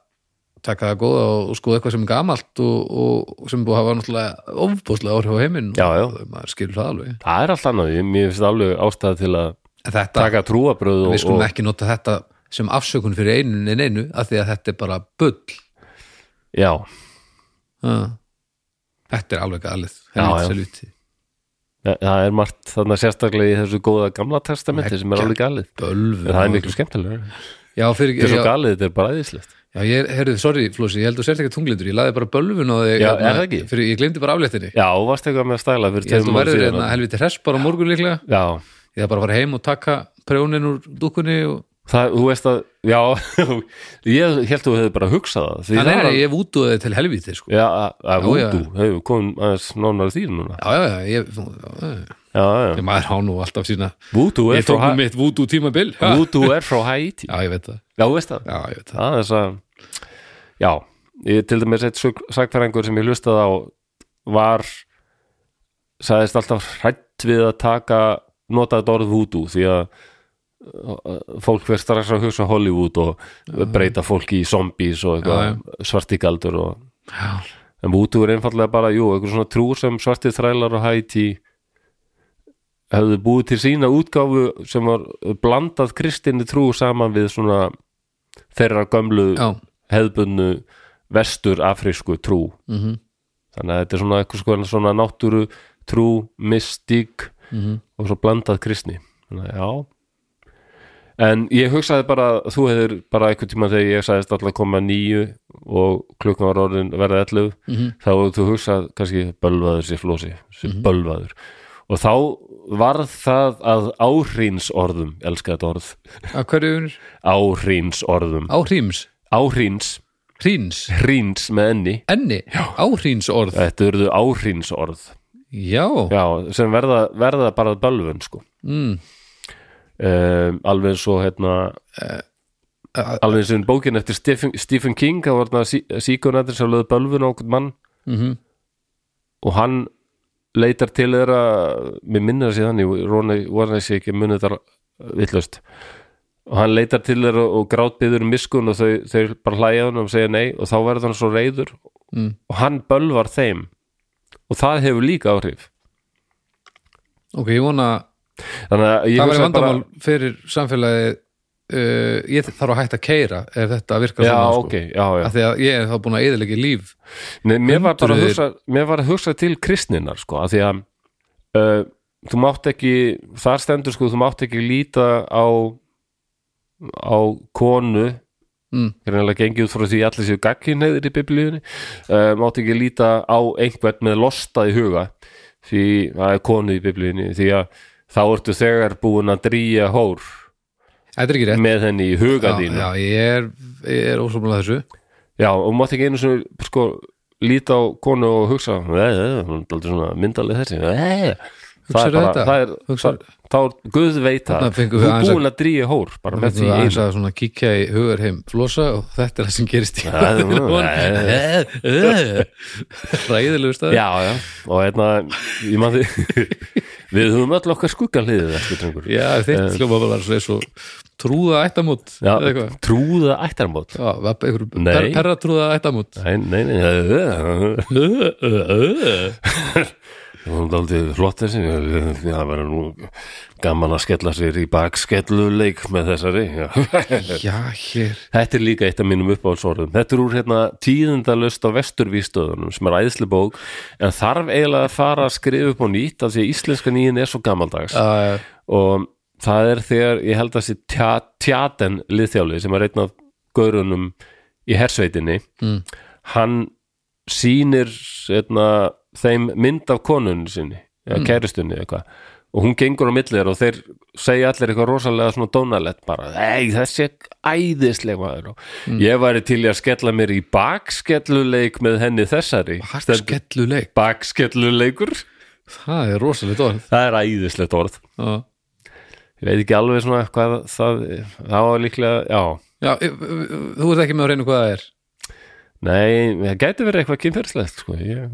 S2: taka það góða og, og skoða eitthvað sem er gamalt og, og, og sem er búið að hafa náttúrulega ofbúðslega áhrif á heiminn
S1: Já, já.
S2: og maður skilur það alveg
S1: það er allt annað, ég, mér finnst alveg ástæða til að
S2: en þetta,
S1: taka trúabröð
S2: við
S1: og,
S2: skulum
S1: og
S2: ekki nota þetta sem afsökun fyrir einu en einu af því að þetta er bara bull
S1: já,
S2: ha. þetta er alveg galið
S1: Já, já.
S2: helviti,
S1: það er margt þarna sérstaklega í þessu góða gamla testamenti sem er alveg galið,
S2: bölvu
S1: en það er miklu skemmtilega
S2: já, fyrir,
S1: þetta er svo
S2: já,
S1: galið, þetta er bara æðislegt
S2: já, ég, heyrðu, sorry Flósi, ég held þú sért ekki tunglindur, ég laði bara bölvun á þig
S1: Já,
S2: hérna,
S1: er það ekki?
S2: fyrir, ég glemdi bara afléttinni
S1: já, og varst eitthvað með að stæla fyrir
S2: ég held þú
S1: tveimur árum
S2: verður
S1: síðan.
S2: hérna helviti hress bara á morgun líklega
S1: já,
S2: ég þarf bara að fara heim og taka prjónin úr dúkunni og...
S1: Það, þú veist að, já, [laughs] ég held að þú hefði bara hugsað það. því
S2: Nei,
S1: það
S2: nei,
S1: var-
S2: nei, ég vútuði til helviti sko.
S1: Já, að- að
S2: Já, já.
S1: vúdú, hefur komum aðeins nánar því núna.
S2: já, já, já, ég, já, já,
S1: Já, já,
S2: já. maður há nú alltaf sína
S1: vúdú er
S2: ég
S1: frá,
S2: tók nú
S1: Ha-
S2: mitt vútu tímabil ha?
S1: vúdú er frá Haiti.
S2: já, ég veit það,
S1: Já, þú veist það.
S2: já, ég veit það.
S1: Það er þess að, já, ég til dæmis eitt sagfæringur sem ég hlustaði á var, sagðist alltaf hrætt við að taka, nota þetta orð vúdú því að uh, fólk verð strax að hugsa Hollywood og breyta fólki í zombies og
S2: Já,
S1: eitthvað svartigaldur og
S2: Já.
S1: en vútu er einfallega bara, jú, einhver svona trú sem svartir þrælar og hæti hefðu búið til sína útgáfu sem var blandað kristinni trú saman við svona þeirra gömlu
S2: já,
S1: hefðbunnu vestur afrísku trú
S2: mhm,
S1: þannig að þetta er svona eitthvað svona, svona náttúru trú, mystík
S2: mhm
S1: og svo blandað kristni þannig að já en ég hugsaði bara, þú hefur bara einhvern tíma þegar ég sagðist alltaf koma nýju og klukkan var orðin verða 11
S2: Mhm.
S1: þá hefur þú hugsað kannski bölvaður sér flósi, sér bölvaður og þá var það að áhrínsorðum, elska þetta orð
S2: Að hverju unir?
S1: áhrínsorðum,
S2: Á hríms,
S1: áhríns
S2: hríns,
S1: hríns með enni,
S2: enni, á hríns orð
S1: þetta eruðu áhrínsorð
S2: Já,
S1: já, sem verða, verða bara bölvun sko
S2: mm,
S1: um, alveg eins og hérna
S2: Eh,
S1: alveg eins og bókin eftir Stephen, Stephen King það var þarna síkunættir sem löðu bölvun á okkur mann
S2: mhm,
S1: og hann leitar til þeirra mér minnir það sé þannig, Róni var þessi ekki munið þar vitlaust og hann leitar til þeirra og grátbyður um miskun og þau, þau bara hlæja hann og segja nei og þá verður hann svo reyður
S2: Mm.
S1: og hann bölvar þeim og það hefur líka áhrif
S2: ok, ég vona
S1: þannig að ég
S2: Það væri
S1: hugsa bara-
S2: vandamál fyrir samfélagi uh, Ég þarf að hætta að keira ef þetta virkar
S1: já,
S2: svona,
S1: ok, já, já
S2: Af því sko. að ég er þá búin að eðilegja líf
S1: Nei, mér var bara að
S2: Hundruðir-
S1: hugsa, mér var að hugsa til kristninar sko, að því að uh, þú mátt ekki, þar stendur sko þú mátt ekki líta á á konu
S2: Mm.
S1: greinlega gengið út frá því allir séu gagkinneiðir í biblíunni uh, mátt ekki líta á einhvern með losta í huga því það er konu í biblíunni því að þá ertu þegar búin að drýja hór
S2: Þetta er ekki rétt
S1: með henni í huga
S2: já,
S1: þínu
S2: já, ég er, ég er ósumlega þessu
S1: Já, og mátt ekki einu sem sko, líta á konu og hugsa "Nei, nei, hún er aldrei svona myndaleg þessi nei." það er
S2: Hugsarðu
S1: bara
S2: þetta?
S1: það er,
S2: Hugsar-
S1: það, þá er Guð veit það
S2: Þarna fengum
S1: þú
S2: við
S1: er
S2: aðeins að-
S1: búin að drýja hór bara með því
S2: Það er
S1: einu
S2: að svona kíkja í hugar heim flosa og þetta er það sem gerist í Eh,
S1: það er-
S2: [laughs] Ræðilegu stað
S1: Já, já, og hérna ég man því [laughs] við höfum öll okkar skugganliðið eftir drengur
S2: já þitt hljóma var svo, svo trúða ættamót
S1: Eh. Já,
S2: eða eitthvað
S1: trúða ættarmót
S2: Já, var bara einhver
S1: Nei.
S2: per, perratrúða ættamót
S1: Nei, nei, nei Það er aldrei flott þessi Það verður nú gaman að skella sér í bakskelluleik með þessari Já.
S2: Já, hér
S1: Þetta er líka eitt af mínum uppáhaldsorðum Þetta er úr hérna tíðindalust á vesturvístöðunum sem er æðsli bók en þarf eiginlega að fara að skrifa upp á nýtt af því að íslenska nýjun er svo gamaldags
S2: uh,
S1: og það er þegar ég held að þessi tja, tjaten liðþjálfi sem er einn af gaurunum í hersveitinni
S2: Mm.
S1: hann sýnir eitna, þeim mynd af konunni sinni eða kæristunni eða eitthvað og hún gengur á milli þeirra og þeir segja allir eitthvað rosalega svona dónalett bara ei þessi er æðisleg maður og ég væri til í að skella mér í bakskelluleik með henni þessari
S2: Bakskelluleik,
S1: bakskelluleikur
S2: það er rosalegt orð
S1: það er æðislegt orð
S2: Já,
S1: ég veit ekki alveg svona hvað það, það var líklega, já
S2: já e- e- e- þú ert ekki með að reyna hvað það er
S1: nei, það gæti verið eitthvað kynferðslegt sko, ég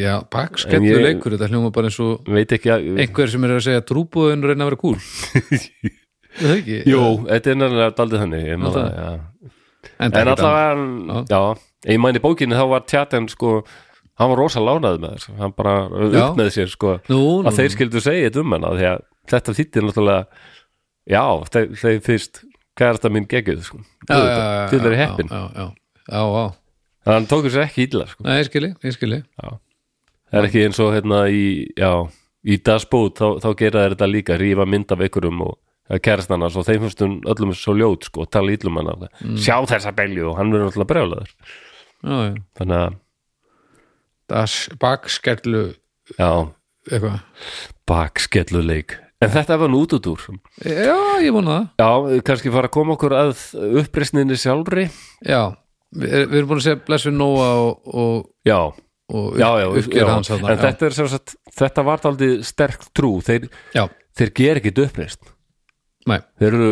S2: Já, bakskelluleikur, þetta hljóma bara eins og
S1: veit ekki að
S2: einhver sem er að segja trúbúðun og reyna að vera
S1: [laughs]
S2: kúl Er Það ekki?
S1: jú, þetta er nærlega daldið þannig ég maður,
S2: það-
S1: já.
S2: en,
S1: en
S2: allavega
S1: allavega, já ég mæni bókinni þá var tjatan sko hann var rosa lánaði með þess hann bara
S2: Já.
S1: upp með sér sko
S2: Nú, nú,
S1: að þeir skildu segja þetta um hana því að þetta þýtti náttúrulega já, þeir, þeir fyrst kærasta mín geggjuð sko,
S2: já, já, já,
S1: til þeir
S2: já,
S1: heppin
S2: Já, já, já, já,
S1: þannig að hann tóku sér ekki illa sko
S2: Nei, ég skili, ég skili
S1: Það er ekki eins og hérna í, já, í dasbót þá, þá gera þeir þetta líka, rífa mynd af ykkurum og kærast hann og þeim finnst hún öllum svo ljót sko, og tala ítlum hann af það
S2: Mm.
S1: sjá þessa belju og hann verður alltaf brjálaður
S2: Já, já,
S1: þannig að,
S2: das bakskellu
S1: já,
S2: eitthvað
S1: bakskelluleik en þetta var nú út út úr
S2: Já, ég vona það
S1: já, kannski fara að koma okkur að uppreisninni sjálfri
S2: Já, við, við erum búin að segja blessu Nóa og, og,
S1: já,
S2: og
S1: já, já, já.
S2: uppgjör hans þarna,
S1: en þetta er sem sagt, þetta var aldrei sterk trú, þeir,
S2: Já,
S1: þeir ger ekki uppreist
S2: nei,
S1: þeir eru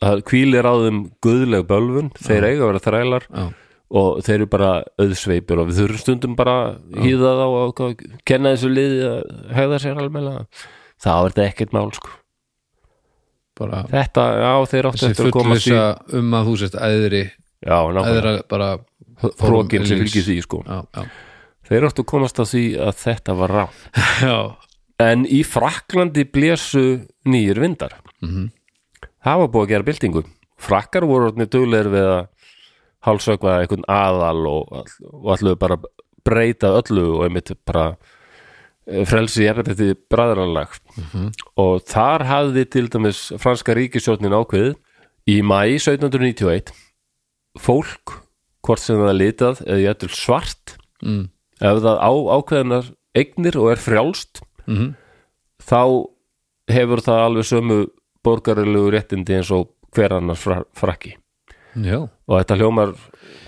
S1: það kvílir á þeim guðleg bölvun þeir eiga að vera þrælar
S2: já
S1: og þeir eru bara auðsveipir og við þurfum stundum bara hýða þá og hvað- kenna þessu liði að hegða sér almenlega þá er þetta ekkert mál sko
S2: bara
S1: þetta, já, þeir áttu
S2: þessi
S1: eftir að komast í
S2: fullvisa um að þú sért æðri
S1: já,
S2: eða er
S1: nákvæmlega,
S2: að bara
S1: hrókin sem fylgir því sko.
S2: já, já.
S1: þeir áttu að komast að því að þetta var rá
S2: já,
S1: en í Fraklandi blésu nýjir vindar það var búið að gera byltingu frakkar voru orðnir dugleir við að hálsökva einhvern aðal og, all- og allu bara breyta öllu og einmitt bara eh, frelsi í eftir bræðranlag og þar hafði til dæmis franska ríkisjónin ákveð í mæ 1791 fólk, hvort sem það er litað eða jættul svart
S2: Mm.
S1: ef það á ákveðnar eignir og er frjálst
S2: Mhm.
S1: þá hefur það alveg sömu borgarilegu réttindi eins og hver annars fra, frakki
S2: já.
S1: og þetta hljómar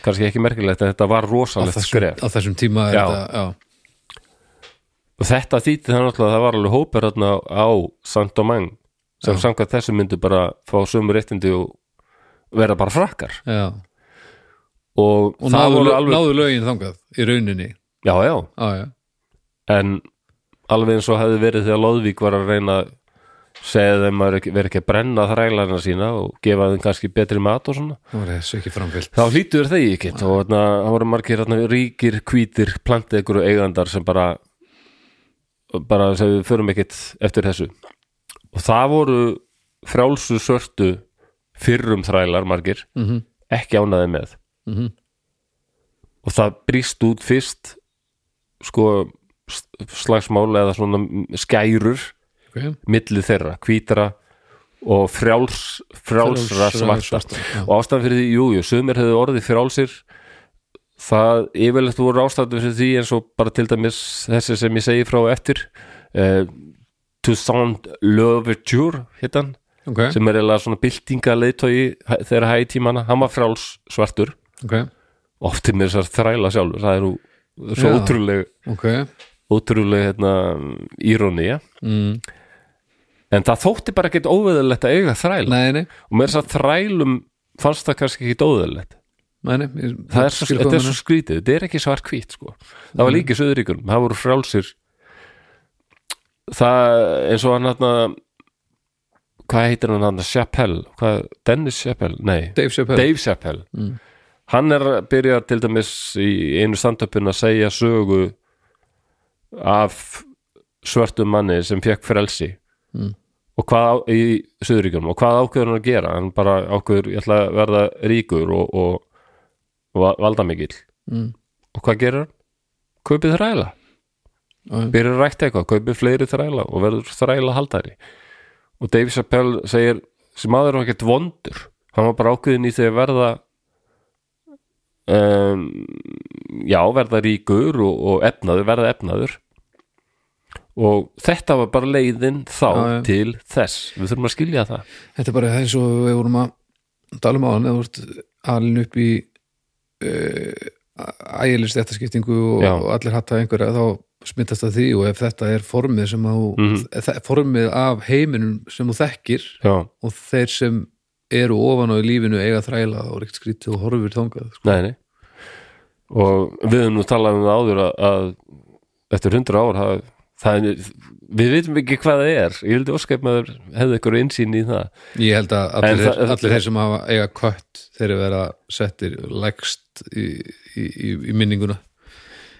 S1: kannski ekki merkilegt en þetta var rosalegt skref
S2: á þessum tíma er
S1: Já.
S2: þetta já,
S1: og þetta þýtti það náttúrulega að það var alveg hópur þarna á Saint-Domingue sem samkvæmt þessu myndu bara fá sömu réttindi og vera bara frakkar
S2: já.
S1: og,
S2: og
S1: það
S2: náðu,
S1: voru
S2: lög,
S1: alveg
S2: náðu lögin þangað í rauninni
S1: já, já,
S2: já, já.
S1: en alveg eins og hefði verið þegar Lóðvík var að reyna að segja þeim að vera ekki að brenna þrælarna sína og gefa þeim kannski betri mat og svona
S2: það var þessu ekki framfylg
S1: þá hlýtur þeir ekki og þarna, það voru margir þarna, ríkir, hvítir, plantegur og eigandar sem bara bara sem við förum ekkit eftir þessu og það voru frjálsu sörtu fyrrum þrælar margir
S2: Mhm.
S1: ekki ánaði með
S2: Mhm.
S1: og það brýst út fyrst sko s- slagsmál eða svona skærur
S2: okay.
S1: milli þeirra, hvítra og frjáls, frjálsra
S2: Frjálsra
S1: svarta
S2: svarta, já.
S1: og ástæðan fyrir því, jújú, jú, sumir hefðu orðið frjálsir það yfirleitt voru ástæðan fyrir því eins og bara til dæmis þessi sem ég segi frá á eftir uh, Toussaint Louverture hittan,
S2: ok,
S1: sem er eiginlega svona byltingaleitói þegar hæði tímana, hann var fráls svartur
S2: ok,
S1: ofti með þessar þræla sjálfur það er nú svo
S2: Já.
S1: ótrúleg
S2: ok
S1: ótrúleg hérna, írónía
S2: mm.
S1: en það þótti bara ekkert óveðalegt að eiga þræla
S2: nei, nei,
S1: og með þess að þrælum fannst það kannski ekki dóðulegt
S2: nei, nei. ég-
S1: það er svo,
S2: skil
S1: þetta
S2: hvað
S1: er
S2: þú
S1: svo skrítið, þetta er ekki svart hvít sko. það var líka í söðuríkjum, það voru frjálsir það eins og hann hann hvað heitir hann hann, Chappelle hvað, Dennis Chappelle, nei
S2: Dave Chappelle Mm.
S1: Dave Chappelle hann er byrjar til dæmis í einu standupin að segja sögu af svörtum manni sem fekk frelsi
S2: Mm.
S1: og hvað á, í Suðuríkjum og hvað ákveður hann að gera hann bara ákveður, ég ætla að verða ríkur og, og, og valda mikill
S2: Mm.
S1: og hvað gerir hann? kaupið þræla
S2: Já, já.
S1: byrjar að rækta eitthvað, kaupið fleiri þræla og verður þræla haldari og Dave Chappelle segir sem maður var ekkert vondur hann var bara ákveðin í þegar verða um, já, verða ríkur og, og efnaður, verða efnaður og þetta var bara leiðin þá
S2: Já, já.
S1: til þess við þurfum að skilja það
S2: Þetta er bara eins og við vorum að tala um á hann eða voru alin upp í uh, ægilist eftirskiptingu og,
S1: Já.
S2: og allir hatta einhverja þá smittast það því og ef þetta er formið sem á, mm.
S1: Mhm.
S2: formið af heiminum sem þú þekkir
S1: já,
S2: og þeir sem eru ofan á í lífinu eiga þræla og reykt skrítið og horfir þangað sko.
S1: nei, nei og við höfum nú talað um það áður að, að eftir hundra ár það, það er, við vitum ekki hvað það er ég vildi óskæp maður hefði ykkur innsýn í það
S2: Ég held að
S1: En
S2: allir,
S1: það-
S2: þeir, allir þeir sem hafa eiga kött þeir eru vera settir lægst í, í, í, í minninguna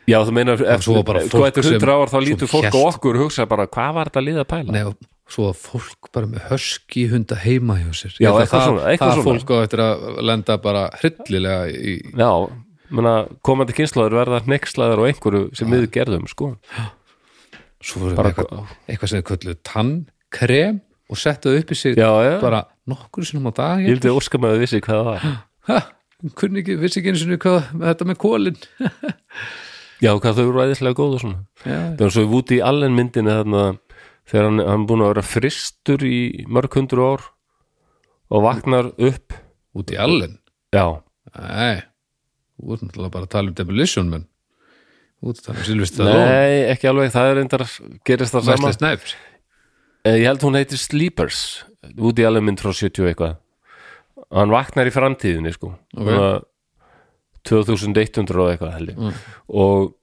S1: Já, þú meinar, ef
S2: svo var bara
S1: sko
S2: fólk
S1: eftir
S2: sem-
S1: 100 ár þá
S2: svo
S1: lítur fólk
S2: hélt-
S1: og okkur hugsa bara, hvað var þetta liða að pæla?
S2: Nei, og svo að fólk bara með hörski hunda heima hjá sér
S1: Já,
S2: Ég held að
S1: eitthvað
S2: það,
S1: svona, eitthvað
S2: það
S1: svona.
S2: fólk á eftir að lenda bara hryllilega í,
S1: Já, menna, komandi kynslaður verða hneykslaður og einhverju sem við gerðum, sko.
S2: svo voru
S1: Bara-
S2: eitthvað, eitthvað sem er kölluð tannkrem og settu það upp í sig
S1: Já, já,
S2: bara nokkur sinnum á dag
S1: ég vildi óska með að vissi hvað það var.
S2: ha, hún kunni ekki, vissi ekki einu sinni hvað með þetta með kólin
S1: Já, hvað þau eru æðislega góð og svona.
S2: já,
S1: Það var svo í Woody Allen myndinni þarna, þegar hann, hann búin að vera fristur í mörg hundru ár og vaknar upp,
S2: út í allin
S1: já,
S2: nei, þú ert náttúrulega bara að tala um demolition menn út að tala um Silvist Stallone
S1: nei, ekki alveg, það er reyndar, gerist það sama.
S2: Wesley Snipes
S1: Eh, Ég held hún heitir Sleepers Woody Allen mynd frá 70 og eitthvað Hann vaknar í framtíðinni sko
S2: Ok.
S1: Svona 2100 og eitthvað held ég
S2: Mm.
S1: og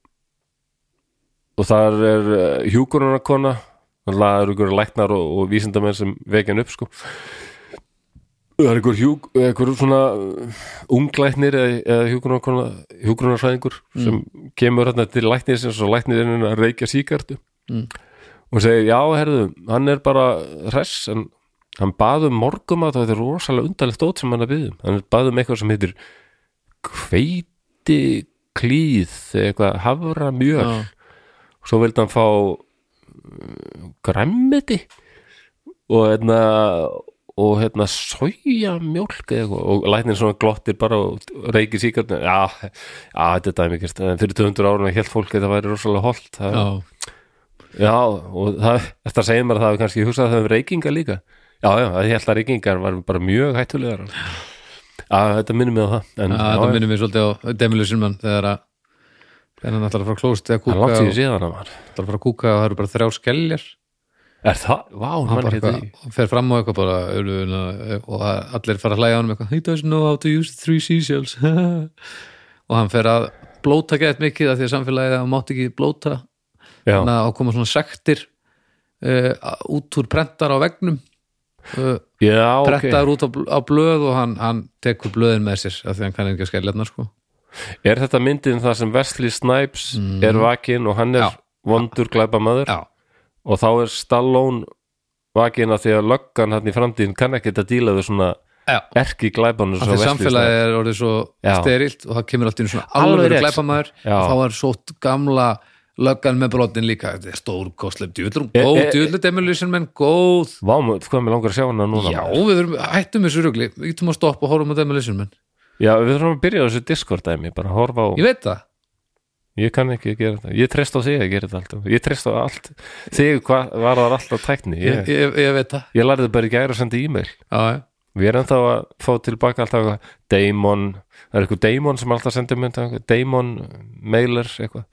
S1: og þar er uh, hjúkurunarkona hann laður ykkur læknar og, og vísindamenn sem vekja hann upp sko Það er einhver, hjúk, einhver svona uh, unglæknir eða, eða hjúgrunarkona- hjúgrunarsfræðingur
S2: Mm.
S1: sem kemur hérna til læknisins og læknirinn er að reykja síkartu
S2: Mm.
S1: og segir, já, herðu, hann er bara hress en hann baðum morgum að þetta er rosalega undarlegt dót sem hann er byggðum hann baðum eitthvað sem heitir hveiti klíð eitthvað hafra mjög
S2: Já.
S1: svo vildi hann fá græmmiti og hérna og hérna soja mjólk eitthvað og læknir svona glottir bara og reykir síkarni já, já, þetta er dæmikist en fyrir 200 árum að helt fólk að þetta væri rosalega holt það,
S2: Já.
S1: já, og það, þetta segir maður að það hafi kannski hugsað að það hefur reykingar líka já, já, það held að reykingar var bara mjög hættulegar já, þetta minnir mig á það en,
S2: Já, þetta minnir mér svolítið á Demilu Sinman þegar að þegar hann ætlar að fara klóst
S1: það
S2: eða
S1: er
S2: kúka
S1: langt
S2: og,
S1: sér síðan að maður
S2: ætlar að fara að kúka og það eru bara þrjá skelljar
S1: er það, vá,
S2: Hann
S1: mann
S2: bara
S1: hétt
S2: eitthvað- og fer fram á eitthvað bara ölvuna, og að- allir fara að hlæja á honum eitthvað he doesn't know how to use three seashells [laughs] og hann fer að blóta gett mikið af því að samfélagið að mátt ekki blóta
S1: já,
S2: þannig að koma svona sektir uh, út úr prentar á vegnum uh,
S1: já, ok
S2: prentaður út á, bl- á blöð og hann, hann tekur blöðin með sér af því hann kann ekki að skelljarnar sko
S1: Er þetta myndin þar sem Wesley Snipes er vakinn og hann er
S2: Mhm. Já.
S1: vondur glæpa maður
S2: já,
S1: og þá er Stallone vakinn að því að löggan hann í framtíðin kann ekkert að díla við svona
S2: já
S1: erki glæpanur
S2: af því samfélagið er orðið svo
S1: Já.
S2: sterilt og það kemur allt í einu svona
S1: Alveg
S2: alveg
S1: rétt.
S2: glæpamaður
S1: Já.
S2: og þá var sótt gamla löggan með brotin líka þetta er stór kostleif djúllur góð
S1: e-
S2: djúllur demolition menn, góð
S1: Vámur, hvað mér langar að sjá hana núna
S2: já, við erum, hættum þessu rugli við getum að stoppa og horfum á demolition menn
S1: Já, við þurfum að byrja á þessu Discord dæmi bara að horfa á,
S2: ég veit það,
S1: ég kann ekki að gera þetta ég treyst á þig að gera þetta alltaf ég treyst á allt, þig hvað var það alltaf tækni
S2: ég,
S1: ég,
S2: ég, ég veit það
S1: ég lærði bara í gæra að senda e-mail
S2: já, já.
S1: Við erum þá að fá tilbaka alltaf eitthvað Damon, það er eitthvað Damon sem alltaf sendir mynd, eitthvað Damon Mailer eitthvað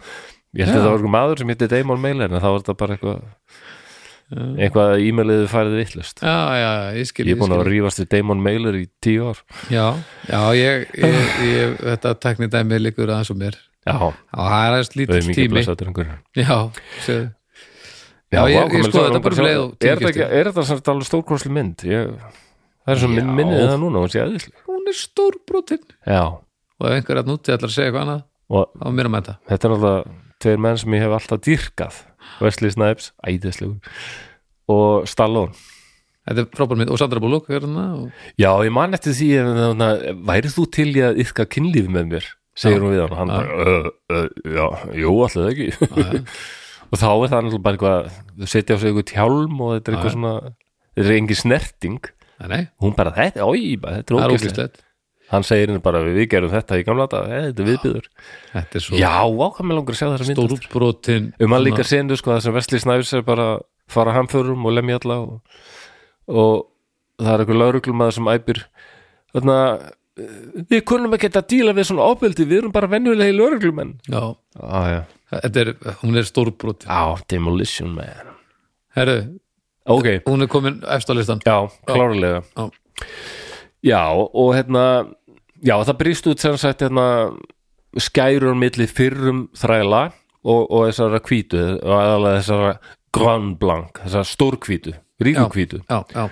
S1: Ég held
S2: Já.
S1: að það var eitthvað maður sem hétti Damon Mailer en þá var þetta bara eitthvað eitthvað að e-mailið færið vittlust
S2: já, já, ég skil
S1: Ég er búin að
S2: skil.
S1: rífast við Damon Mailer í tíu ár
S2: já, já, ég, ég, ég þetta tekni dæmi líkur aðeins og mér
S1: Já,
S2: já, það er aðeins
S1: það er
S2: lítill
S1: mikið
S2: tími
S1: blessaður einhverjum
S2: já, segðu Já, ég- ég skoða þetta bara um leið og
S1: Er
S2: tími
S1: þetta ekki- er þetta samt alveg stórkonsli mynd? Ég, það er svo
S2: Já.
S1: minn- minnið um það núna, hún sé aðeinslega
S2: hún er stór brotin
S1: Já,
S2: og ef einhver að núti ætlar að segja eitthvað annað
S1: og
S2: þá er mér að mæta
S1: þetta er náttúrulega tveir menn sem ég hef alltaf dýrkað Wesley Snipes, æðislegur og Stallone
S2: Þetta er frábær mynd og Sandra Bullock er hana og...
S1: já, ég man eftir því en þannig að værið þú til í að yfka kynlíf með mér segir hún við hann og hann bara, "Ö, ö, já, jú, alltaf ekki [laughs] og þá er það náttúrulega bara eitthvað þau setja á sig eitthvað tjálm og þetta er eitthvað svona þetta er engin snerting
S2: Nei, nei,
S1: hún bara, þetta, oi, bara, þetta
S2: það
S1: er
S2: er
S1: ógæslega
S2: ógislegt
S1: hann segir henni bara, við gerum þetta í gamla dag þetta er viðbyður,
S2: Þetta er svo
S1: já, ákvæmlega langar að sjá þessa mynd
S2: stórbrotinn
S1: um hann líka senu sko þess að Vesli Snæfis er bara að fara hamförum og lemja alla og, og það er einhver lauruglumæður sem æpir þarna eh, við kunnum ekki að díla við svona ofbeldi við erum bara venjulegi lauruglumenn
S2: Já,
S1: ah, já.
S2: þetta er, hún er stórbrotinn
S1: á, Ah, demolition man
S2: Herru,
S1: ok,
S2: hún er komin efst á listan
S1: já, klárlega
S2: Já.
S1: já, og hérna já, það brýst út sem sagt hérna skærur milli fyrrum þræla og, og þessara hvítu og aðalega þessara grand blanc þessara stórhvítu, ríkuhvítu
S2: Já, já,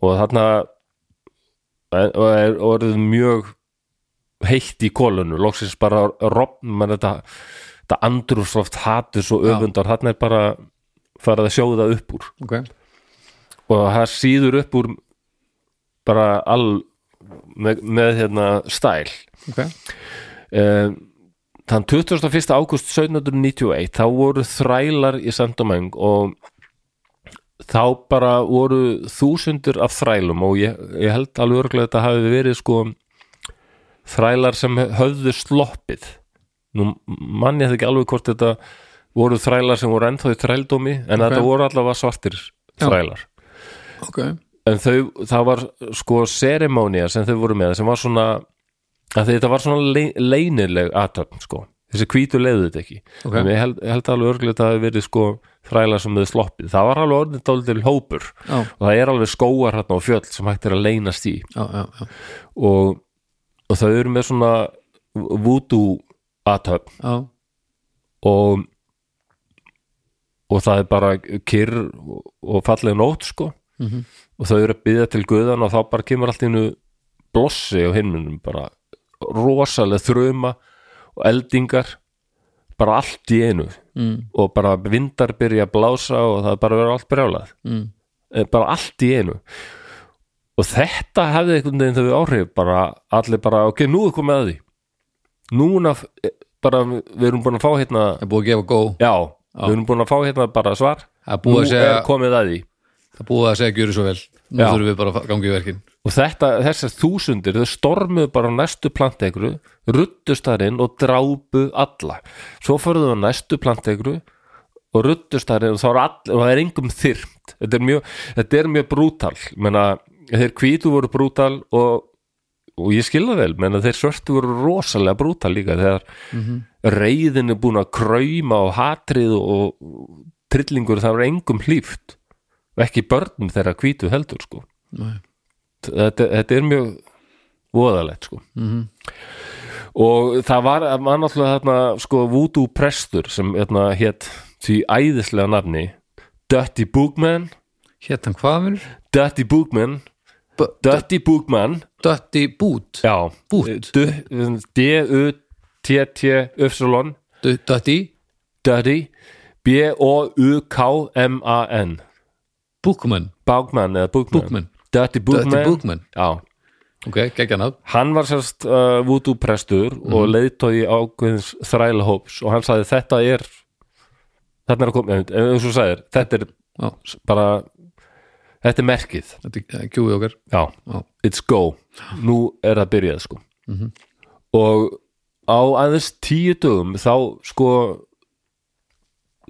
S1: og þarna og er og orðið mjög heitt í kólunu, loksins bara rofn, mann þetta, þetta andrúsloft hatur svo
S2: Já.
S1: öfundar þarna er bara farið að sjóða upp úr
S2: ok
S1: og það síður upp úr bara all með, með hérna stæl
S2: Ok,
S1: um, þann 21. águst 1791 þá voru þrælar í Sandamöng og þá bara voru þúsundur af þrælum og ég, ég held alveg örglega þetta hafi verið sko þrælar sem höfðu sloppið nú mann ég þetta ekki alveg hvort þetta voru þrælar sem voru ennþá í þrældómi en þetta voru allavega svartir þrælar
S2: ok
S1: en þau, það var sko serimónia sem þau voru með sem var svona að þetta var svona le, leynileg aðtöfn sko, þessi hvítu leiðu þetta ekki
S2: Ok.
S1: en ég held, ég held alveg örglega að það hafi verið sko þræla sem þau sloppið, það var alveg orðin dálítil hópur
S2: Já,
S1: og það er alveg skóar hérna og fjöll sem hægt er að leynast í
S2: já, já, já,
S1: og, og þau eru með svona voodoo aðtöfn
S2: já.
S1: og og það er bara kyrr og- og falleg nót sko
S2: Mhm.
S1: og þau eru að byggja til guðan og þá bara kemur allt í hennu blossi á himnunum bara rosalega þruma og eldingar bara allt í einu
S2: Mm.
S1: og bara vindar byrja að blása og það er bara að vera allt brjálað
S2: mm.
S1: Eh, bara allt í einu og þetta hefði einhvern veginn þau áhrif bara allir bara ok, nú er komið að því núna f- eh, bara við við erum búin að fá hérna
S2: Það er búið að gefa góð
S1: já, við erum búin að fá hérna bara svar
S2: Það er búið
S1: nú
S2: að segja,
S1: er komið að því
S2: það er búið að segja gjöru svo vel Nú
S1: Já.
S2: þurfum við bara að ganga í verkin
S1: og þetta, þessar þúsundir þau stormuðu bara á næstu plantegru ruttust þar inn og drápu alla svo fóruðu á næstu plantegru og ruttust þar inn og, þá er all, og það er engum þyrmt þetta er mjög, þetta er mjög brútal menna, þeir hvítu voru brútal og, og ég skilða vel menna, þeir svörtu voru rosalega brútal líka þegar reiðin er búin að krauma og hatrið og og trillingur það var engum hlíft og ekki börnum þeirra hvítu heldur sko
S2: Nei.
S1: þetta, þetta er mjög voðalegt sko
S2: Mhm.
S1: og það var það var náttúrulega þarna sko voodoo prestur sem hérna hétt því æðislega nafni Dirty Bookman
S2: Hétt hann hvað mér?
S1: Dirty Bookman
S2: B-
S1: Dirty Bookman
S2: Dötti bút
S1: já
S2: Boot.
S1: Du- D-U-T-T-Y
S2: Dö- Dötti
S1: Dirty B-O-U-K-M-A-N
S2: Bookman
S1: Bookman eða Bookman
S2: Bookman.
S1: Dirty Bookman
S2: Dötti Bookman
S1: já
S2: Ok, geggja nafn
S1: hann var sérst uh, voodoo prestur og leiðtói ákveðins þrælahóps og hann sagði þetta er þetta er að koma, en eins og þú sagðir þetta er
S2: Já,
S1: s- bara þetta er merkið,
S2: þetta er kjúið okkar
S1: já,
S2: Já. Mhm.
S1: it's go nú er það byrjað sko og á aðeins tíu dögum þá sko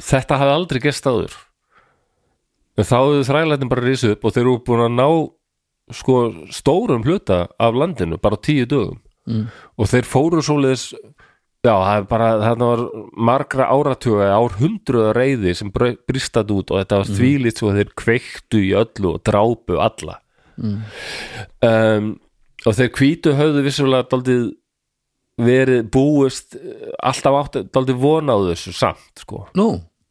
S1: þetta hafði aldrei gerst áður en þá hefðu þrælætin bara risið upp og þeir eru búin að ná sko stórum hluta af landinu bara á tíu dögum
S2: mm.
S1: og þeir fóru svoleiðis já, það er bara, þarna var margra áratuga, árhundruða reyði sem bristat út og
S2: Mm.
S1: þetta var þvílít svo að þeir kveiktu í öllu og drápu alla um, og þeir hvítu höfðu vissulega daldið verið búist eh, alltaf átt, daldið vona á þessu samt sko,
S2: Nú,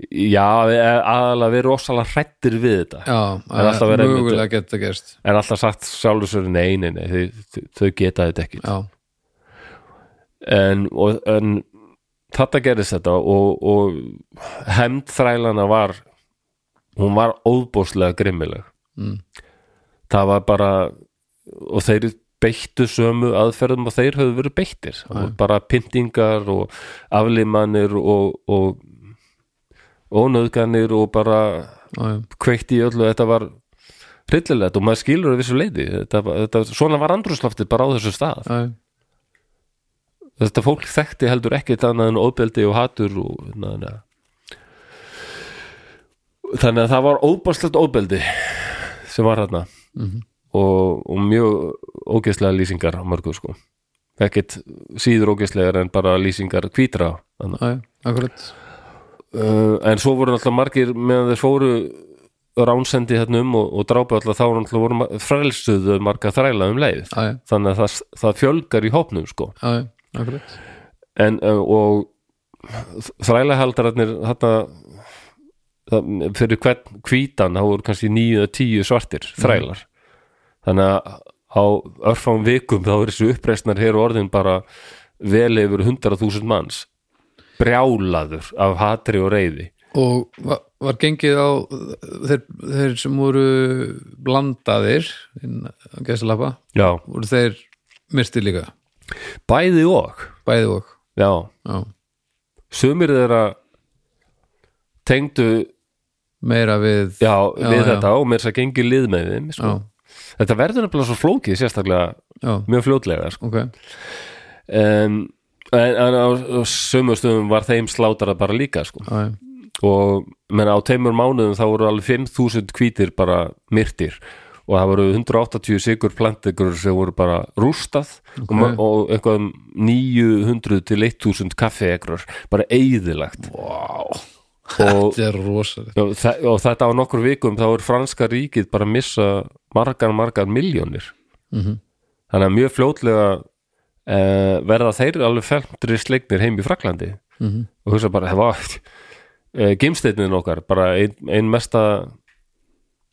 S1: já, eh, aðalega verið rosalega hrættir við þetta
S2: já, eh,
S1: Það er alltaf verið að-
S2: mögulega geta gerst
S1: en alltaf sagt sjálfur sér nei, nei, nei, þau, þau, þau geta þetta ekki
S2: Já,
S1: en, og, en þetta gerðist þetta og, og hemd þrælana var hún var óbóðslega grimmileg
S2: Mm.
S1: það var bara og þeir beittu sömu aðferðum og þeir höfðu verið beittir og bara pyntingar og aflimanir og, og ónöðganir og bara
S2: já, já,
S1: kveikt í öllu þetta var hryllilegt og maður skilur að vissu leiti þetta, var- þetta, svona var andrúslaftið bara á þessu stað
S2: já
S1: þetta fólk þekkti heldur ekkert annað en óbeldi og hatur og, na, na. þannig að það var óbáslegt óbeldi sem var þarna
S2: Mhm.
S1: og, og mjög ógeðslega lýsingar á mörgu sko ekkert síður ógeðslegar en bara lýsingar hvítra þarna
S2: já, já, akkurat
S1: uh, en svo voru alltaf margir meðan þeir fóru ránsendi þarna um og, og drápa alltaf þá voru alltaf voru frelstuðu marga þræla um leið
S2: Já, já,
S1: þannig að það, það fjölgar í hópnum sko
S2: já, já, akkurat
S1: en uh, og þrælahaldararnir þetta það- fyrir hvern hvítan þá voru kannski níu eða tíu svartir þrælar þannig að á örfám vikum þá er þessu uppreisnar hér orðin bara vel yfir 100.000 manns brjálaður af hatri og reyði
S2: Og va- var gengið á þeir, þeir sem voru blandaðir inn á gæstalappa,
S1: já,
S2: voru þeir myrti líka,
S1: bæði og
S2: bæði og
S1: já,
S2: já,
S1: sumir þeirra tengdu
S2: meira við
S1: já, við
S2: já.
S1: þetta og mér þess að gengi lið með þeim sko.
S2: já,
S1: þetta verður nefnilega svo flókið sérstaklega
S2: já,
S1: mjög fljótlega sko.
S2: ok
S1: um, en, en á, á sömu stöðum var þeim slátrað bara líka sko.
S2: já, já,
S1: og menn á teimur mánuðum þá voru alveg 5000 hvítir bara myrtir og það voru 180 sigur plantegur sem voru bara rústað og, ma- og eitthvað um 900 til 1000 kaffeegrur bara
S2: [laughs]
S1: eyðilagt wow. og,
S2: þetta er rosalegt
S1: og, þa- og þetta á nokkur vikum þá er franska ríkið bara að missa margar margar miljónir
S2: Mhm.
S1: þannig að mjög fljótlega uh, verða þeir alveg felmtri sleiknir heim í Fraklandi
S2: Mhm.
S1: og [laughs] Eh, hugsa bara, það var uh, gimsteinnin okkar, bara ein, ein mesta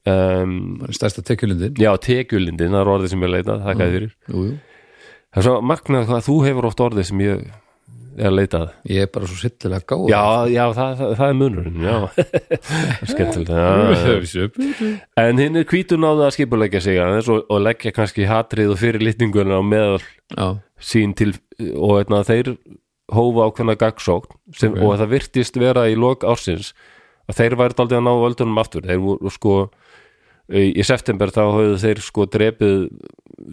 S1: um,
S2: bara stærsta tekjulundin
S1: já, tekjulindin, það er orðið sem ég leita þakkaði fyrir,
S2: jú, jú.
S1: það er svo magnað hvað þú hefur oft orðið sem ég er að leitað
S2: ég er bara svo sittilega gáð
S1: já, já, það, það, það er munurinn já, [laughs] skemmtilega
S2: Eh,
S1: já, já.
S2: já,
S1: en hinn er hvítur náðu að skipuleggja sig aðeins og, og leggja kannski hatrið og fyrirlitninguna á meðal sín til og einna, þeir hófa ákveðna gagsókn sem,
S2: Ok.
S1: og það virtist vera í lok ársins að þeir væri aldrei að ná völdunum aftur þeir voru sko í í september þá höfðu þeir sko drepið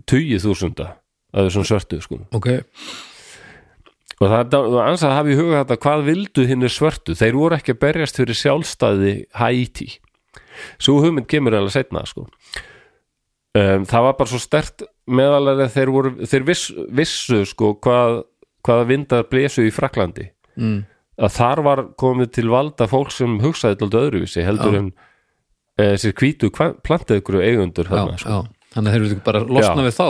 S1: tugið þúsunda að þessum svörtu sko
S2: ok
S1: og það er dál- og ans að hafa í huga þetta hvað vildu hinn svörtu, þeir voru ekki að berjast fyrir sjálfstæði Haiti svo hugmynd kemur alveg setna sko. um, það var bara svo stert meðalega þeir, voru, þeir viss, vissu sko, hvað, hvaða vindar blésu í Fraklandi
S2: mm.
S1: að þar var komið til valda fólk sem hugsaði til öðruvísi heldur en e, sér hvítu plantaðugru eigundur
S2: já,
S1: þarna, sko.
S2: já. þannig að þeir eru bara losna
S1: Já.
S2: við þá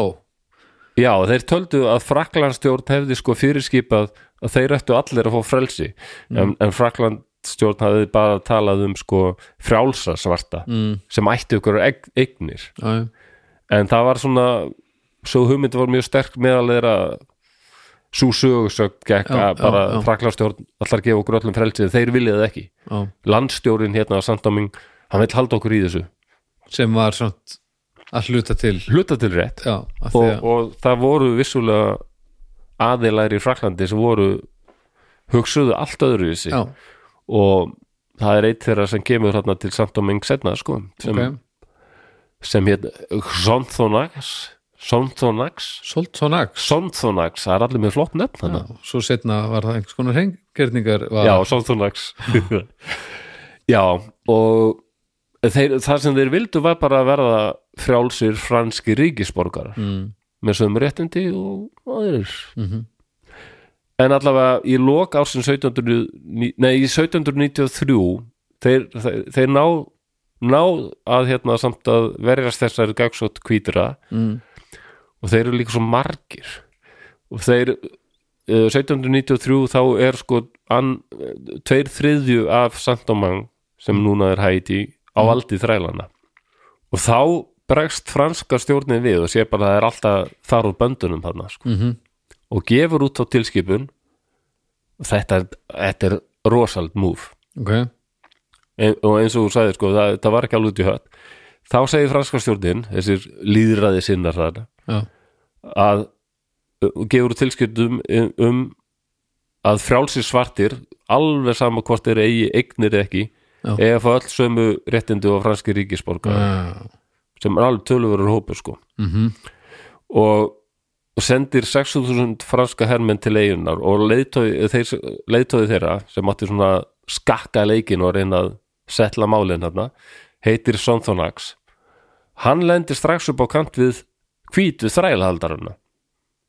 S1: Já, þeir töldu að Fraklandstjórn hefði sko fyrirskipað að þeir ættu allir að fá frelsi
S2: Mm.
S1: en, en Fraklandstjórn hafði bara talað um sko frjálsa svarta
S2: mm.
S1: sem ættu ykkur egg, eignir
S2: já, já.
S1: en það var svona svo hugmynd var mjög sterk meðal þeirra svo sögursögn gekk
S2: Já,
S1: að
S2: já,
S1: bara
S2: já.
S1: Fraklandstjórn allar að gefa okkur öllum frelsi en þeir vilja það ekki
S2: Já.
S1: landstjórin hérna á Sandoming hann vill halda okkur í þessu
S2: sem var samt að hluta til
S1: hluta til rétt
S2: já, af því
S1: og,
S2: að
S1: og það voru vissulega aðilæri í Fraklandi sem voru hugsuðu allt öðru í sig
S2: já,
S1: og það er eitt þeirra sem kemur þarna til samt og meng setna sko, sem,
S2: ok,
S1: sem hétt Sonthonax Sonthonax
S2: solt svo nags
S1: Sonthonax, það er allir með flott nefn
S2: já,
S1: þarna
S2: svo setna var það einhvers konar hengerningar
S1: já, Sonthonax [laughs] já, og þeir, það sem þeir vildu var bara að verða frjálsir franski ríkisborgarar
S2: mm.
S1: með sögum réttindi og aðeins
S2: mm
S1: en allavega í lok ársinn 1700, ní- nei, í 1793 þeir, þeir, þeir ná, ná að hérna samt að verjast þessari gagsótt hvítra
S2: mm.
S1: og þeir eru líka svo margir og þeir eh, 1793 þá er sko an, tveir þriðju af Sandomang sem núna er hæti á valdi þrælana og þá bregst franska stjórnin við og sé bara að það er alltaf þar úr böndunum þarna sko
S2: Mm
S1: og gefur út á tilskipun þetta er, þetta er rosald múf
S2: ok,
S1: en, og eins og þú sagði sko, það, það var ekki alveg út í hött þá segir franska stjórnin þessir líðræði sinnar þar
S2: já,
S1: að og gefur út tilskipun um, um að frjálsir svartir alveg sama hvort þeir eigi eignir eða ekki
S2: Já.
S1: eða fá öll sömu réttindi og franski ríkisborga
S2: já.
S1: sem er alveg töluverur hópur sko
S2: Mm
S1: og og sendir 6.000 franska hermenn til eigunar og leiðtói, þeir, leiðtói þeirra sem átti svona skakka leikin og reyna að setla málin hérna, heitir Sonthonax hann lendir strax upp á kant við hvítu þrælhaldarana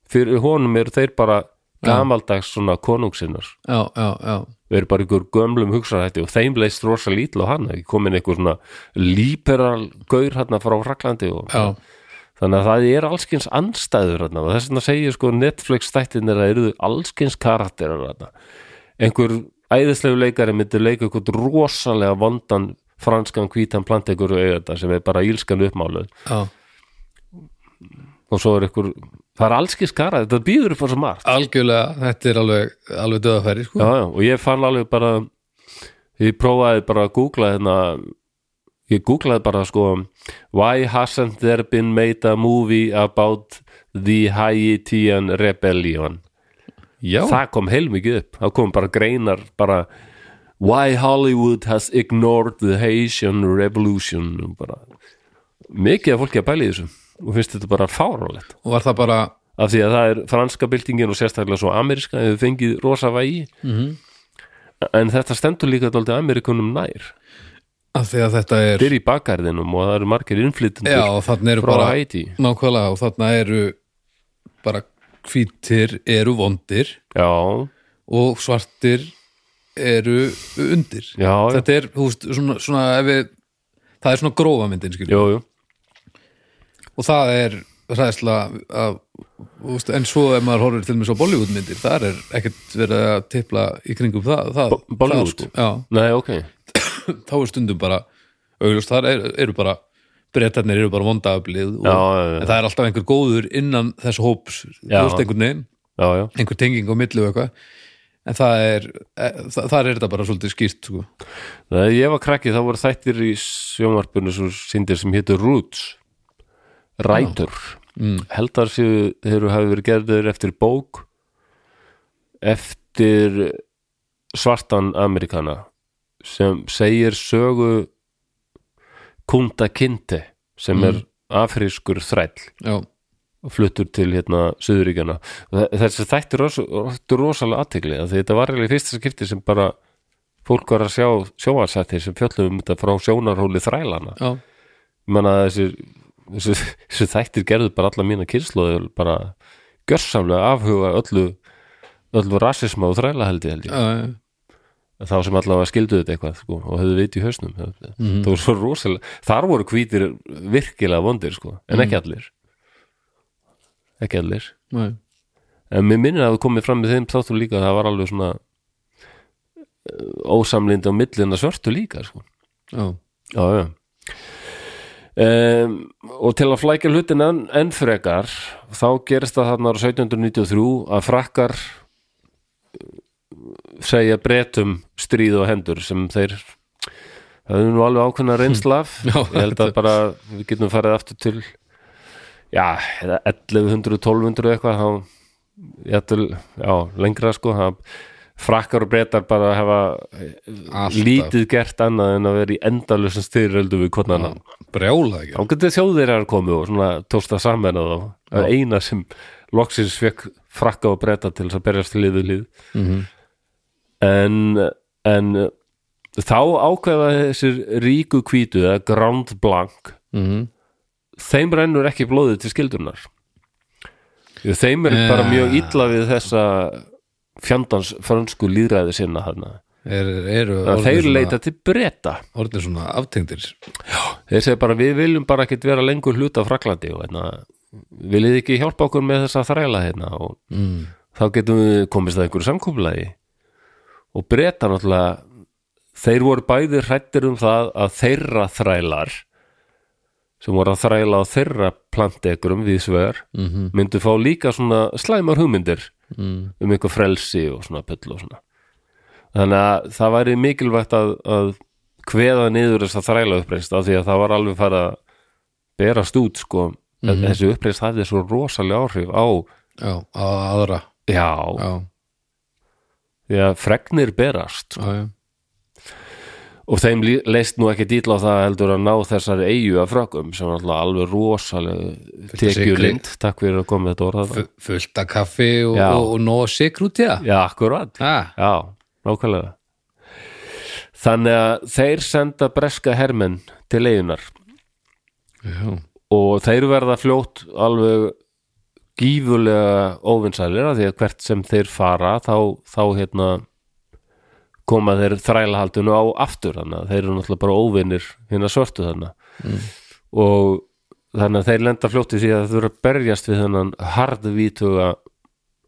S1: fyrir honum eru þeir bara gamaldags svona konungsinnar
S2: já, já, já
S1: við erum bara ykkur gömlum hugsarætti og þeim leist rosa lítl og hann ekki komin einhver svona líperal gaur hérna frá Fraklandi og
S2: já,
S1: þannig að það er allskins anstæður þarna og þess vegna segir sko Netflix þættinir að eru allskins karakterar þarna einhver æðislegu leikari myndi leika eitthvað rosalega vondan franskan hvítan plantekur og auðvitað sem er bara ílskan uppmáluð
S2: já
S1: og svo er einhver, það er allskins karakter þetta býður upp á svo margt
S2: algjörlega, þetta er alveg alveg döðafæri, sko
S1: já, já, og ég fann alveg bara ég prófaði bara að googla hérna ég googlaði bara sko why hasn't there been made a movie about the Haitian rebellion
S2: já,
S1: það kom heilmikið upp það kom bara greinar bara why Hollywood has ignored the Haitian revolution og bara mikið af fólki að pæla í þessu og finnst þetta bara fárálegt
S2: og var það bara
S1: af því að það er franska byltingin og sérstaklega svo ameríska hefur fengið rosa vægi
S2: Mhm.
S1: en þetta stendur líka dálítið Amerikunum nær
S2: af því að þetta er
S1: þeir eru í bakgarðinum og það eru margir innflytendur
S2: já, og þarna eru
S1: frá
S2: bara
S1: Haiti
S2: nákvæmlega, og þarna eru bara hvítir eru vondir
S1: já,
S2: og svartir eru undir
S1: já, já,
S2: þetta er, þú veist, svona, svona ef við, það er svona grófa myndin skilur,
S1: jú, jú
S2: og það er hræðsla að, þú veist, en svo ef maður horfir til með svo Bollywood myndir, þar er ekkert verið að tipla í kringum það, það
S1: Bo- Bollywood?
S2: það, sko.
S1: nei, ok,
S2: já, þá er stundum bara auðvitað þar er, eru bara brettarnir eru bara vondaaflið og,
S1: Já, já, já.
S2: en það er alltaf einhver góður innan þess hóps, þú
S1: Já.
S2: veist einhvern veginn
S1: já, já,
S2: einhver tenging á milli og eitthvað en það er, e, þa- þar er þetta bara svolítið skýrt sko.
S1: Þegar ég var krakki þá voru þættir í sjónvarpinu svo sindir sem hétu Roots Rætur mm. Heldar séu þeir hafi verið gerðir eftir bók eftir svartan Amerikana sem segir sögu Kunta Kinte sem er afrískur þræll
S2: já,
S1: og fluttur til hérna Suðuríkjana þessi þætti ros, áttu rosalega aðtegli því þetta var eiginlega í fyrsta skipti sem bara fólk var að sjá sjóarsættir sem fjöllum um þetta frá sjónarhóli þrælana
S2: já,
S1: menna þessi, þessi, þessi þættir gerðu bara alla mína kynsloður bara gjörsamlega afhuga öllu öllu rasisma og þræla held ég held ég
S2: já, já.
S1: þá sem allavega skildu þetta eitthvað sko, og höfðu vit í hausnum það voru svo rosalega, þar voru hvítir virkilega vondir sko, en ekki allir ekki allir
S2: já.
S1: en mér minnir að þú komið fram með þeim þáttum líka að það var alveg svona eh, ósamlindi á millina svörtu líka sko.
S2: já.
S1: já, já Um, og til að flækja hlutin enn, enn frekar þá gerist það þarna ára 1793 að frakkar uh, segja bretum stríð og hendur sem þeir það er nú alveg ákveðna reynslaf
S2: Já,
S1: ég held að bara við getum farið aftur til já, eða 1100, 1200 eitthvað þá, jætul, já, lengra sko það, frakkar og bretar bara hafa
S2: Alltaf.
S1: lítið gert annað en að vera í endalusum styröldu við konana já.
S2: brjála ekki
S1: þá getur þjóðir að komu og svona tósta saman og það var eina sem loksins fekk frakka og breyta til þess að berjast til liðu lið en, en þá ákveða þessir ríku hvítu eða Grand Blanc
S2: mm -hmm.
S1: þeim rennur ekki blóðið til skildunar þeim er
S2: Ja.
S1: bara mjög illa við þessa fjandans fransku líðræði sinna hana
S2: er, eru
S1: þeir leita til breyta
S2: orðin svona aftengdir
S1: þeir segja bara við viljum bara ekkert vera lengur hluta af Fraklandi og hérna viljið þið ekki hjálpa okkur með þessa þræla hérna og
S2: mm.
S1: þá getum við komist að einhverju samkomulagi og breyta náttúrulega þeir voru bæði hrættir um það að þeirra þrælar sem voru að þræla á þeirra plantekurum við svegar
S2: Mhm.
S1: myndu fá líka svona slæmar hugmyndir
S2: Mm.
S1: um eitthvað frelsi og svona pull og svona þannig að það væri mikilvægt að, að kveða niður þess að þræla uppreist af því að það var alveg farið að berast út sko þessi uppreist hafði svo rosalega áhrif á
S2: já, á aðra
S1: já,
S2: já,
S1: því að fregnir berast sko.
S2: já, já,
S1: og þeim lí- leist nú ekki dýla á það heldur að ná þessari eigu af frökkum sem er alltaf alveg rosalega
S2: af sykri.
S1: tekjulind, takk fyrir að koma með þetta orðað
S2: Fu- fullt af kaffi og,
S1: Já.
S2: og, og nóg sigur út í það
S1: Já, akkurat
S2: ah,
S1: Já, nákvæmlega Þannig að þeir senda breska hermenn til leigunar
S2: já,
S1: og þeir verða fljótt alveg gífulega óvinsælir af því að hvert sem þeir fara þá, þá hérna koma þeir þrælahaldinu á aftur þannig að þeir eru náttúrulega bara óvinnir hérna svörtu þannig mm. og þannig að þeir lenda fljótt í því að þeir eru að berjast við þennan harðvítuga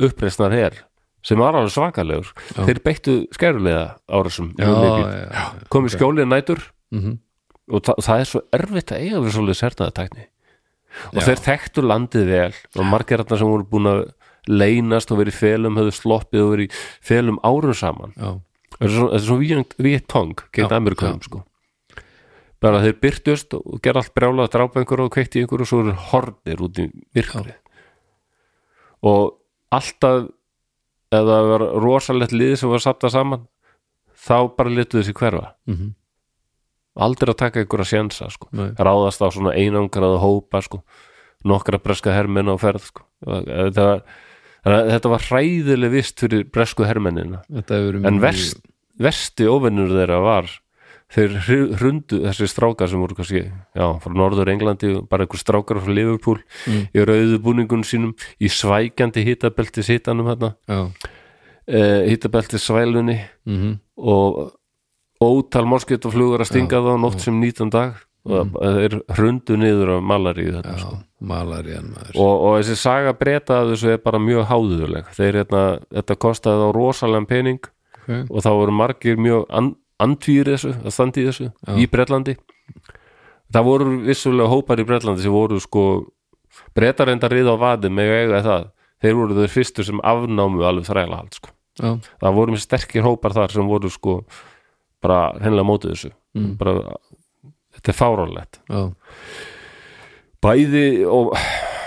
S1: uppreisnar her sem var alveg svakalegur þeir beittu skærulega árasum
S2: já, já, já.
S1: komið okay. skjólið nætur
S2: Mm -hmm.
S1: og það, það er svo erfitt að eiga við svolítið sérnaðatækni og þeir þekktu landið vel og margir þarna sem voru búin að leynast og verið í felum, höfðu sloppið og verið í felum árum saman
S2: já.
S1: þetta er svo- þetta er svona vietong gegn
S2: Já,
S1: Amerikanum sko bara þeir byrtust og gerða allt brjálað að drápa einhverju og kveikti í einhverju og svo eru hornir út í virkri og alltaf ef það var rosalegt liði sem var sapta saman þá bara letuðu þessi hverfa
S2: Mhm.
S1: aldrei að taka einhverja sjensa sko.
S2: Nei.
S1: ráðast á svona einangraða hópa sko. nokkra breska hermenn á ferð sko. þetta, var, þannig að þetta var hræðileg vist fyrir bresku hermennina
S2: þetta hefur
S1: en verst, versti óvinnur þeirra var þeir hru- hrundu þessi strákar sem voru kannski já, frá norður Englandi, bara einhver strákar frá Liverpool í rauðu búningun sínum í svækjandi hitabeltis hitanum hérna,
S2: já,
S1: uh, hitabeltis svælunni
S2: mm
S1: og ótal morskjötaflugur að stinga þá nótt sem 19 dag og það er hrundu niður af malaríu þetta
S2: já malarían sko, maður
S1: og, og þessi saga breyta að þessu er bara mjög háðuðuleg þeir hérna, þetta kostaði þá rosalega pening
S2: okay.
S1: og þá voru margir mjög and, andvíri þessu, að standi í þessu í Bretlandi það voru vissulega hópar í Bretlandi sem voru sko brettar enda riða á vaði með eiga það þeir voru þeir fyrstu sem afnámu alveg þræla hald sko
S2: já,
S1: það voru mjög sterkir hópar þar sem voru sko bara hennilega mótið þessu bara, þetta er fáránlegt
S2: já,
S1: bæði og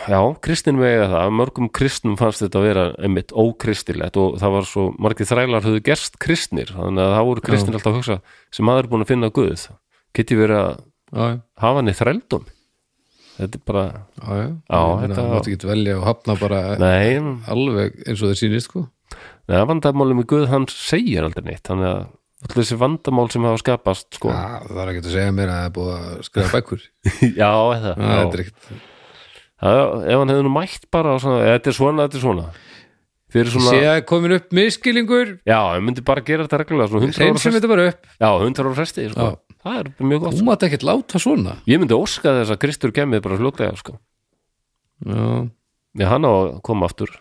S1: já, kristin með eiga það, mörgum kristnum fannst þetta að vera einmitt ókristilegt og það var svo, margir þrælar höfðu gerst kristnir, þannig að það voru kristnir alltaf að hugsa sem maður er búin að finna Guð get ég verið að
S2: já, já,
S1: hafa hann í þrældum þetta er bara,
S2: já, já.
S1: Já,
S2: Ég meina,
S1: þetta-
S2: þú mátt ekki velja og hafna bara
S1: nei
S2: alveg eins og það sýnist sko
S1: neða vandamálum í Guð, hann segir aldrei neitt þannig að allir þessi vandamál sem hafa skapast sko,
S2: já, það er ekki að segja mér að það er búið að skrifa bækur já,
S1: [laughs] já, eða [laughs] já.
S2: þetta er ekkert
S1: Já, ef hann hefði nú mætt bara og svona, þetta er svona, þetta er svona fyrir svona,
S2: sé að komin upp miskilingur
S1: já, hann myndi bara gera þetta reglulega svona 100 ára
S2: reynsum
S1: fresti,
S2: þetta bara upp
S1: já, 100 ára fresti sko. það er mjög gott, sko.
S2: þú mátt ekkert láta svona
S1: ég myndi óska þess að Kristur kemið bara fljótlega, sko
S2: já,
S1: já, hann á að koma aftur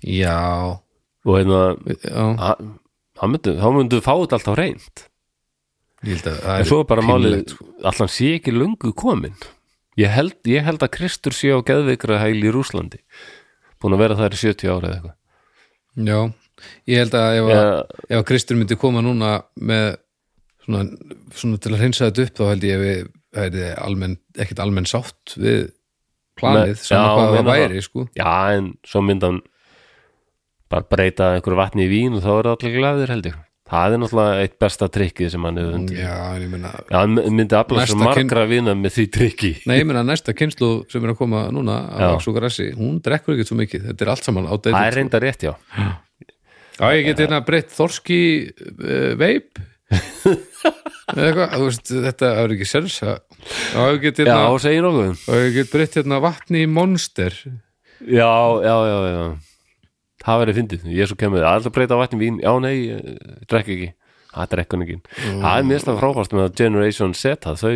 S2: já,
S1: og hérna,
S2: já.
S1: hann hann myndi, þá myndu fá þetta alltaf reynd
S2: ég held að það
S1: en
S2: er
S1: svo er bara
S2: pínlegt,
S1: málið, allan sé ekki löngu komin ég held, ég held að Kristur sé á geðveikra hæli í Rúslandi búin að vera það í 70 ára eða eitthvað
S2: já, ég held að ef, að
S1: Eða-
S2: ef að Kristur myndi koma núna með svona, svona til að hreinsa þetta upp þá held ég að við hefði almenn, ekkert almenn sátt við planið,
S1: Nei,
S2: saman
S1: já,
S2: hvað það
S1: meina það.
S2: væri sko.
S1: Já, en svo myndi hann bara breyta einhverju vatni í vín og þá er það allir glæðir held ég Það er náttúrulega eitt besta trikkið sem hann hefur undir
S2: já, en ég meina
S1: Já, hann myndi afla
S2: Næsta
S1: svo
S2: kyn-
S1: margra vina með því trikki
S2: Nei, ég meina næsta kynslu sem er að koma núna
S1: Já.
S2: á Súkarassi, hún drekkur ekkert svo mikið þetta er allt saman á
S1: Það er
S2: deilu
S1: reynda rétt, já
S2: Já, ég get hérna breytt þorski uh,
S1: [laughs]
S2: veip eða eitthvað, þú veist, þetta er ekki sens Já, ég get
S1: Já,
S2: hérna
S1: og segir nokkuð
S2: og ég get breytt hérna vatni í monster
S1: Já, já, já, já Það verið fyndið, ég svo kemur Það er alltaf að breyta vatni í vín, já, nei, ég eh, drekk ekki Það drekk hann ekki Það er mjög slag frábært með að Generation Z það þau,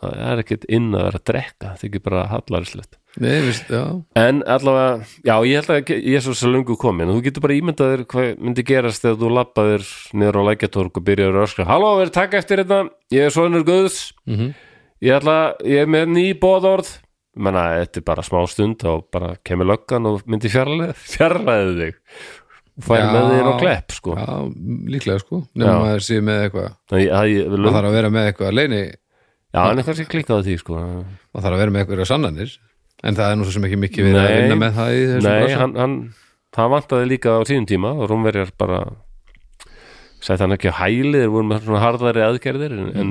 S1: það er ekkit inn að vera að drekka það er bara hallarislegt
S2: Nei, veist, já,
S1: En allavega, já, ég held að ég er svo svo lungu komin, þú getur bara ímyndað þér hvað myndi gerast þegar þú lappaðir niður á lækjatorg og byrjaður að öskra Halló, verið takk eftir þetta, ég er sonur Guðs
S2: Mhm.
S1: ég ætla, ég er með ný bóðorð menna, þetta er bara smá stund og bara kemur löggan og myndi fjarlæði, fjarlæði þig og færi
S2: Já.
S1: með þér á klepp, sko
S2: já líklega sko nema
S1: Já.
S2: maður sé með eitthvað
S1: Það ég- það ég-
S2: maður
S1: löng-
S2: þarf að vera með eitthvað leini
S1: Já, en eitthvað sem klikkað á því, sko
S2: maður þarf að vera með eitthvað sannanir en það er nú svo sem ekki mikið verið að
S1: Nei.
S2: vinna með það í þessum
S1: Nei,
S2: bransa.
S1: hann, hann, hann vantaði líka á sínum tíma og Rómverjar bara sætti hann ekki á hæli þeir voru með svona harðari aðgerðir en, en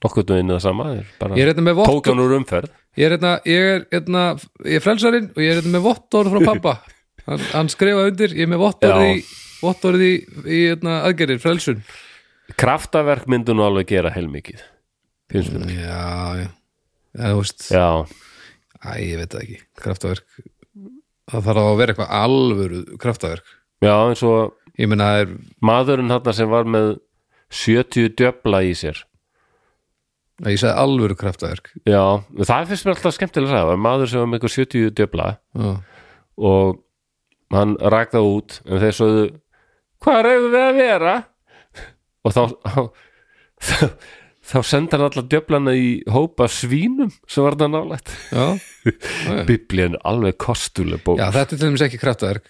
S1: nokkuð veginn það sama þeir bara
S2: Ég er hérna með vott
S1: tók hann úr umferð
S2: Ég er hérna, ég er hérna, ég er frelsarinn og ég er hérna með vottorð frá pappa
S1: [laughs]
S2: hann, hann skrifa undir, ég er með vottorð
S1: Já.
S2: í vottorð í, í hérna, aðgerir, frelsun
S1: kraftaverk myndu nú alveg gera heilmikið finnst mér
S2: Já, já Það þú veist,
S1: Já,
S2: æ, ég veit það ekki kraftaverk það þarf að vera eitthvað alvöru kraftaverk
S1: já eins og
S2: ég meina það er,
S1: maðurinn hann sem var með 70 djöfla í sér
S2: að ég sagði alvöru kraftaverk
S1: Já, það finnst mér alltaf skemmtilega að það var maður sem var með eitthvað 70 djöfla
S2: Já,
S1: og hann rak það út en þeir sögðu hvar eigum við að vera og þá þá, þá, þá senda hann allar djöflana í hópa svínum sem var það nálægt
S2: já,
S1: biblían er alveg kostuleg bók
S2: já
S1: já,
S2: þetta er til dæmis ekki
S1: [laughs]
S2: kraftaverk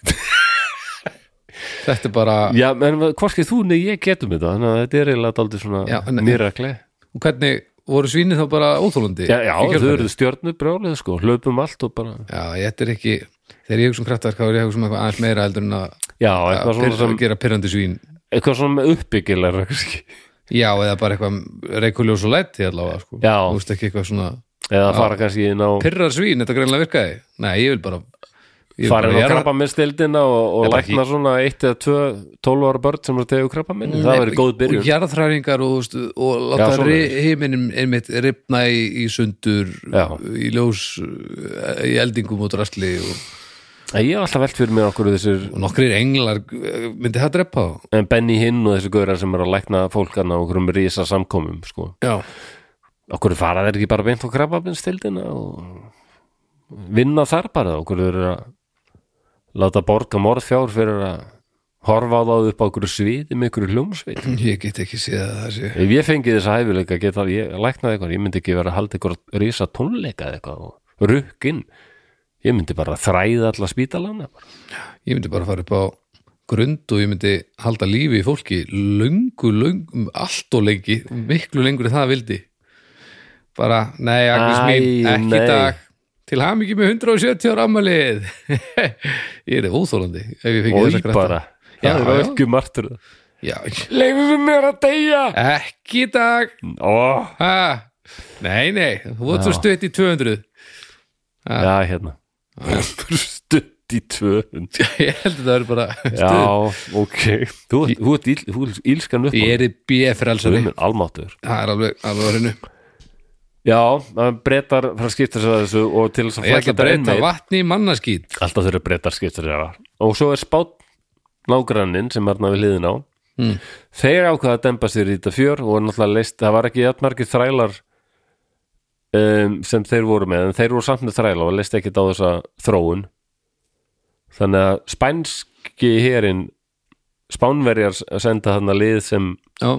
S2: Þetta er bara
S1: já en hvorki þú nei ég getum þetta þannig að þetta er eiginlega daldið
S2: Já, en-
S1: svona mirakli
S2: og hvernig voru svínið þá bara óþólandi
S1: já, já
S2: Í
S1: þau
S2: kjölfarið?
S1: eru stjörnu brjálið sko hlaupum allt og bara
S2: Já, þetta er ekki þegar ég hugsa um kraftaverk þá er ég að hugsa um eitthvað aðeins meira heldur en að,
S1: já,
S2: að,
S1: eitthvað
S2: pyr,
S1: svona, sem,
S2: gera pyrrandi svín
S1: eitthvað svona uppbyggilega kannski
S2: Já, eða bara eitthvað reikuljós og læti allavega, sko
S1: Já.
S2: Þú veist ekki eitthvað svona
S1: eða fara kannski inn á
S2: pyrrar svín, þetta greinlega virkaði Nei, ég vil bara ég vil
S1: farin
S2: bara
S1: á
S2: gera-
S1: krabba minn stildina og, og
S2: Ég bara
S1: lækna svona eitt eða tvö 12 ára börn sem eru að tegja krabba minn það
S2: Nei,
S1: verið góð byrjun
S2: Og jarðhræringar og, þú veist, og láta
S1: Já, svoleiðis.
S2: heiminum einmitt ripna í, í sundur
S1: Já.
S2: í ljós eh, í eldingum og drasli og,
S1: Æ, ég hef alltaf velt fyrir mér okkur þessir
S2: og nokkrir englar eh, myndi það drepa þá
S1: en Benny Hinn og þessi gaurar sem eru að lækna fólkana og okkur um rísa samkomum sko.
S2: Já,
S1: okkur fara þeir ekki bara beint á krabba minn stildina og vinna þar bara okkur eru að láta borga morðfjár fyrir að horfa á það upp á einhverju sviði með einhverju hljómsveit
S2: ég get ekki séð að það sé
S1: ef ég fengi þessa hæfileika geta ég læknað eitthvað ég myndi ekki vera að halda eitthvað risa tónleika eða eitthvað og rukkin ég myndi bara þræða alla spítalana bara.
S2: ég myndi bara fara upp á grund og ég myndi halda lífi í fólki löngu, löngu, allt og lengi miklu lengur en það vildi bara, nei, Agnes
S1: Æ,
S2: mín ekki
S1: nei.
S2: í dag, til ham ekki með 170 ára ammalið [laughs] ég er óþólandi ef ég fengi
S1: og
S2: þessa
S1: ég
S2: græta
S1: bara
S2: Já,
S1: það
S2: já.
S1: er ekki martur
S2: já,
S1: leiðum mér að deyja
S2: ekki í dag
S1: Ó,
S2: ha. nei, nei, þú vart svo stutt í 200
S1: já hérna [laughs] stutt í tvönd
S2: [laughs] ég held að það verður bara stutt
S1: já, ok þú, þú, ert ill, þú ert ílskan upp á
S2: ég er í BF-frelsari
S1: Guðmund almáttur
S2: það er alveg, alveg á hreinu
S1: já, það breytar frá skipta sér að þessu og til þess að
S2: ég ætla
S1: flækja
S2: að breyta
S1: meir-
S2: vatni í mannaskýt
S1: alltaf þeirra breytar skipta sér að og svo er spátt nágranninn sem er við hliðin á
S2: Mm.
S1: þeir ákvaða að dempa sér í þetta fjör og er náttúrulega leist, það var ekki jafnmargir þrælar um, sem þeir voru með en þeir voru samt með þræla og leist ekki á þessa þróun þannig að spænski herin spánverjar senda þarna lið sem
S2: já,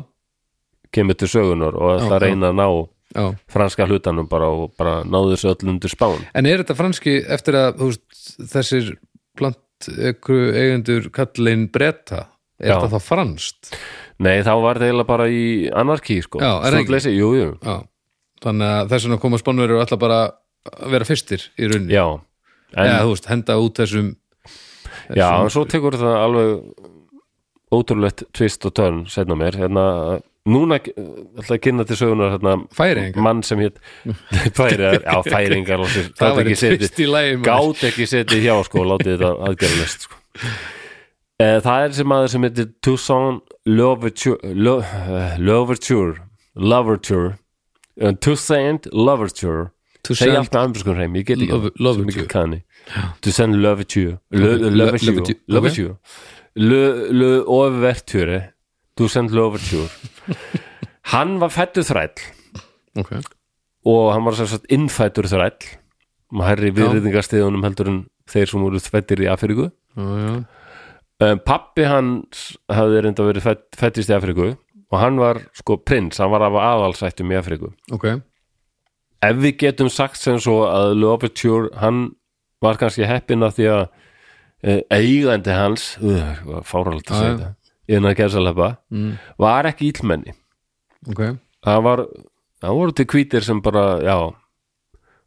S1: kemur til sögunar og ætla að
S2: Já, já.
S1: reyna að ná
S2: já
S1: franska hlutanum bara og bara náðu þessu öll undir spán
S2: En er þetta franski eftir að þú veist, þessir plant eigendur kallin bretta
S1: Já.
S2: er þetta þá franskt
S1: Nei, þá var það eiginlega bara í anarkí sko.
S2: Já, er það ekki?
S1: Stjórnleysi, jú, jú,
S2: já. þannig að þess vegna koma spánverður alltaf bara að vera fyrstir í rauninni
S1: já En,
S2: Eða, þú veist, henda út þessum
S1: já, en svo tekur það alveg ótrúlegt tvist og törn setna mér, hérna núna eh, ætla að kynna til sögunar hérna,
S2: Færeyingar.
S1: mann sem [laughs] hétt færingar, já, færingar lásir,
S2: [laughs] það
S1: gátt
S2: væri
S1: ekki setið
S2: tvist í lægi
S1: gátt ekki setið hjá sko, og látið þetta aðgerðalist sko. Eh, það er sem aður sem heitir Toussaint Louverture Lou- eh, Louverture Louverture eh, Toussaint Louverture Segja allt með amburskum hreim, ég get ekki
S2: Love-
S1: það, svo mikið
S2: Loverture.
S1: kanni To send love to you Love to you
S2: Loverture,
S1: Love to you Le overture To send love [laughs] to you Hann var fættu þræll
S2: okay.
S1: og hann var sem sagt innfættur þræll og herri viðriðingastiðunum heldur en þeir sem voru fættir í Afríku
S2: já, já.
S1: um, Pappi hans hafði reynda verið fætt, fættist í Afríku og hann var sko prins, hann var af aðalsættum í Afríku
S2: ok
S1: ef við getum sagt sem svo að Lovature, hann var kannski heppinn af því að eh, eigandi hans uh, fáralegt að
S2: Já,
S1: segja
S2: já.
S1: þetta innan gerðsalapa, mm. var ekki íllmenni
S2: ok,
S1: það var, það voru til hvítir sem bara, já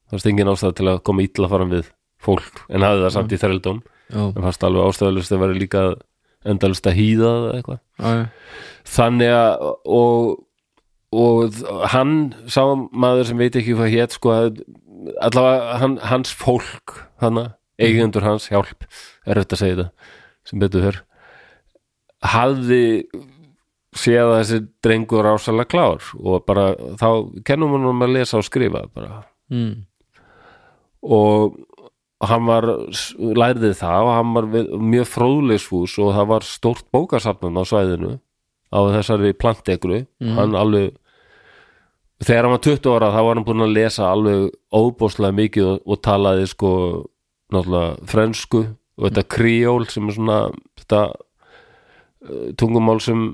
S1: það var engin ástæð til að koma illa faran við fólk, en hafði það samt í þrældum
S2: já,
S1: en fannst alveg ástæðalust að vera líka endalust að hýða það eitthvað
S2: já, já.
S1: þannig að og, og hann sá maður sem veit ekki hvað hétt sko að allavega hann, hans fólk hana, eigendur hans hjálp er auðvitað að segja þetta sem betur fyrr hafði séð að þessi drengur rásalega klár og bara þá kennum hann að lesa og skrifa bara
S2: Mm.
S1: og hann var lærði það og hann var við, mjög fróðlegsfús og það var stórt bókasafnum á svæðinu á þessari plantegru hann alveg þegar hann var 20 ára þá var hann búinn að lesa alveg óbóðslega mikið og, og talaði sko náttúrulega frensku og þetta kriól sem er svona þetta eh, tungumál sem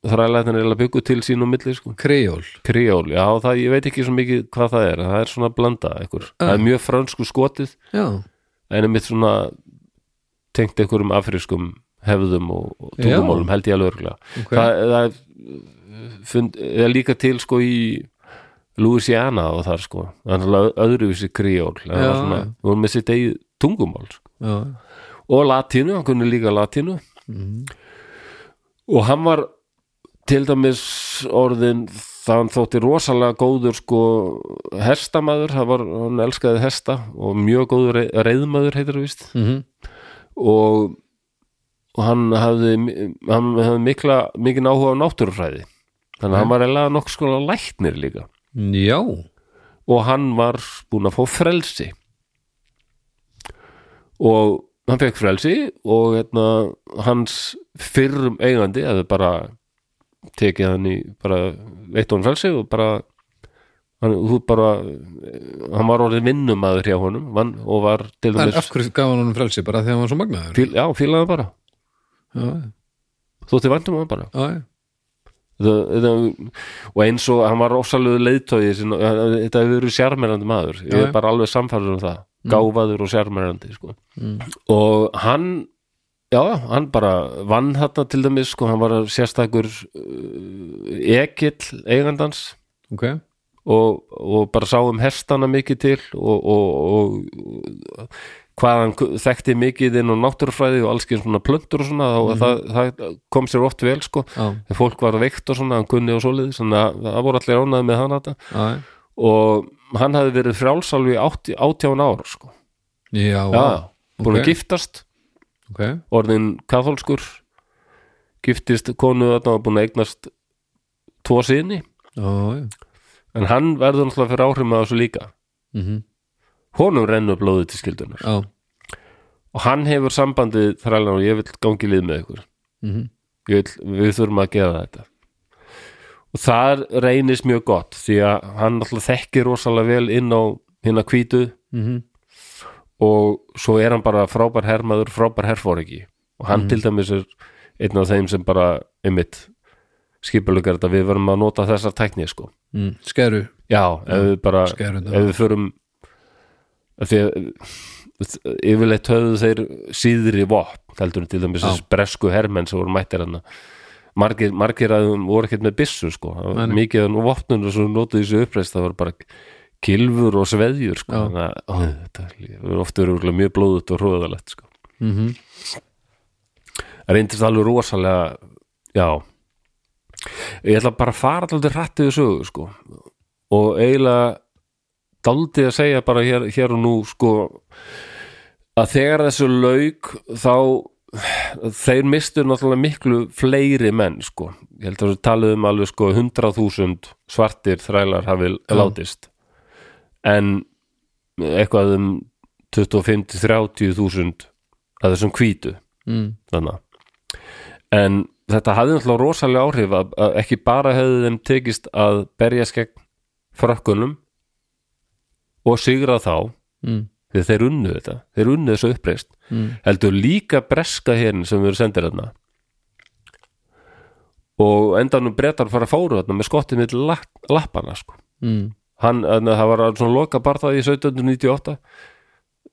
S1: þrælæðin er að byggu til sín og milli sko
S2: kreól
S1: Kriól, já, það, ég veit ekki svo mikið hvað það er, það er svona blanda einhver, það er mjög fransku skotið
S2: já,
S1: en er mitt svona tengt einhverjum afrískum hefðum og, og
S2: Já.
S1: tungumálum held ég alveg örgulega
S2: ok
S1: það, það er, fund, er líka til sko í Louisiana og þar sko þannig að öðruvísi kriól það
S2: Já,
S1: var svona,
S2: já.
S1: hún var með sitt eigið tungumál sko
S2: já,
S1: og latínu, hann kunni líka latínu og hann var til dæmis orðin þann þótti rosalega góður sko hestamaður, það var, hann elskaði hesta og mjög góður rei- reiðmaður heitir það víst
S2: mm
S1: og, og hann hafði hann hafði mikla, mikinn áhuga á náttúrufræði þannig að hann var eiginlega nokkuð skoða læknir líka
S2: já
S1: og hann var búinn að fá frelsi og hann fekk frelsi og hérna, hans fyrrum eigandi eða bara tekið hann í bara veitt honum frelsi og bara hann, þú bara hann var orðið vinnumæður hjá honum vann, og var til
S2: en
S1: dæmis
S2: af hverju gaf hann honum frelsi bara þegar hann var svo magnaður
S1: fíl, já, fílaði hann bara
S2: já,
S1: þótti vandum hann bara
S2: já, já.
S1: það, það, og eins og hann var rosalegu leiðtói sin, þetta hefur verið sjarmerandi maður ég
S2: Já,
S1: er
S2: já.
S1: bara alveg samfæður um það gáfaður og sjarmerandi sko.
S2: Mm.
S1: og hann já, hann bara vann þarna til dæmis sko, hann var sérstakur uh, ekill eigandans
S2: ok
S1: og, og bara sáum hestana mikið til og, og, og, og hvað hann ku- þekkti mikið inn á náttúrufræði og alls alls svona plöntur og svona
S2: Mm.
S1: þá, það, það kom sér oft vel sko
S2: já,
S1: þegar fólk var veikt og svona, hann kunni og svoleiði þannig að það voru allir ánæði með hann þetta
S2: já, já.
S1: og hann hafði verið frjálsalvi átján ára sko
S2: já,
S1: já,
S2: já.
S1: búin
S2: ok.
S1: að giftast
S2: ok,
S1: orðin katholskur giftist konu þarna og búin að eignast tvo sinni
S2: já, já
S1: en hann verður náttúrulega fyrir áhrifum að þessu líka
S2: mhm,
S1: honum rennur blóðið til skildunar
S2: já, og
S1: og hann hefur sambandið þrælan og ég vil gangi í lið með ykkur
S2: mhm,
S1: Ég vil, við þurfum að gera þetta og þar reynist mjög gott því að hann alltaf þekkir rosalega vel inn á hérna hvítu
S2: mhm
S1: og svo er hann bara frábær hermaður frábær herfóringi og hann til dæmis er einn af þeim sem bara einmitt skipulegar þetta við verum að nota þessar tækni sko
S2: Mm, skeru,
S1: já, ef við bara
S2: skeru
S1: ef við förum af því að yfirleitt höfðu þeir síðri vopn heldur en til dæmis
S2: Já.
S1: þessi bresku hermenn sem voru mættir hann margir, margir að þeim voru ekkert með byssu sko. Það var
S2: Nei, nei.
S1: mikið af vopnunum sem notuðu þessu uppreist það voru bara kilfur og sveðjur sko.
S2: Já.
S1: þannig að ó, þetta er lí- oft eru örugglega mjög blóðut og hróðalegt sko.
S2: mhm,
S1: það reyndist alveg rosalega já ég ætla bara að fara alltaf hrættið sögu sko og eiginlega daldið að segja bara hér, hér og nú sko að þegar þessu lauk þá þeir mistu náttúrulega miklu fleiri menn sko ég held að þessu talið um alveg sko 100.000 svartir þrælar hafi látist en eitthvað um 25-30.000 að þessum hvítu
S2: mhm
S1: þannig en þetta hafði náttúrulega rosalega áhrif að, að ekki bara hefði þeim tekist að berjast gegn frökkunum og sigra þá
S2: mhm,
S1: því þeir unnu þetta, þeir unnu þessu uppreist
S2: mhm
S1: heldur líka breska hérna sem við erum sendir þarna og endanum brettar fara að fóru þarna með skottið mitt lappana sko
S2: Mm,
S1: hann, en það var svona loka barðað í 1798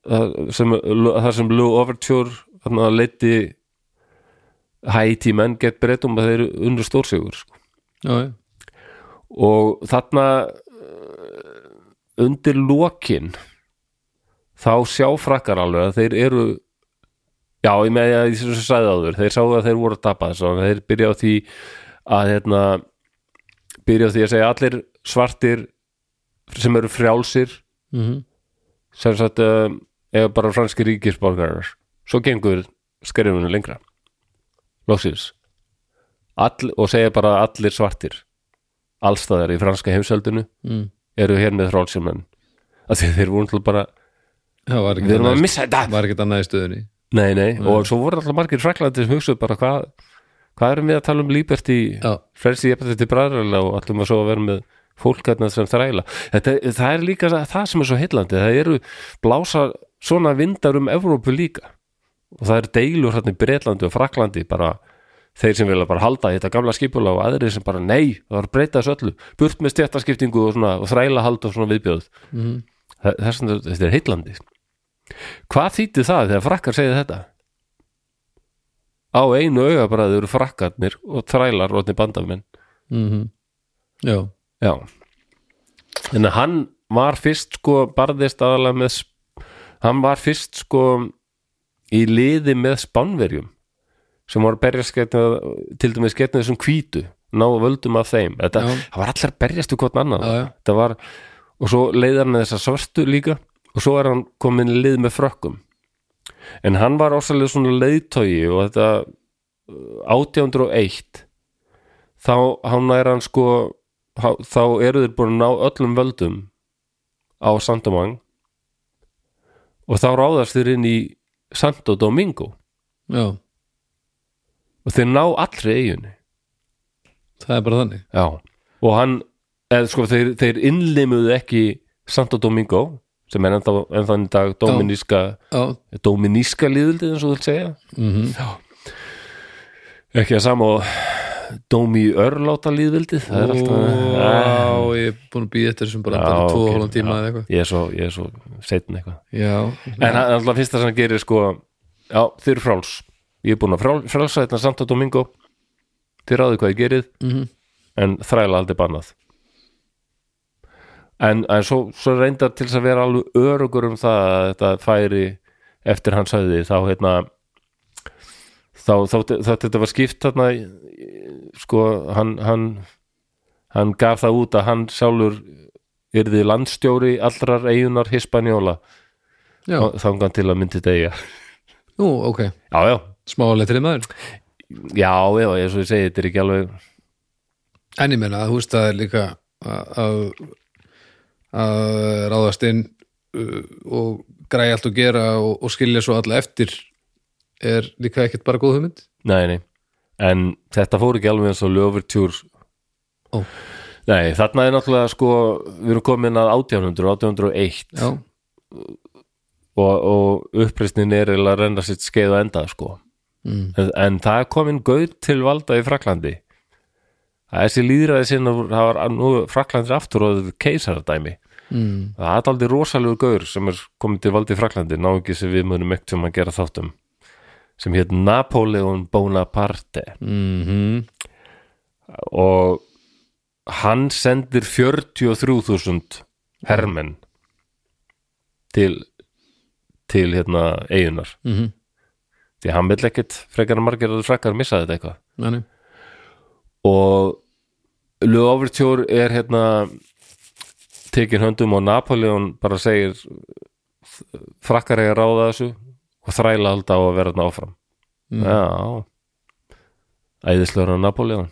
S1: það sem, það sem Lou Overture hann leiti Haiti menn gett breytum að þeir unru stórsigur sko.
S2: já, já,
S1: og þarna eh, undir lokin þá sjá frakkar alveg að þeir eru já, ég með að ég sem sagði áður þeir sáu að þeir voru að tapa þess að þeir byrja á því að hérna, byrja á því að segja allir svartir sem eru frjálsir
S2: mhm,
S1: sem sagt uh, eða bara franski ríkisborgarar svo gengur skerfinu lengra loksins All, og segja bara að allir svartir allstæðar í franska heimsöldinu
S2: mhm
S1: eru hér með þrálsjumenn að því þeir voru náttúrulega bara
S2: Það var
S1: við
S2: ekkert
S1: erum
S2: annað
S1: að
S2: í-
S1: missa þetta
S2: var ekkert annað í stöðunni
S1: nei, nei, og svo voru alltaf margir fræklandi sem hugsuðu bara hvað hvað erum við að tala um liberty
S2: Já,
S1: frelsi ég bara þetta bræðarlega og allum að svo að vera með fólk hérna sem þræla þetta, það er líka það sem er svo heillandi það eru blása svona vindar um Evrópu líka og það eru deilur hérna í Bretlandi og Fraklandi bara þeir sem vilja bara halda í þetta gamla skipula og aðrir sem bara nei, það var að breyta þessu öllu burt með stjættaskiptingu og, svona, og þræla hald og svona viðbjöð
S2: mhm,
S1: Það- þess vegna þetta er heillandi hvað þýtti það þegar frakkar segja þetta á einu augabræður frakkarnir og þrælar og bandamenn
S2: mhm Já,
S1: Já En hann var fyrst sko barðist aðalega með sp- hann var fyrst sko í liði með spánverjum sem voru að berjast getna, til dæmis getna þessum hvítu ná völdum af þeim þetta,
S2: Já.
S1: það var allar að berjast við hvort annan
S2: Já, já.
S1: Þetta var, og svo leiðar hann þessa svörstu líka og svo er hann komin í lið með frökkum en hann var ósalega svona leiðtogi og þetta uh, 1801 þá hann er hann sko há- þá eru þeir búin að ná öllum völdum á Sandamang og þá ráðast þeir inn í Santo Domingo
S2: já,
S1: og þeir ná allri eiginni
S2: það er bara þannig
S1: Já, og hann eða sko þeir, þeir innlimuðu ekki Santo Domingo sem er ennþá, ennþá í dag dominíska
S2: Já,
S1: dominíska líðildið eins og þú vil segja
S2: mhm,
S1: ekki að sama og Dómi Örláta líðvildið það er alltaf
S2: Ó, ég er búin að býða eftir þessum bara
S1: Já,
S2: bara tvo
S1: ok,
S2: og hálfum tíma
S1: já.
S2: eða eitthvað
S1: ég er svo, ég er svo seitin eitthvað
S2: Já,
S1: en hann- alltaf fyrsta sem hann gerir sko já, þið eru fráls ég er búin að frál, frálsa þetta samt að Domingo þið ráðu hvað ég gerið
S2: Mhm.
S1: en þræla aldrei bannað en, en svo, svo reyndar til þess að vera alveg örugur um það að þetta færi eftir hann sagði þá hérna þá, þá, þá þetta var skipt þarna í- í- sko hann, hann hann gaf það út að hann sjálfur yrði landstjóri allrar eigunar Hispaniola
S2: já,
S1: þangan til að myndi degja
S2: nú, ok
S1: já, já,
S2: Smálega til maður
S1: já, já, eins og ég segi þetta er ekki alveg
S2: En ég meina, þú veist, það er líka að- að að ráðast inn uh, og græja allt og gera og, og skilja svo alla eftir er líka ekkert bara góð hugmynd
S1: nei, nei, en þetta fór ekki alveg eins og löfurtjúr
S2: Ó.
S1: nei, þarna er náttúrulega sko, við erum komin að 1800 1801
S2: Já,
S1: og, og uppreisnin er eiginlega að renna sitt skeið og enda sko
S2: mm.
S1: en, en það er komin gauð til valda í Fraklandi það er þessi líðræði sinna það var nú Fraklandir aftur og keisaradæmi
S2: Mm.
S1: það er aldrei rosalegur gaur sem er komin til valdi í Fraklandi ná ekki sem við munum ekkert um að gera þáttum sem hétt Napoleon Bonaparte
S2: Mm -hmm.
S1: og hann sendir 43.000 hermenn til til hérna eigunar
S2: Mm -hmm.
S1: því hann vill ekkit frekar en margir að frakkar missa þetta eitthvað
S2: Nei,
S1: og Le Overture er hérna tekin höndum og Napoleon bara segir "Þ- frakkar eiga að ráða þessu og þræla alltaf á að vera þarna áfram
S2: Mm.
S1: já æðislegur á Napoleon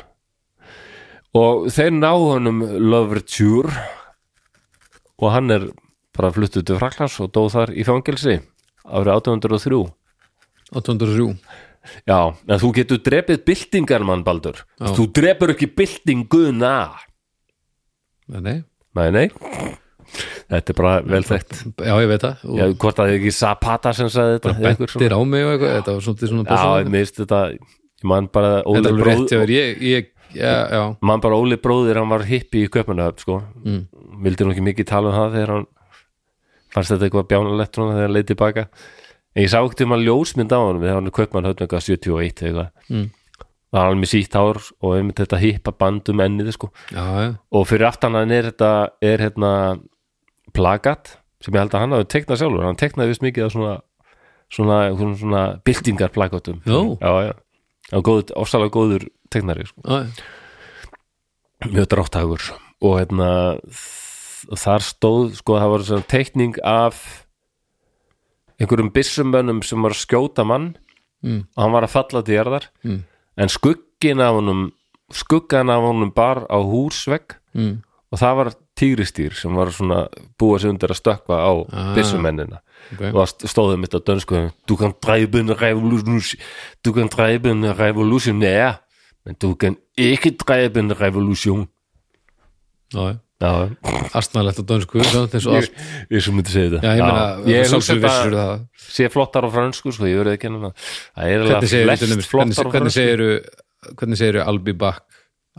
S1: og þeir ná honum Loverture og hann er bara fluttuð til Fraklands og dóð þar í fangelsi árið 1803
S2: 803
S1: já, en þú getur drepið byltingar mann Baldur
S2: Já.
S1: þú drepur ekki byltinguna
S2: Nei, nei,
S1: Nei, nei Þetta er bara vel þekkt
S2: já ég veit það og
S1: Já, hvort að það er ekki Zapata sem sagði þetta eða einhver svona.
S2: bentir á mig og eitthvað, þetta var svolítið
S1: Já,
S2: svona
S1: ég
S2: persónulegt.
S1: mist þetta Ég man bara
S2: Þetta
S1: Óli
S2: er alveg rétt hjá
S1: bróðir
S2: þér, ég, ég, já, já
S1: Man bara Óli bróðir, hann var hippi í köpunahöf sko.
S2: Mm.
S1: Vildi nú ekki mikið tala um það þegar hann fannst þetta eitthvað bjánalegt svona þegar hann leið tilbaka En ég sá ekkert um að ljósmynd á hann þegar hann er köpunahöf eitthvað 71 eða eitthvað
S2: Mm.
S1: Það var alveg sítt ár og einmitt þetta hippa band um ennið sko.
S2: Já, já,
S1: og fyrir aftan hann er þetta er hérna plagat sem ég held að hann hafi teiknað sjálfur hann teiknaði vist mikið af svona svona, svona, svona byltingar plagatum
S2: Nú.
S1: já, já, já góð, ofsalega góður teiknari sko.
S2: já,
S1: mjög drátthagur og hérna þ- þar stóð, sko, það var svona teikning af einhverjum byssumönnum sem var að skjóta mann
S2: Mm.
S1: og hann var að falla til jarðar
S2: Mm.
S1: en skuggin af honum skuggan af honum bar á húsvegg
S2: mm.
S1: og það var tígristýr sem var svona búa sig undir að stökkva á
S2: Ah.
S1: byssumennina
S2: ok
S1: og það stóðum mitt á dönsku du kan dreiben revolution du kan dreiben revolutionær men du kan ekki dreiben revolution
S2: Já, já
S1: Já,
S2: astnalegt á dönsku samt eins og
S1: ég,
S2: allt
S1: ég sem myndi segja þetta
S2: já, ég meina,
S1: ég hugsa
S2: sjálfsög vissur
S1: þetta
S2: um það
S1: sé flottar á fransku sko, ég verið ekki hennan það er
S2: hvernig
S1: alveg
S2: segir,
S1: flest flottar á
S2: hvernig
S1: fransku
S2: segir hvernig segir Albi Bakk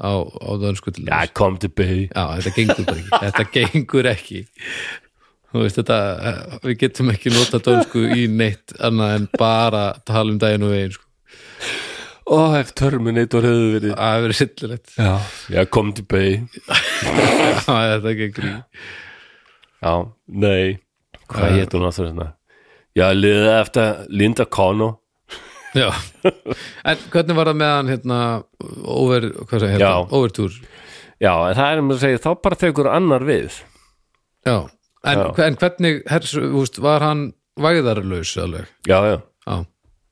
S2: á, á dönsku til
S1: Já,
S2: þess
S1: kom til beði
S2: já, þetta gengur bara ekki þetta gengur ekki þú veist þetta, eh, við getum ekki nota dönsku í neitt annað en bara tala um daginn og veginn sko.
S1: Ó, ef Terminator hefði verið
S2: það hefur verið sillilegt
S1: Já,
S2: [laughs]
S1: kom til beði
S2: þetta gengur ekki
S1: Já, nei Hvað hétt hún aftur hérna? Já, liðið eftir Linda Kono
S2: já. en hvernig var það með hann hérna, over, hvað segir hérna,
S1: Já.
S2: overtúr
S1: Já, en það er um að segja, þá bara tekur annar við
S2: já, en,
S1: Já.
S2: en hvernig hersu, úst, var hann væðarlaus alveg
S1: Já, já,
S2: já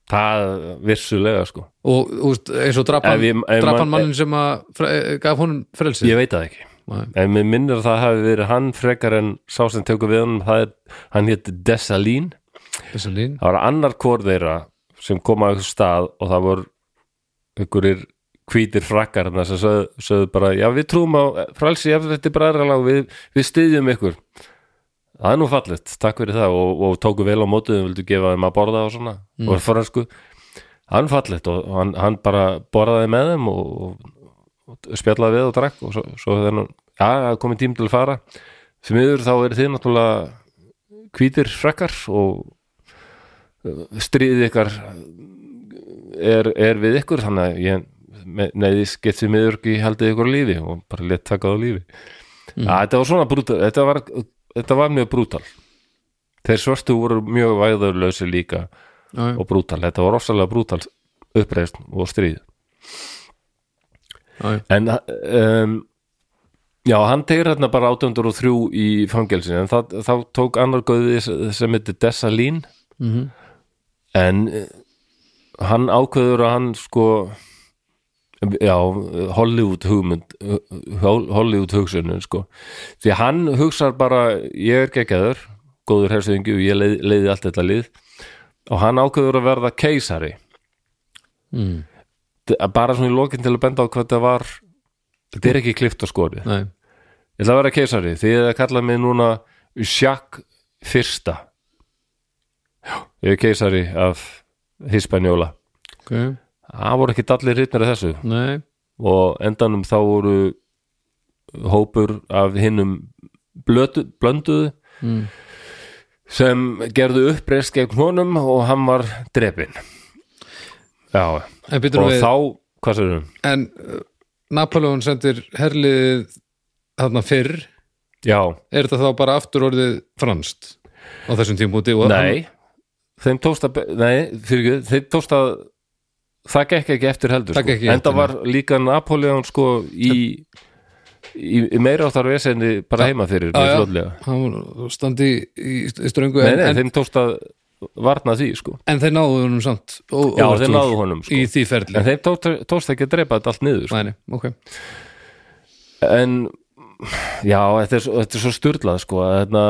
S1: það vissulega sko
S2: og úst, eins og
S1: Ef
S2: drapan,
S1: ég- ef man-
S2: drapan mannin sem að fre, eh, gaf honum frelsi
S1: Ég veit það ekki
S2: Nei.
S1: En mér minnir að það hafi verið hann frekar en sá sem tekur við honum, það er, hann hétt Dessalín,
S2: Þessi lín.
S1: það var annar kór þeirra sem kom að einhver stað og það voru einhverir hvítir frakkar þarna sem sögðu, sögðu bara, já við trúum á frelsi ef þetta er bræðralag, við, við styðjum ykkur það er nú fallegt, takk fyrir það og, og tóku vel á mótuðum, vildu gefa þeim að borða og svona og fransku hann fallegt og og hann, hann bara borðaði með þeim og, og spjallaði við og drakk og svo, svo þegar hann, já, það er komið tím til að fara því miður þá eru þið náttúrulega hvítir frekkar og stríðið ykkar er, er við ykkur þannig að ég neðis get því miður ekki haldið ykkur á lífi og bara létt takað á lífi mm. þetta var svona brútal þetta var, þetta var mjög brútal þeir svörstu voru mjög væðurlausi líka
S2: Já, já,
S1: og brútal, þetta var ofsalega brútal uppreist og stríð
S2: já, já.
S1: en um, já, hann tegir hérna bara 803 í fangelsin en það, þá tók annar gauði sem heitir Dessalín
S2: Mhm.
S1: en eh, hann ákveður að hann sko já, Hollywood hugmynd eh, Hollywood hugsunin sko því hann hugsar bara ég er geggjæður, góður hersöðingi og ég leið, leiði allt þetta lið og hann ákveður að verða keisari
S2: Mm.
S1: að bara svona í lokin til að benda á hvað þetta var þetta er ekki klift og skori ég
S2: Nei,
S1: ætla að vera keisari, því að kalla mig núna Sjakk fyrsta já, ég er keisari af Hispaniola
S2: ok,
S1: það voru ekki allir hittnir af þessu
S2: nei
S1: og endanum þá voru hópur af hinnum blötu, blönduðu
S2: Mm.
S1: sem gerðu uppreist gegn honum og hann var drepin já,
S2: En býtum
S1: og
S2: við,
S1: þá hvað sér um?
S2: en uh, Napoleon sendir herlið þarna fyrr,
S1: Já,
S2: er þetta þá bara aftur orðið franskt á þessum tímpúti og hann-
S1: Nei, þeim tókst að nei, fyrir ekki, þeim tókst að það gekk ekki eftir heldur
S2: Það
S1: sko.
S2: gekk ekki
S1: enda
S2: eftir,
S1: var líka Napoleon sko í, í, í meira áttar vesenni bara heima fyrir
S2: Já, já.
S1: mjög fljótlega
S2: hann standi í, í ströngu
S1: Nei,
S2: en,
S1: nei,
S2: en,
S1: þeim tókst að varna því sko
S2: en þeir náðu honum samt og,
S1: Já,
S2: og
S1: þeir náðu honum sko
S2: í því ferli
S1: En þeim tókst, tókst ekki að dreipa þetta allt niður sko.
S2: Nei, nei, ok
S1: En já, þetta er, svo- þetta er svo sturlað sko að hérna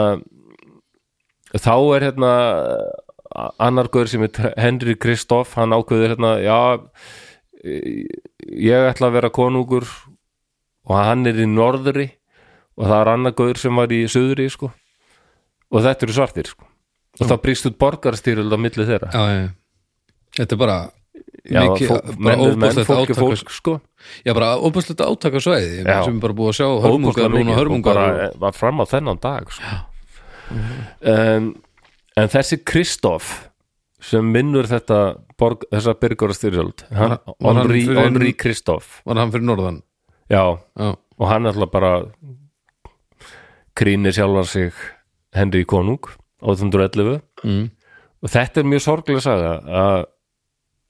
S1: þá er hérna annar guður sem er Henry Kristoff hann ákveður hérna, já ég ætla að vera konungur og hann er í norðri og það er annar guður sem var í suðri sko og þetta eru svartir sko og það brýst út borgarstýröld á milli þeirra
S2: já, já, já. Þetta er bara
S1: já,
S2: mikið,
S1: fólk,
S2: bara
S1: menn, er menn,
S2: óbúslegt
S1: fólk er
S2: átaka
S1: fólk sko
S2: Já, bara óbúslegt átaka svæði
S1: Já.
S2: sem er bara búið að sjá
S1: Óbúslega
S2: hörmungar núna
S1: mikið,
S2: hörmungar
S1: og
S2: og,
S1: bara var fram á þennan dag sko. um, en þessi Kristoff sem minnur þetta borg, þessa byrgarastyrjöld hann,
S2: Var hann
S1: Henri,
S2: fyrir-
S1: Henri Kristoff
S2: var hann fyrir norðan
S1: já,
S2: Já,
S1: og hann ætla bara krýnir sjálfan sig Henry Konung 811
S2: mm.
S1: og þetta er mjög sorglega saga að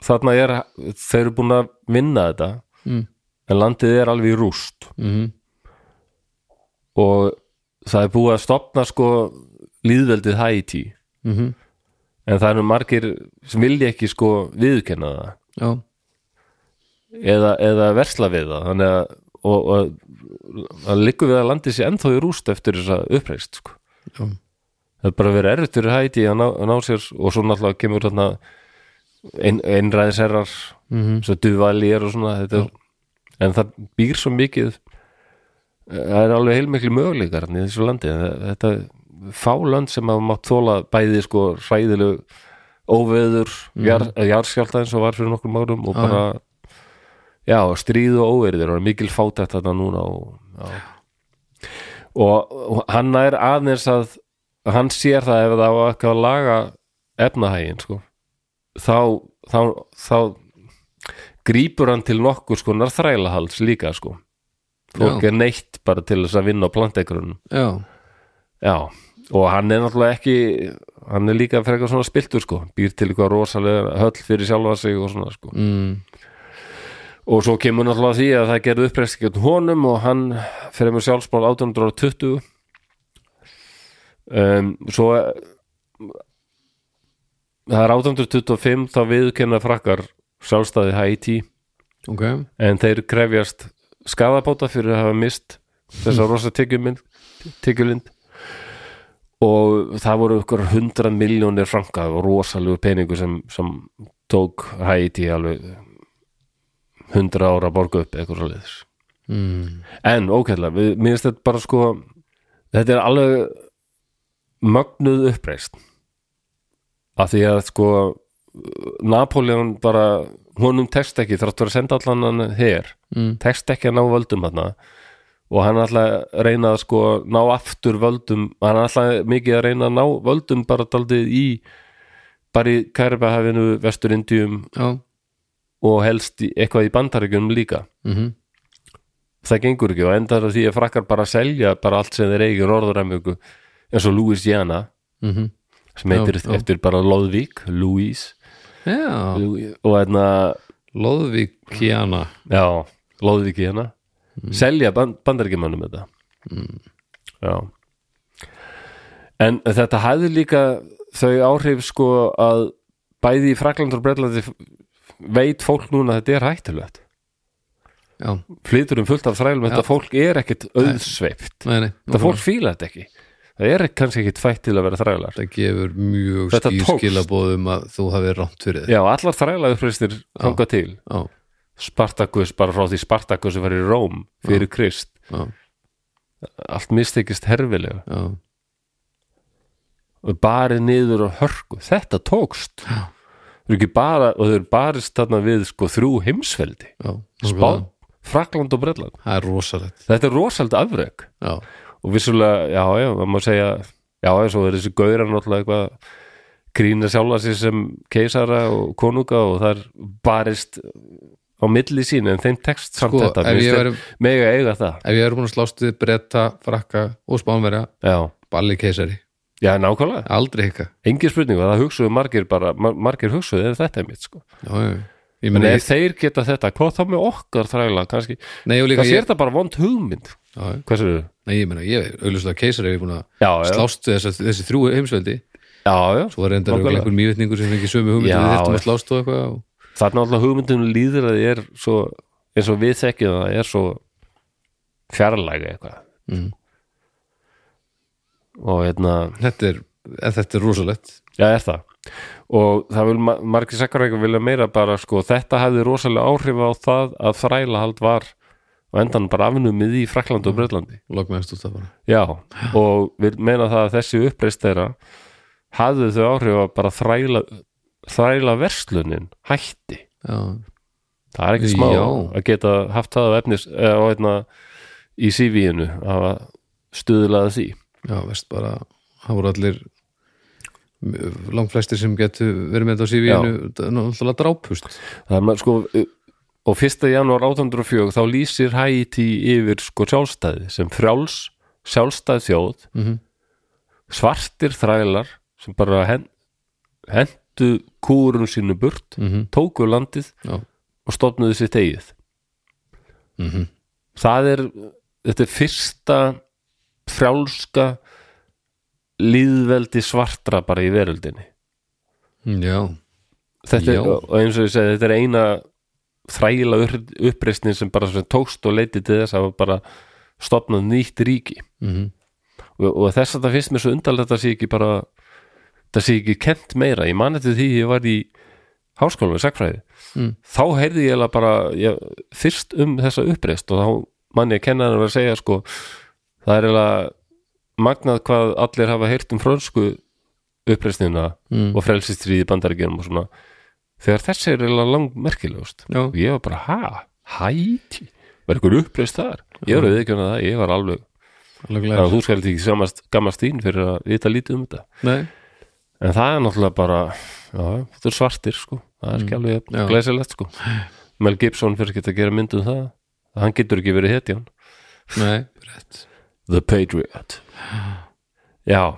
S1: þarna er þeir eru búin að vinna þetta
S2: Mm.
S1: en landið er alveg í rúst
S2: Mm.
S1: og það er búið að stopna sko líðveldið Haiti
S2: Mm.
S1: en það eru margir sem vilja ekki sko viðkenna það
S2: Já.
S1: eða, eða versla við það þannig að og, og það liggur við að landið sér ennþá í rúst eftir þess að uppreist sko.
S2: Já.
S1: það er bara að vera erfitt fyrir Haiti að ná, að ná sér og svo náttúrulega kemur þarna ein, einræðisherrar
S2: Mhm.
S1: svo duvalýjar og svona þetta, er, en það býr svo mikið það er alveg heilmikli möguleikar þarna í þessu landi Það- þetta fálönd sem hafa mátt þóla bæði sko hræðilegu óveður, jar, jarskjálta eins og var fyrir nokkrum árum og bara já, stríð og óveður og mikil fátætt þetta núna og, já. og, og hann er aðeins að hann sér það ef það var ekki að laga efnahægin sko þá, þá, þá grípur hann til nokkur skonar þrælahalds líka sko fólk
S2: Já.
S1: er neitt bara til þess að vinna á plantegrunum
S2: Já.
S1: já, og hann er náttúrulega ekki hann er líka frekar svona spiltur sko býr til eitthvað rosalega höll fyrir sjálfa sig og svona sko
S2: Mm.
S1: og svo kemur náttúrulega því að það gerði uppreist gegn honum og hann fyrir með sjálfsmál 1820 um, svo eh, það er 1825 þá viðkenna frakkar sjálfstæði Haiti
S2: Ok
S1: en þeir krefjast skadabóta fyrir að hafa mist þessa rosa tyggjulind og það voru ykkur 100 miljónir franka og rosalegu peningu sem, sem tók Haiti alveg 100 ára að borga upp eitthvað svo leiðis
S2: mm.
S1: en ókvæðlega, við, mér finnst þetta bara sko þetta er alveg mögnuð uppreist af því að sko Napoleon bara honum tekst ekki þrátt verið að senda allan hann her mm. tekst ekki að ná völdum hann og hann er alltaf að reyna að sko ná aftur völdum hann er alltaf mikið að reyna að ná völdum bara daldið í bara í Kæribahafinu, Vesturindjum
S2: já,
S1: og helst í, eitthvað í bandaríkjum líka
S2: mhm
S1: það gengur ekki og endar að því að frakkar bara selja bara allt sem þeir eigin orðuræmjöku eins og Louis Jana
S2: mhm
S1: sem heitir
S2: Já, já.
S1: eftir bara Lóðvík Louis
S2: Já,
S1: Louis- og hérna,
S2: Lóðvíkjana
S1: já, Lóðvík hérna
S2: Mm.
S1: selja band, bandaríkjumannum þetta já en þetta hafði líka þau áhrif sko að bæði í Frakland og Bretlandi f- veit fólk núna að þetta er hættulegt
S2: Já,
S1: flytur um fullt af þrælum, þetta fólk er ekkit auðsveipt
S2: nei, nei
S1: þetta fólk fíla þetta ekki það er ekki- kannski ekkit fætt til að vera þrælar
S2: Mhm. Það gefur mjög
S1: Þetta
S2: skýr
S1: tókst.
S2: skilabóðum að þú hafi rámt fyrir þér
S1: já, allar þræla uppristir hanga til
S2: Já,
S1: Spartakus, bara frá því Spartakus sem var í Róm fyrir Krist
S2: já,
S1: allt mistykist herfilega
S2: já
S1: og barið niður og hörku þetta tókst
S2: Já.
S1: Þau eru ekki bara, og þau eru barist þarna við sko þrjú heimsveldi
S2: Já,
S1: Spán, Frakland og Bretland
S2: það er rosalegt
S1: þetta er rosalegt afrek
S2: Já,
S1: og vissulega, já, já, maður má segja já, já, svo er þessi gaurar náttúrulega eitthvað grína sjálfa sér sem keisara og konunga og það er barist á milli sín en þeim tekst samt
S2: Sko,
S1: þetta
S2: ef
S1: mér
S2: ég
S1: finnst
S2: væri-
S1: þeir mega eiga það
S2: ef ég er búin að slást við bretta, frakka og spánverja
S1: já,
S2: Balli keisari,
S1: já, nákvæmlega,
S2: aldrei hika
S1: engin spurning og það hugsuðu margir bara, mar- margir hugsuðu ef þetta er mitt sko,
S2: Já, já, já. ég
S1: en
S2: meni
S1: ef þeir geta þetta hvað þá með okkar þræla, kannski
S2: Nei, og líka
S1: kannski er
S2: ég
S1: þetta bara vond hugmynd
S2: Já, já.
S1: hvað sér þau?
S2: Nei, ég meni, ég auðvitað keisari er búin að
S1: Já, já,
S2: slást við þessi, þessi þrjú heimsveldi
S1: já, já
S2: Svo var reyndar
S1: Nákvæmlega.
S2: einhver mývetningur sem fengi sömu hugmyndu
S1: Já,
S2: við þyrftum
S1: já.
S2: að slást og eitthvað og...
S1: það er náttúrulega hugmyndunum líður að er svo, eins og við þekkjum það er svo fjarlæga eitthvað
S2: Mm.
S1: og hérna,
S2: Þetta er, en þetta er rosalegt
S1: já er það og það vil ma- margir sakkarækjum vilja meira bara sko, þetta hefði rosalega áhrif á það að þrælahald var og endan bara afnumið í Frakland og Breitlandi
S2: Logmaðist út af bara
S1: já, og við meina það að þessi uppreist þeirra hafði þau áhrif að bara þræla þræla verslunin hætti
S2: Já,
S1: Það er ekki smá
S2: Já.
S1: að geta haft það á efnis eða á einna í CV-inu að stuðlaða því
S2: já, veist bara það voru allir langt flestir sem getur verið með þetta á CV-inu náttúrulega drápust
S1: Það er maður sko og 1. janúar 1804 þá lýsir Haiti yfir sko sjálfstæði sem frjáls sjálfstæð þjóð
S2: Mhm.
S1: svartir þrælar sem bara hen, hentu kúrum sínu burt
S2: Mhm.
S1: tóku landið
S2: Já,
S1: og stofnuðu sitt eigið
S2: Mhm.
S1: það er þetta er fyrsta frjálska líðveldi svartra bara í veröldinni
S2: Mm, já,
S1: þetta
S2: Já.
S1: er, og eins og ég segi, þetta er eina þræla uppreisnin sem bara sem tókst og leiti til þess að bara stopnað nýtt ríki
S2: Mhm.
S1: og, og þess að það finnst mér svo undarlegt að sé ekki bara það sé ekki kent meira ég mani til því ég var í háskólanum í sagfræði
S2: Mm.
S1: þá heyrði ég eiginlega bara ég, fyrst um þessa uppreist og þá manni að kenna hann að segja sko það er eiginlega magnað hvað allir hafa heyrt um frönsku uppreistina
S2: Mm.
S1: og frelsistriði bandaríkjum og svona þegar þessi er eiginlega langmerkilegust
S2: já,
S1: og ég var bara ha, hæti var ykkur uppreist þar, ég var auðvitað það ég var alveg
S2: alveg
S1: þannig að
S2: glæð
S1: þú skalt ekki samast gammast þín fyrir að vita lítið um þetta
S2: Nei,
S1: en það er náttúrulega bara já, þetta er svartir sko, það er ekki alveg
S2: Já.
S1: glæsilegt sko Mel Gibson fyrir ekki að gera mynd um það hann getur ekki verið hetjan
S2: nei, rétt
S1: The Patriot já,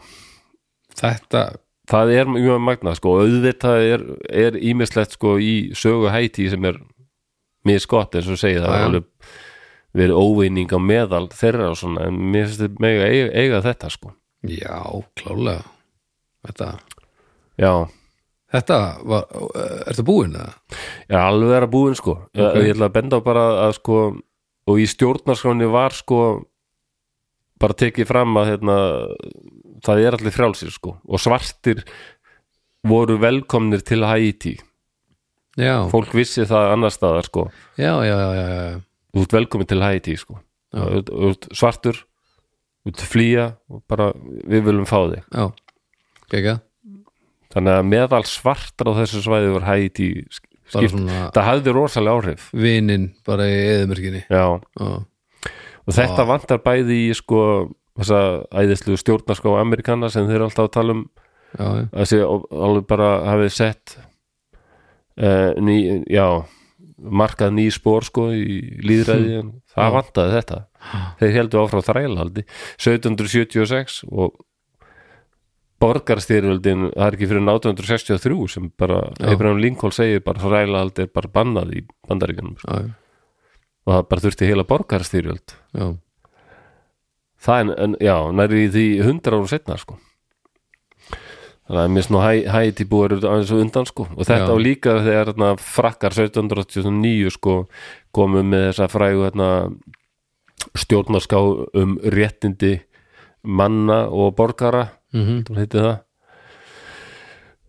S2: Þetta,
S1: það er mjög magnað sko, auðvitað er, er ímislegt sko í sögu hæti sem er mjög skott eins og segja það
S2: Já, já.
S1: er alveg verið óveining á meðal þeirra og svona, en mér finnst þetta mega eiga, eiga þetta sko,
S2: já, klálega Þetta,
S1: já
S2: þetta var, ertu búin eða?
S1: Já, alveg er að búin sko
S2: Ok.
S1: Ég ætla að benda á bara að sko og í stjórnarskráni var sko bara tekið fram að hérna, það er allir frjálsir sko og svartir voru velkomnir til Haiti
S2: Já,
S1: fólk vissi það annar staðar sko
S2: já, já, já, já, já.
S1: þú ert velkomin til Haiti sko
S2: Já.
S1: þú ert- þú ert svartur þú ert flýja og bara við viljum fá þig
S2: já. Gekka,
S1: þannig að meðal svartar á þessu svæði var hægt í
S2: bara
S1: skipt,
S2: svona
S1: það hafði rosalega áhrif
S2: vinin bara í eðumörkinni
S1: já,
S2: já,
S1: og þetta vantar bæði í sko þessa æðislu stjórnarská Amerikana sem þeir eru alltaf að tala um
S2: já, já.
S1: að sé alveg bara hafið sett uh, ný, já markað ný spór sko í líðræði en það vantaði þetta þeir heldur áfram þrælaldi 1776 og borgarstyrjöldin það er ekki fyrir 1863 sem bara Abraham Lincoln segir bara þrælaldi er bara bannað í bandaríkanum sko.
S2: já, já,
S1: og það bara þurfti heila borgarstyrjöld
S2: já.
S1: það er, en, já, næri því hundra ára setna sko þannig að mér svona hæ- hæti búið eru aðeins og undan sko og þetta á
S2: Já.
S1: líka þegar þarna, frakkar 1789 sko komu með þessa frægu þarna, stjórnarská um réttindi manna og borgara
S2: Mhm.
S1: þú heiti það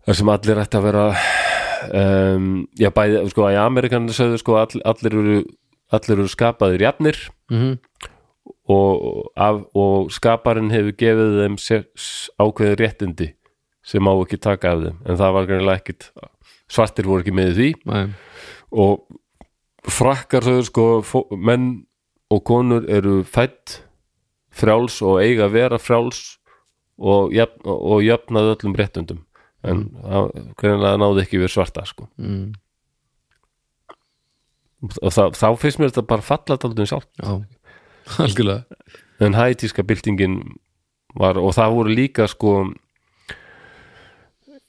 S1: þar sem allir ætti að vera um, já bæði sko í Amerikan sögðu sko all, allir eru allir eru skapaðir jafnir
S2: Mhm.
S1: og, af, og skaparinn hefur gefið þeim sér, s- ákveðin réttindi sem má ekki taka af þeim en það var greinlega ekkit svartir voru ekki með í því
S2: Nei.
S1: og frakkar þau sko fó- menn og konur eru fætt frjáls og eiga að vera frjáls og, jafn, og jafnað öllum réttundum en mm. greinlega náði ekki við svarta sko
S2: Mm.
S1: og það, þá finnst mér þetta bara um falla daldum sjálf
S2: já, algjörlega
S1: en hætíska byltingin var og það voru líka sko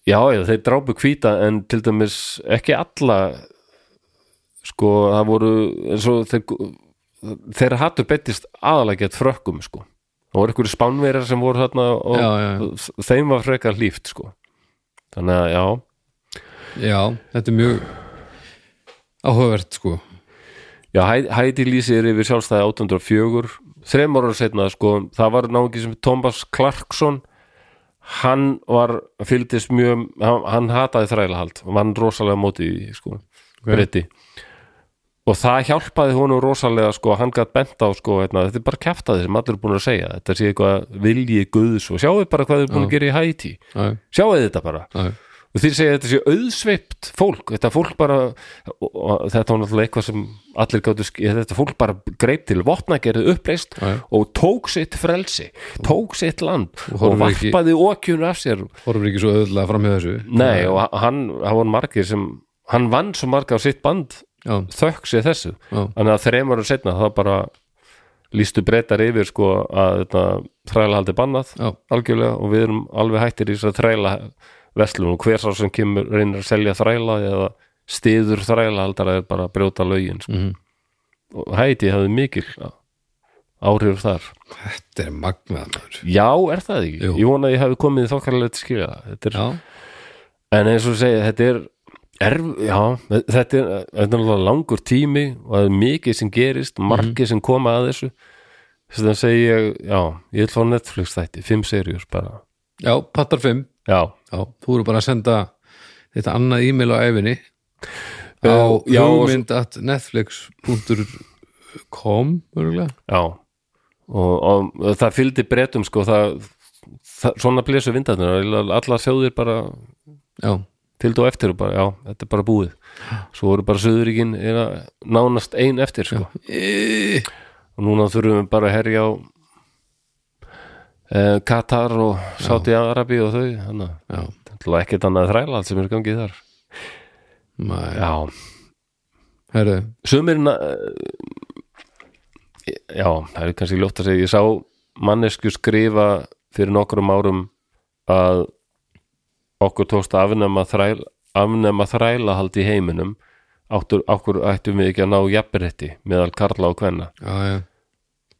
S1: já, já, þeir drápu hvíta en til dæmis ekki alla sko, það voru eins og þeir, þeir hattu bettist aðalega gett frökkum sko það voru einhverju spánverjar sem voru þarna og
S2: Já, já, já.
S1: þeim var frekar líft sko þannig að já,
S2: Já, þetta er mjög áhugavert sko
S1: já Hæ- Hædí lýsir yfir sjálfstæði 804 þreim ára setna sko það var náungi sem Thomas Clarkson hann var fylgdist mjög, hann, hann hataði þrælahald og vann rosalega á móti því, sko breyti og það hjálpaði honum rosalega sko hann gætt bent á sko hérna, þetta er bara kjaftaði sem allir er búin að segja þetta sé eitthvað vilji guðs og sjáu bara hvað þið er búin að gera í Hæti
S2: Já,
S1: sjáu þetta bara
S2: já,
S1: og þeir segja að þetta sé auðsveipt fólk þetta fólk bara og, og, þetta var náttúrulega eitthvað sem allir gáttu sk- þetta fólk bara greip til vopna gerði uppreist
S2: Já, já.
S1: og tók sitt frelsi tók sitt land og,
S2: horfir ekki-
S1: varpaði okkjunu af sér
S2: horfum ekki svo öðvöldlega framhjá þessu
S1: nei og hann, hann var margir sem hann vann svo marga á sitt band
S2: Já,
S1: þökk sér þessu
S2: já,
S1: þannig að þreymar og setna það bara lístu breytar yfir sko að þetta þrælahaldi bannað
S2: já,
S1: algjörlega og við erum alveg hættir í þess að þræla veslum og hver sá sem kemur reynir að selja þræla eða stiður þræla aldar er bara að brjóta lögin sko.
S2: Mhm.
S1: og hæti hafði mikil áhrif þar
S2: þetta er magnað maður
S1: já, er það ekki?
S2: Jú.
S1: Ég vona að ég hafi komið þokkarlega til skilja það er,
S2: Já,
S1: en eins og segja, þetta er erf, já, þetta er, þetta er náttúrulega langur tími og það er mikið sem gerist,
S2: Mhm.
S1: margir sem koma að þessu þess að segi ég, já ég ætla á Netflix þætti, fimm serjur bara,
S2: já, pattar 5
S1: já
S2: Já, þú eru bara að senda þetta annað e-mail á æfinni á
S1: Uh, já, og-
S2: hugmynd.netflix.com örgulega
S1: Já og, og það fylgdi breytum sko það, það svona blésu vindarnir allar þjóðir bara
S2: Já,
S1: fylgdu á eftir og bara já, þetta er bara búið svo voru bara söðuríkin nánast ein eftir sko
S2: e
S1: og núna þurfum við bara að herja á e, Katar og Saudi Arabi og þau þannig að
S2: já,
S1: það er ekkert annað þræla allt sem er gangið þar
S2: maður
S1: Já,
S2: Herðu,
S1: sumir na- eh, já, það er kannski ljótt að segja ég sá mannesku skrifa fyrir nokkrum árum að okkur tókst að afnema þræl afnema þrælahald í heiminum áttur, okkur ættum við ekki að ná jafnrétti meðal karla og kvenna
S2: já, já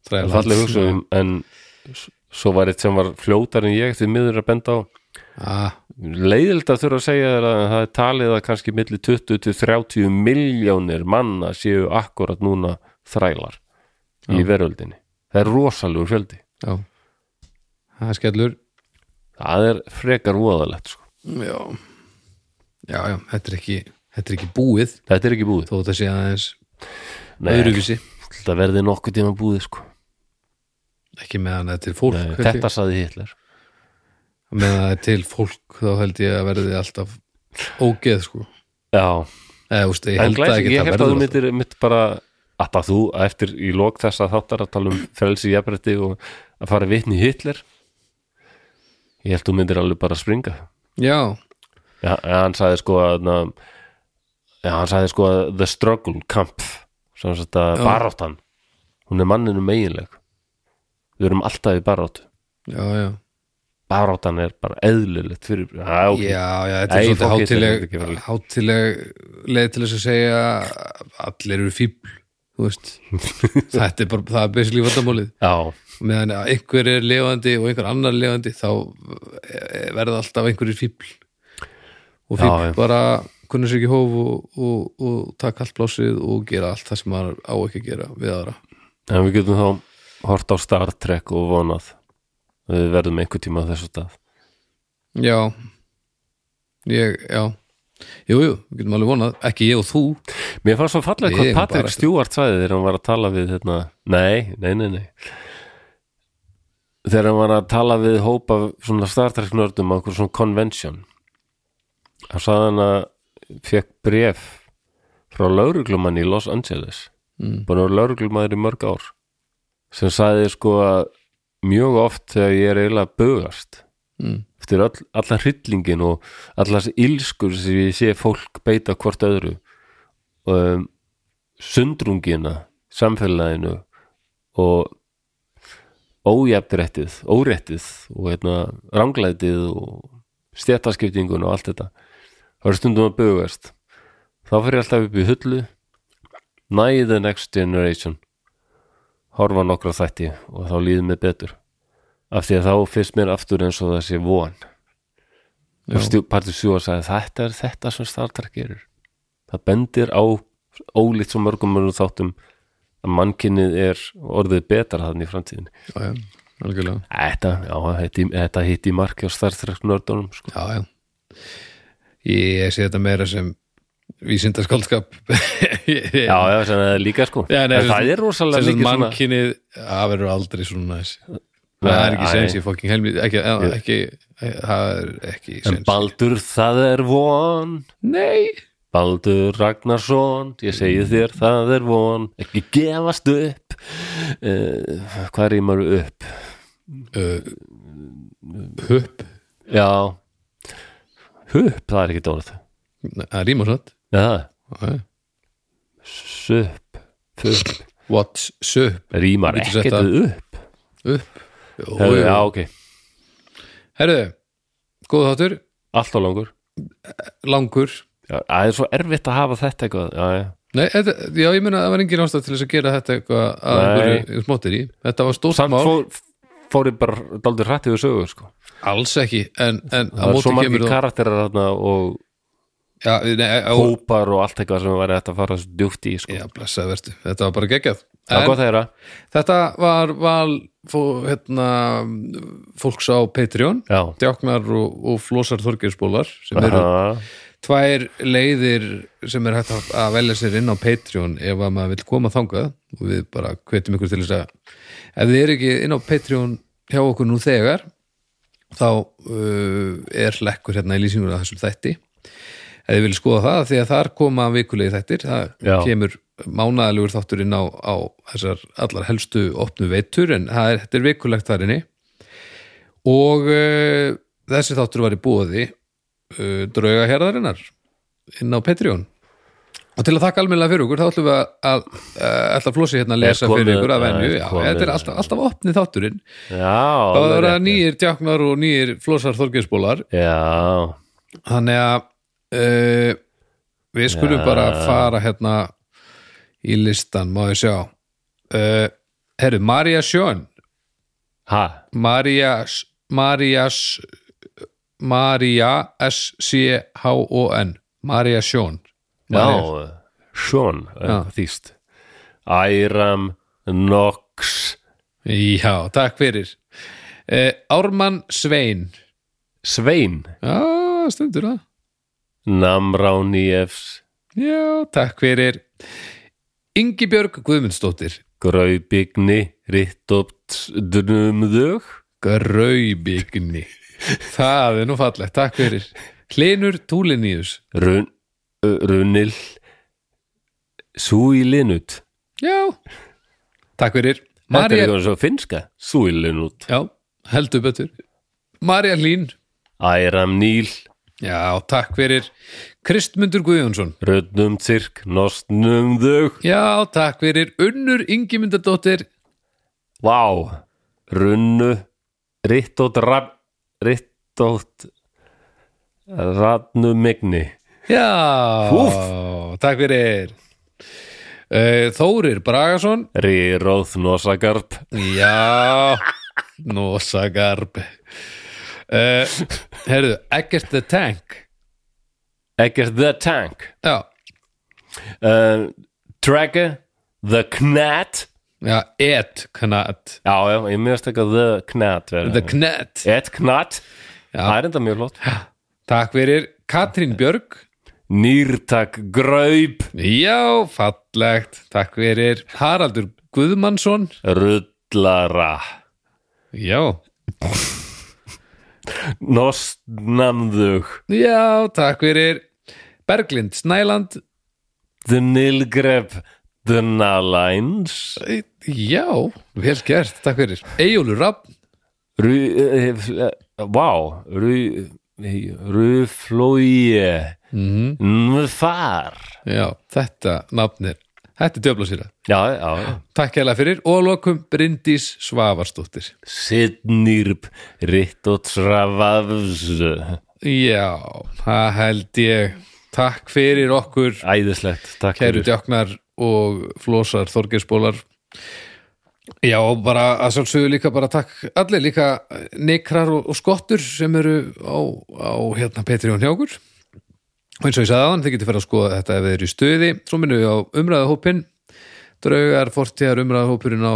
S1: Það er
S2: Þræla
S1: falleg hugsaðum en s- svo var eitt sem var fljótar en ég því miður að benda á
S2: Ah,
S1: leiðild að þurfa að segja þér að það er talið að kannski milli 20 til 30 miljónir manna séu akkurat núna þrælar í veröldinni. Það er rosalegur fjöldi.
S2: já Það er skellur
S1: Það er frekar voðalegt sko.
S2: Já Já, já, þetta er ekki, þetta er ekki búið
S1: Þetta er ekki búið.
S2: þó þetta sé aðeins
S1: Nei,
S2: öðruvísi
S1: þetta verði nokkuð tíma búið sko.
S2: ekki meðan þetta er fólk
S1: Nei,
S2: held ég.
S1: þetta saði Hitler.
S2: með það er til fólk þá held ég að verði alltaf ógeð sko
S1: já,
S2: eða þú veist, ég
S1: en
S2: held að
S1: glæs, ég
S2: ekki
S1: held
S2: það
S1: að
S2: verður
S1: þú
S2: alltaf
S1: myndir mitt bara appa þú eftir í lok þessa þáttar að tala um frelsi jafnrætti og að fara vitni í Hitler ég held þú myndir alveg bara springa
S2: já,
S1: já, en hann sagði sko að na, já, hann sagði sko að the struggle camp sem sagt að
S2: Já.
S1: baráttan hún er manninu meginleg við erum alltaf í baráttu
S2: já, já
S1: baráttan er bara eðlilegt fyrir, já, ok,
S2: Já, já, þetta er
S1: Nei,
S2: svolítið
S1: fólk getur þetta ekki
S2: hátileg
S1: verið.
S2: hátileg leið til þess að segja að allir eru fíbl þú
S1: [laughs]
S2: veist þetta er bara, það er basically vandamálið
S1: já.
S2: meðan að einhver er lifandi og einhver annar lifandi þá eh, verða alltaf einhverjir fíbl og
S1: Já,
S2: fíbl
S1: já.
S2: bara kunnur sér ekki í hóf og, og, og taka allt blásið og gera allt það sem maður á ekki að gera við aðra
S1: En við getum þá hort á Star Trek og vonað að við verðum einhver tíma á þessu stað
S2: Já ég, já Jú, jú, við getum alveg vonað, ekki ég og þú
S1: Mér fannst svo fallega
S2: Við
S1: hvað
S2: eigum bara
S1: Patrick
S2: eftir.
S1: Stewart sagði þegar hann var að tala við hérna, nei, nei, nei, nei þegar hann var að tala við hópa svona Star Trek nördum á einhver svona convention hann sagði hann að fekk bref frá lauruglumann í Los Angeles
S2: Mm.
S1: búin að vera lauruglumæður í mörg ár sem sagði sko að mjög oft þegar ég er eiginlega að bugast
S2: mm,
S1: eftir all, allan hryllingin og allan þessi ílskur sem ég sé fólk beita hvort öðru um, sundrungina samfélaginu og ójæftrættið, óréttið og hérna, ranglætið og stjættaskiptingun og allt þetta það er stundum að bugast þá fer ég alltaf upp í hullu næði the next generation horfa á nokkra þætti og þá líður mér betur af því að þá finnst mér aftur eins og það sé von
S2: Já.
S1: og stjú, partur stjú að sagði þetta er þetta sem Star Trek gerir það bendir á ólíkt svo mörgum mörgum þáttum að mannkinnið er orðið betra þannig í framtíðinni
S2: já, já, algjörlega
S1: þetta, já, þetta, þetta hitti í marki á Star Trek nördunum sko.
S2: Já, já. Ég sé þetta meira sem [laughs] vísindaskaldskap.
S1: já, já, sem það er líka sko
S2: Já, nei,
S1: en það er rosalega
S2: mikið
S1: mikið
S2: svona.
S1: svona
S2: Mannkynið, það verður aldrei svona næs. það er ekki
S1: Nei.
S2: sens í fucking helmi, ekki, ekki, ekki, það er ekki
S1: en
S2: sens.
S1: Baldur, það er von
S2: Nei!
S1: Baldur Ragnarsson, ég segi þér það er von, ekki gefast upp uh, hvað rýmar upp? Eh,
S2: Uh, Hupp,
S1: Já Hup, það er ekki dórð
S2: það rýmur satt.
S1: Já, sup Fup,
S2: What's up?
S1: rýmar
S2: Getur sett
S1: ekkert
S2: það.
S1: við upp
S2: Upp. Jú,
S1: Herðu,
S2: jú.
S1: Já, ok,
S2: Herðu, góð þáttur,
S1: allt á langur
S2: langur.
S1: Já, Það er svo erfitt að hafa þetta eitthvað Já, já,
S2: Nei, þetta, já, ég meina að það var engin ástæð til þess að gera þetta eitthvað að
S1: Nei.
S2: einhverju smóttir í. Þetta var stórt
S1: samt
S2: mál.
S1: fór, fór ég bara daldur hrætt yfir sögu, sko
S2: Alls ekki, en, en á
S1: Það er
S2: móti
S1: svo
S2: kemur
S1: margir
S2: þú
S1: karakterar þarna og
S2: Já, nei, á,
S1: hópar og allt eitthvað sem væri hægt að fara svo djúpt í, sko
S2: já blessaði vertu, þetta var bara geggjað
S1: Það er
S2: en,
S1: gott að þeirra
S2: Þetta var val fó, hérna, fólks á Patreon
S1: Já,
S2: Djáknar og, og Flósar Þorgeirsbólar sem eru
S1: Aha.
S2: tvær leiðir sem er hægt að- að velja sér inn á Patreon ef að maður vil koma þangað og við bara hvetjum ykkur til þess að ef þið eru ekki inn á Patreon hjá okkur nú þegar þá uh, er lekkur hérna í lýsingur að þessum þætti ef þið vilja skoða það því að þar koma vikulegi þættir, það
S1: Já.
S2: kemur mánaðalugur þáttur inn á, á þessar allar helstu opnu veitur en það er, þetta er vikulegt þarinni og uh, þessi þáttur var í bóði uh, draugaherðarinnar inn á Patreon og til að þakka almennilega fyrir okkur þá ætlum við að, að, að ætla flósi hérna að
S1: Er
S2: lesa
S1: komið-
S2: fyrir ykkur að venju
S1: er
S2: já,
S1: komið-
S2: þetta er alltaf, alltaf opnið þátturinn
S1: Já,
S2: það
S1: alveg
S2: verða
S1: rétt.
S2: nýjir djáknar og nýjir flósar þorgeinsbólar
S1: Já,
S2: þannig að uh, við skulum
S1: Já.
S2: bara fara hérna í listan, má ég sjá uh, herru, Maria Sjón
S1: ha,
S2: Maria Maria Maria S-C-H-O-N Maria Sjón
S1: já Sjón,
S2: Já.
S1: þýst Æram Nox
S2: Já, takk fyrir uh, Ármann Svein
S1: Svein
S2: Já, stundur það
S1: Namrán Íefs
S2: Já, takk fyrir Ingibjörg Guðmundsdóttir
S1: Graubigni Rittopt Drumðug
S2: Graubigni það er nú fallegt, takk fyrir Hlinur Túliníus
S1: Run, uh, runil Súilinut
S2: Já, takk fyrir
S1: Þetta er
S2: María,
S1: eitthvað svo finska Súilinut
S2: já, heldur betur Marja Hlín,
S1: Æram Níl,
S2: já, takk fyrir Kristmundur Guðjónsson
S1: Rönnum Cirk Nostnum Þög
S2: Já, takk fyrir Unnur Ingimundardóttir
S1: Vá Runnu Rittótt Rann Rittótt Rannum Migni
S2: Já, takk fyrir Eh, Þórir Bragason
S1: Ríróð Nosagarp
S2: Já, nosagarb uh, Herðu, Eggert the Tank
S1: Eggert The Tank
S2: Já,
S1: uh, Dragger The Knat
S2: já, et knat
S1: Já, já, ég mjög stakka The Knat vera.
S2: The knat
S1: Ett Knat
S2: Já.
S1: Það er enda mjög flott
S2: Takk fyrir Katrín Björg
S1: Nýrtak Graup
S2: Já, fallegt Takk fyrir Haraldur Guðmannsson
S1: Rullara
S2: Já,
S1: Nostnamðug
S2: já, takk fyrir Berglind Snæland
S1: Dnilgreb Dnalæns
S2: Eh, Já, vel gert, takk fyrir Eyjólur Rapp
S1: eh, Vá Ruflói
S2: Mhm.
S1: Nfar
S2: Já, þetta nafnir Þetta er djöflasýra
S1: Já, já
S2: Takk hella fyrir og að lokum Bryndís Svavarsdóttir
S1: Sidnirp Rittotravavs
S2: Já, það held ég Takk fyrir okkur
S1: Æðislegt, takk
S2: Kæru djáknar og flósar Þorgeirsbólar Já, og bara að sjálfsögðu líka bara takk allir líka nekrar og, og skottur sem eru á, á hérna Patreon hjá okkur og eins og ég sagði aðan, þið getur fyrir að skoða þetta ef þið eru í stuði, svo minnum við á umræðahópin draugar fortíðar umræðahópurinn á,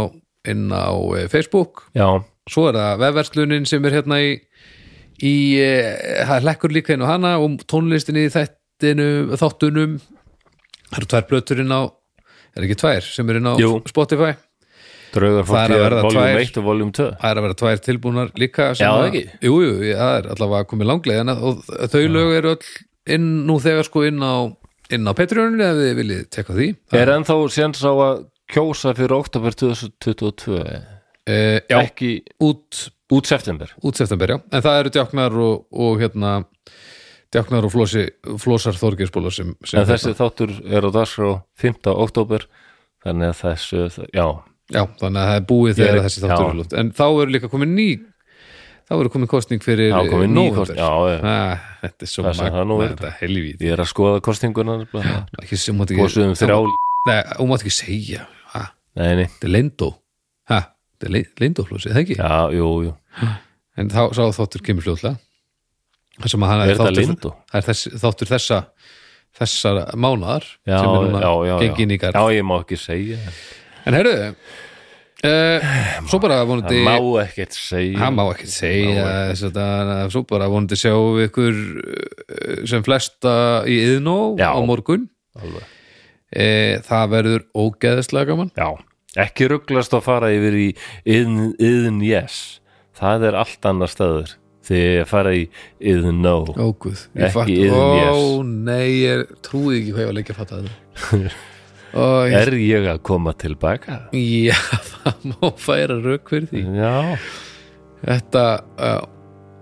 S2: inn á eh, Facebook
S1: Já,
S2: svo er það vefverslunin sem er hérna í í, eh, það er lekkur líka inn á hana og tónlistin í þættinu þáttunum það eru tvær blötur inn á er ekki tvær sem er inn á
S1: Jú.
S2: Spotify
S1: draugar
S2: Það er að
S1: fólkið
S2: verða tvær.
S1: Voljum 1 og voljum 2
S2: það er að vera tvær tilbúnar líka sem
S1: Já,
S2: að-
S1: ekki.
S2: Jú, jú, ég- það er allavega komið langlegina og þau lög eru öll inn nú þegar sko inn á inn á Patreoninu ef þið viljið tekka því
S1: Er ennþá séns á að kjósa fyrir oktober 2022
S2: e, Já,
S1: Ekki
S2: út
S1: út september
S2: út september, já, en það eru djáknar og, og hérna djáknar og flósi, flósar þorgeirsbólar sem, sem
S1: En þessi þáttur er á dagskrá 5. oktober Þannig að þessu, já
S2: já, þannig að það er búið
S1: Ég
S2: þegar
S1: er-
S2: þessi þáttur
S1: já.
S2: er lútt en þá eru líka komin ný þá eru komin kostning fyrir
S1: Já, komin ný
S2: nóvember.
S1: kosning- já, já.
S2: ah, þetta er svo
S1: Það sem það nú
S2: magna,
S1: er.
S2: þetta er helvíti
S1: Ég er að skoða kostinguna nefnilega.
S2: ekki sem mátt ekki
S1: Kosuðum um þrjá
S2: nei, hún mátt ekki segja, ha,
S1: Nei, nei,
S2: þetta er leindó ha, þetta er leindóflósi, það ekki
S1: já, jú, jú
S2: en þá sá þáttur kemur fljóðlega það sem að hann
S1: Er þetta Lindó?
S2: það er þess, þáttur þessa þessar mánaðar
S1: Já,
S2: sem er núna
S1: já, já,
S2: gengin í
S1: já.
S2: garð
S1: já, ég má ekki segja
S2: En heyrðu, uh, svo bara vonandi,
S1: Það má ekkert segja
S2: hann má ekki segja þess að það- svo bara vonandi sjá við ykkur eh, sem flesta í yðnó
S1: Já.
S2: á morgun.
S1: Alveg.
S2: Uh, það verður ógeðislega gaman.
S1: Já, ekki rugglast að fara yfir í yðn, yðn yes það er allt annar staður þegar ég fara í yðn no
S2: Ó, guð,
S1: Ekki
S2: ég fatt,
S1: iðn,
S2: ó nei, ég trúi ekki hvað ég var lengi að fatta þetta. [laughs] Ó, ég,
S1: Er ég að koma tilbaka?
S2: já, það má færa rauk fyrir því.
S1: Já,
S2: Þetta, já,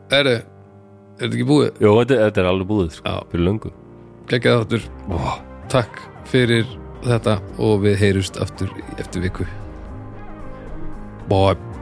S2: heyrðu, er þetta ekki búið?
S1: Jó, þetta, þetta er alveg búið sko,
S2: Já.
S1: fyrir löngu
S2: Gekkið þáttur. Takk fyrir þetta og við heyrust aftur í- eftir viku. Bye.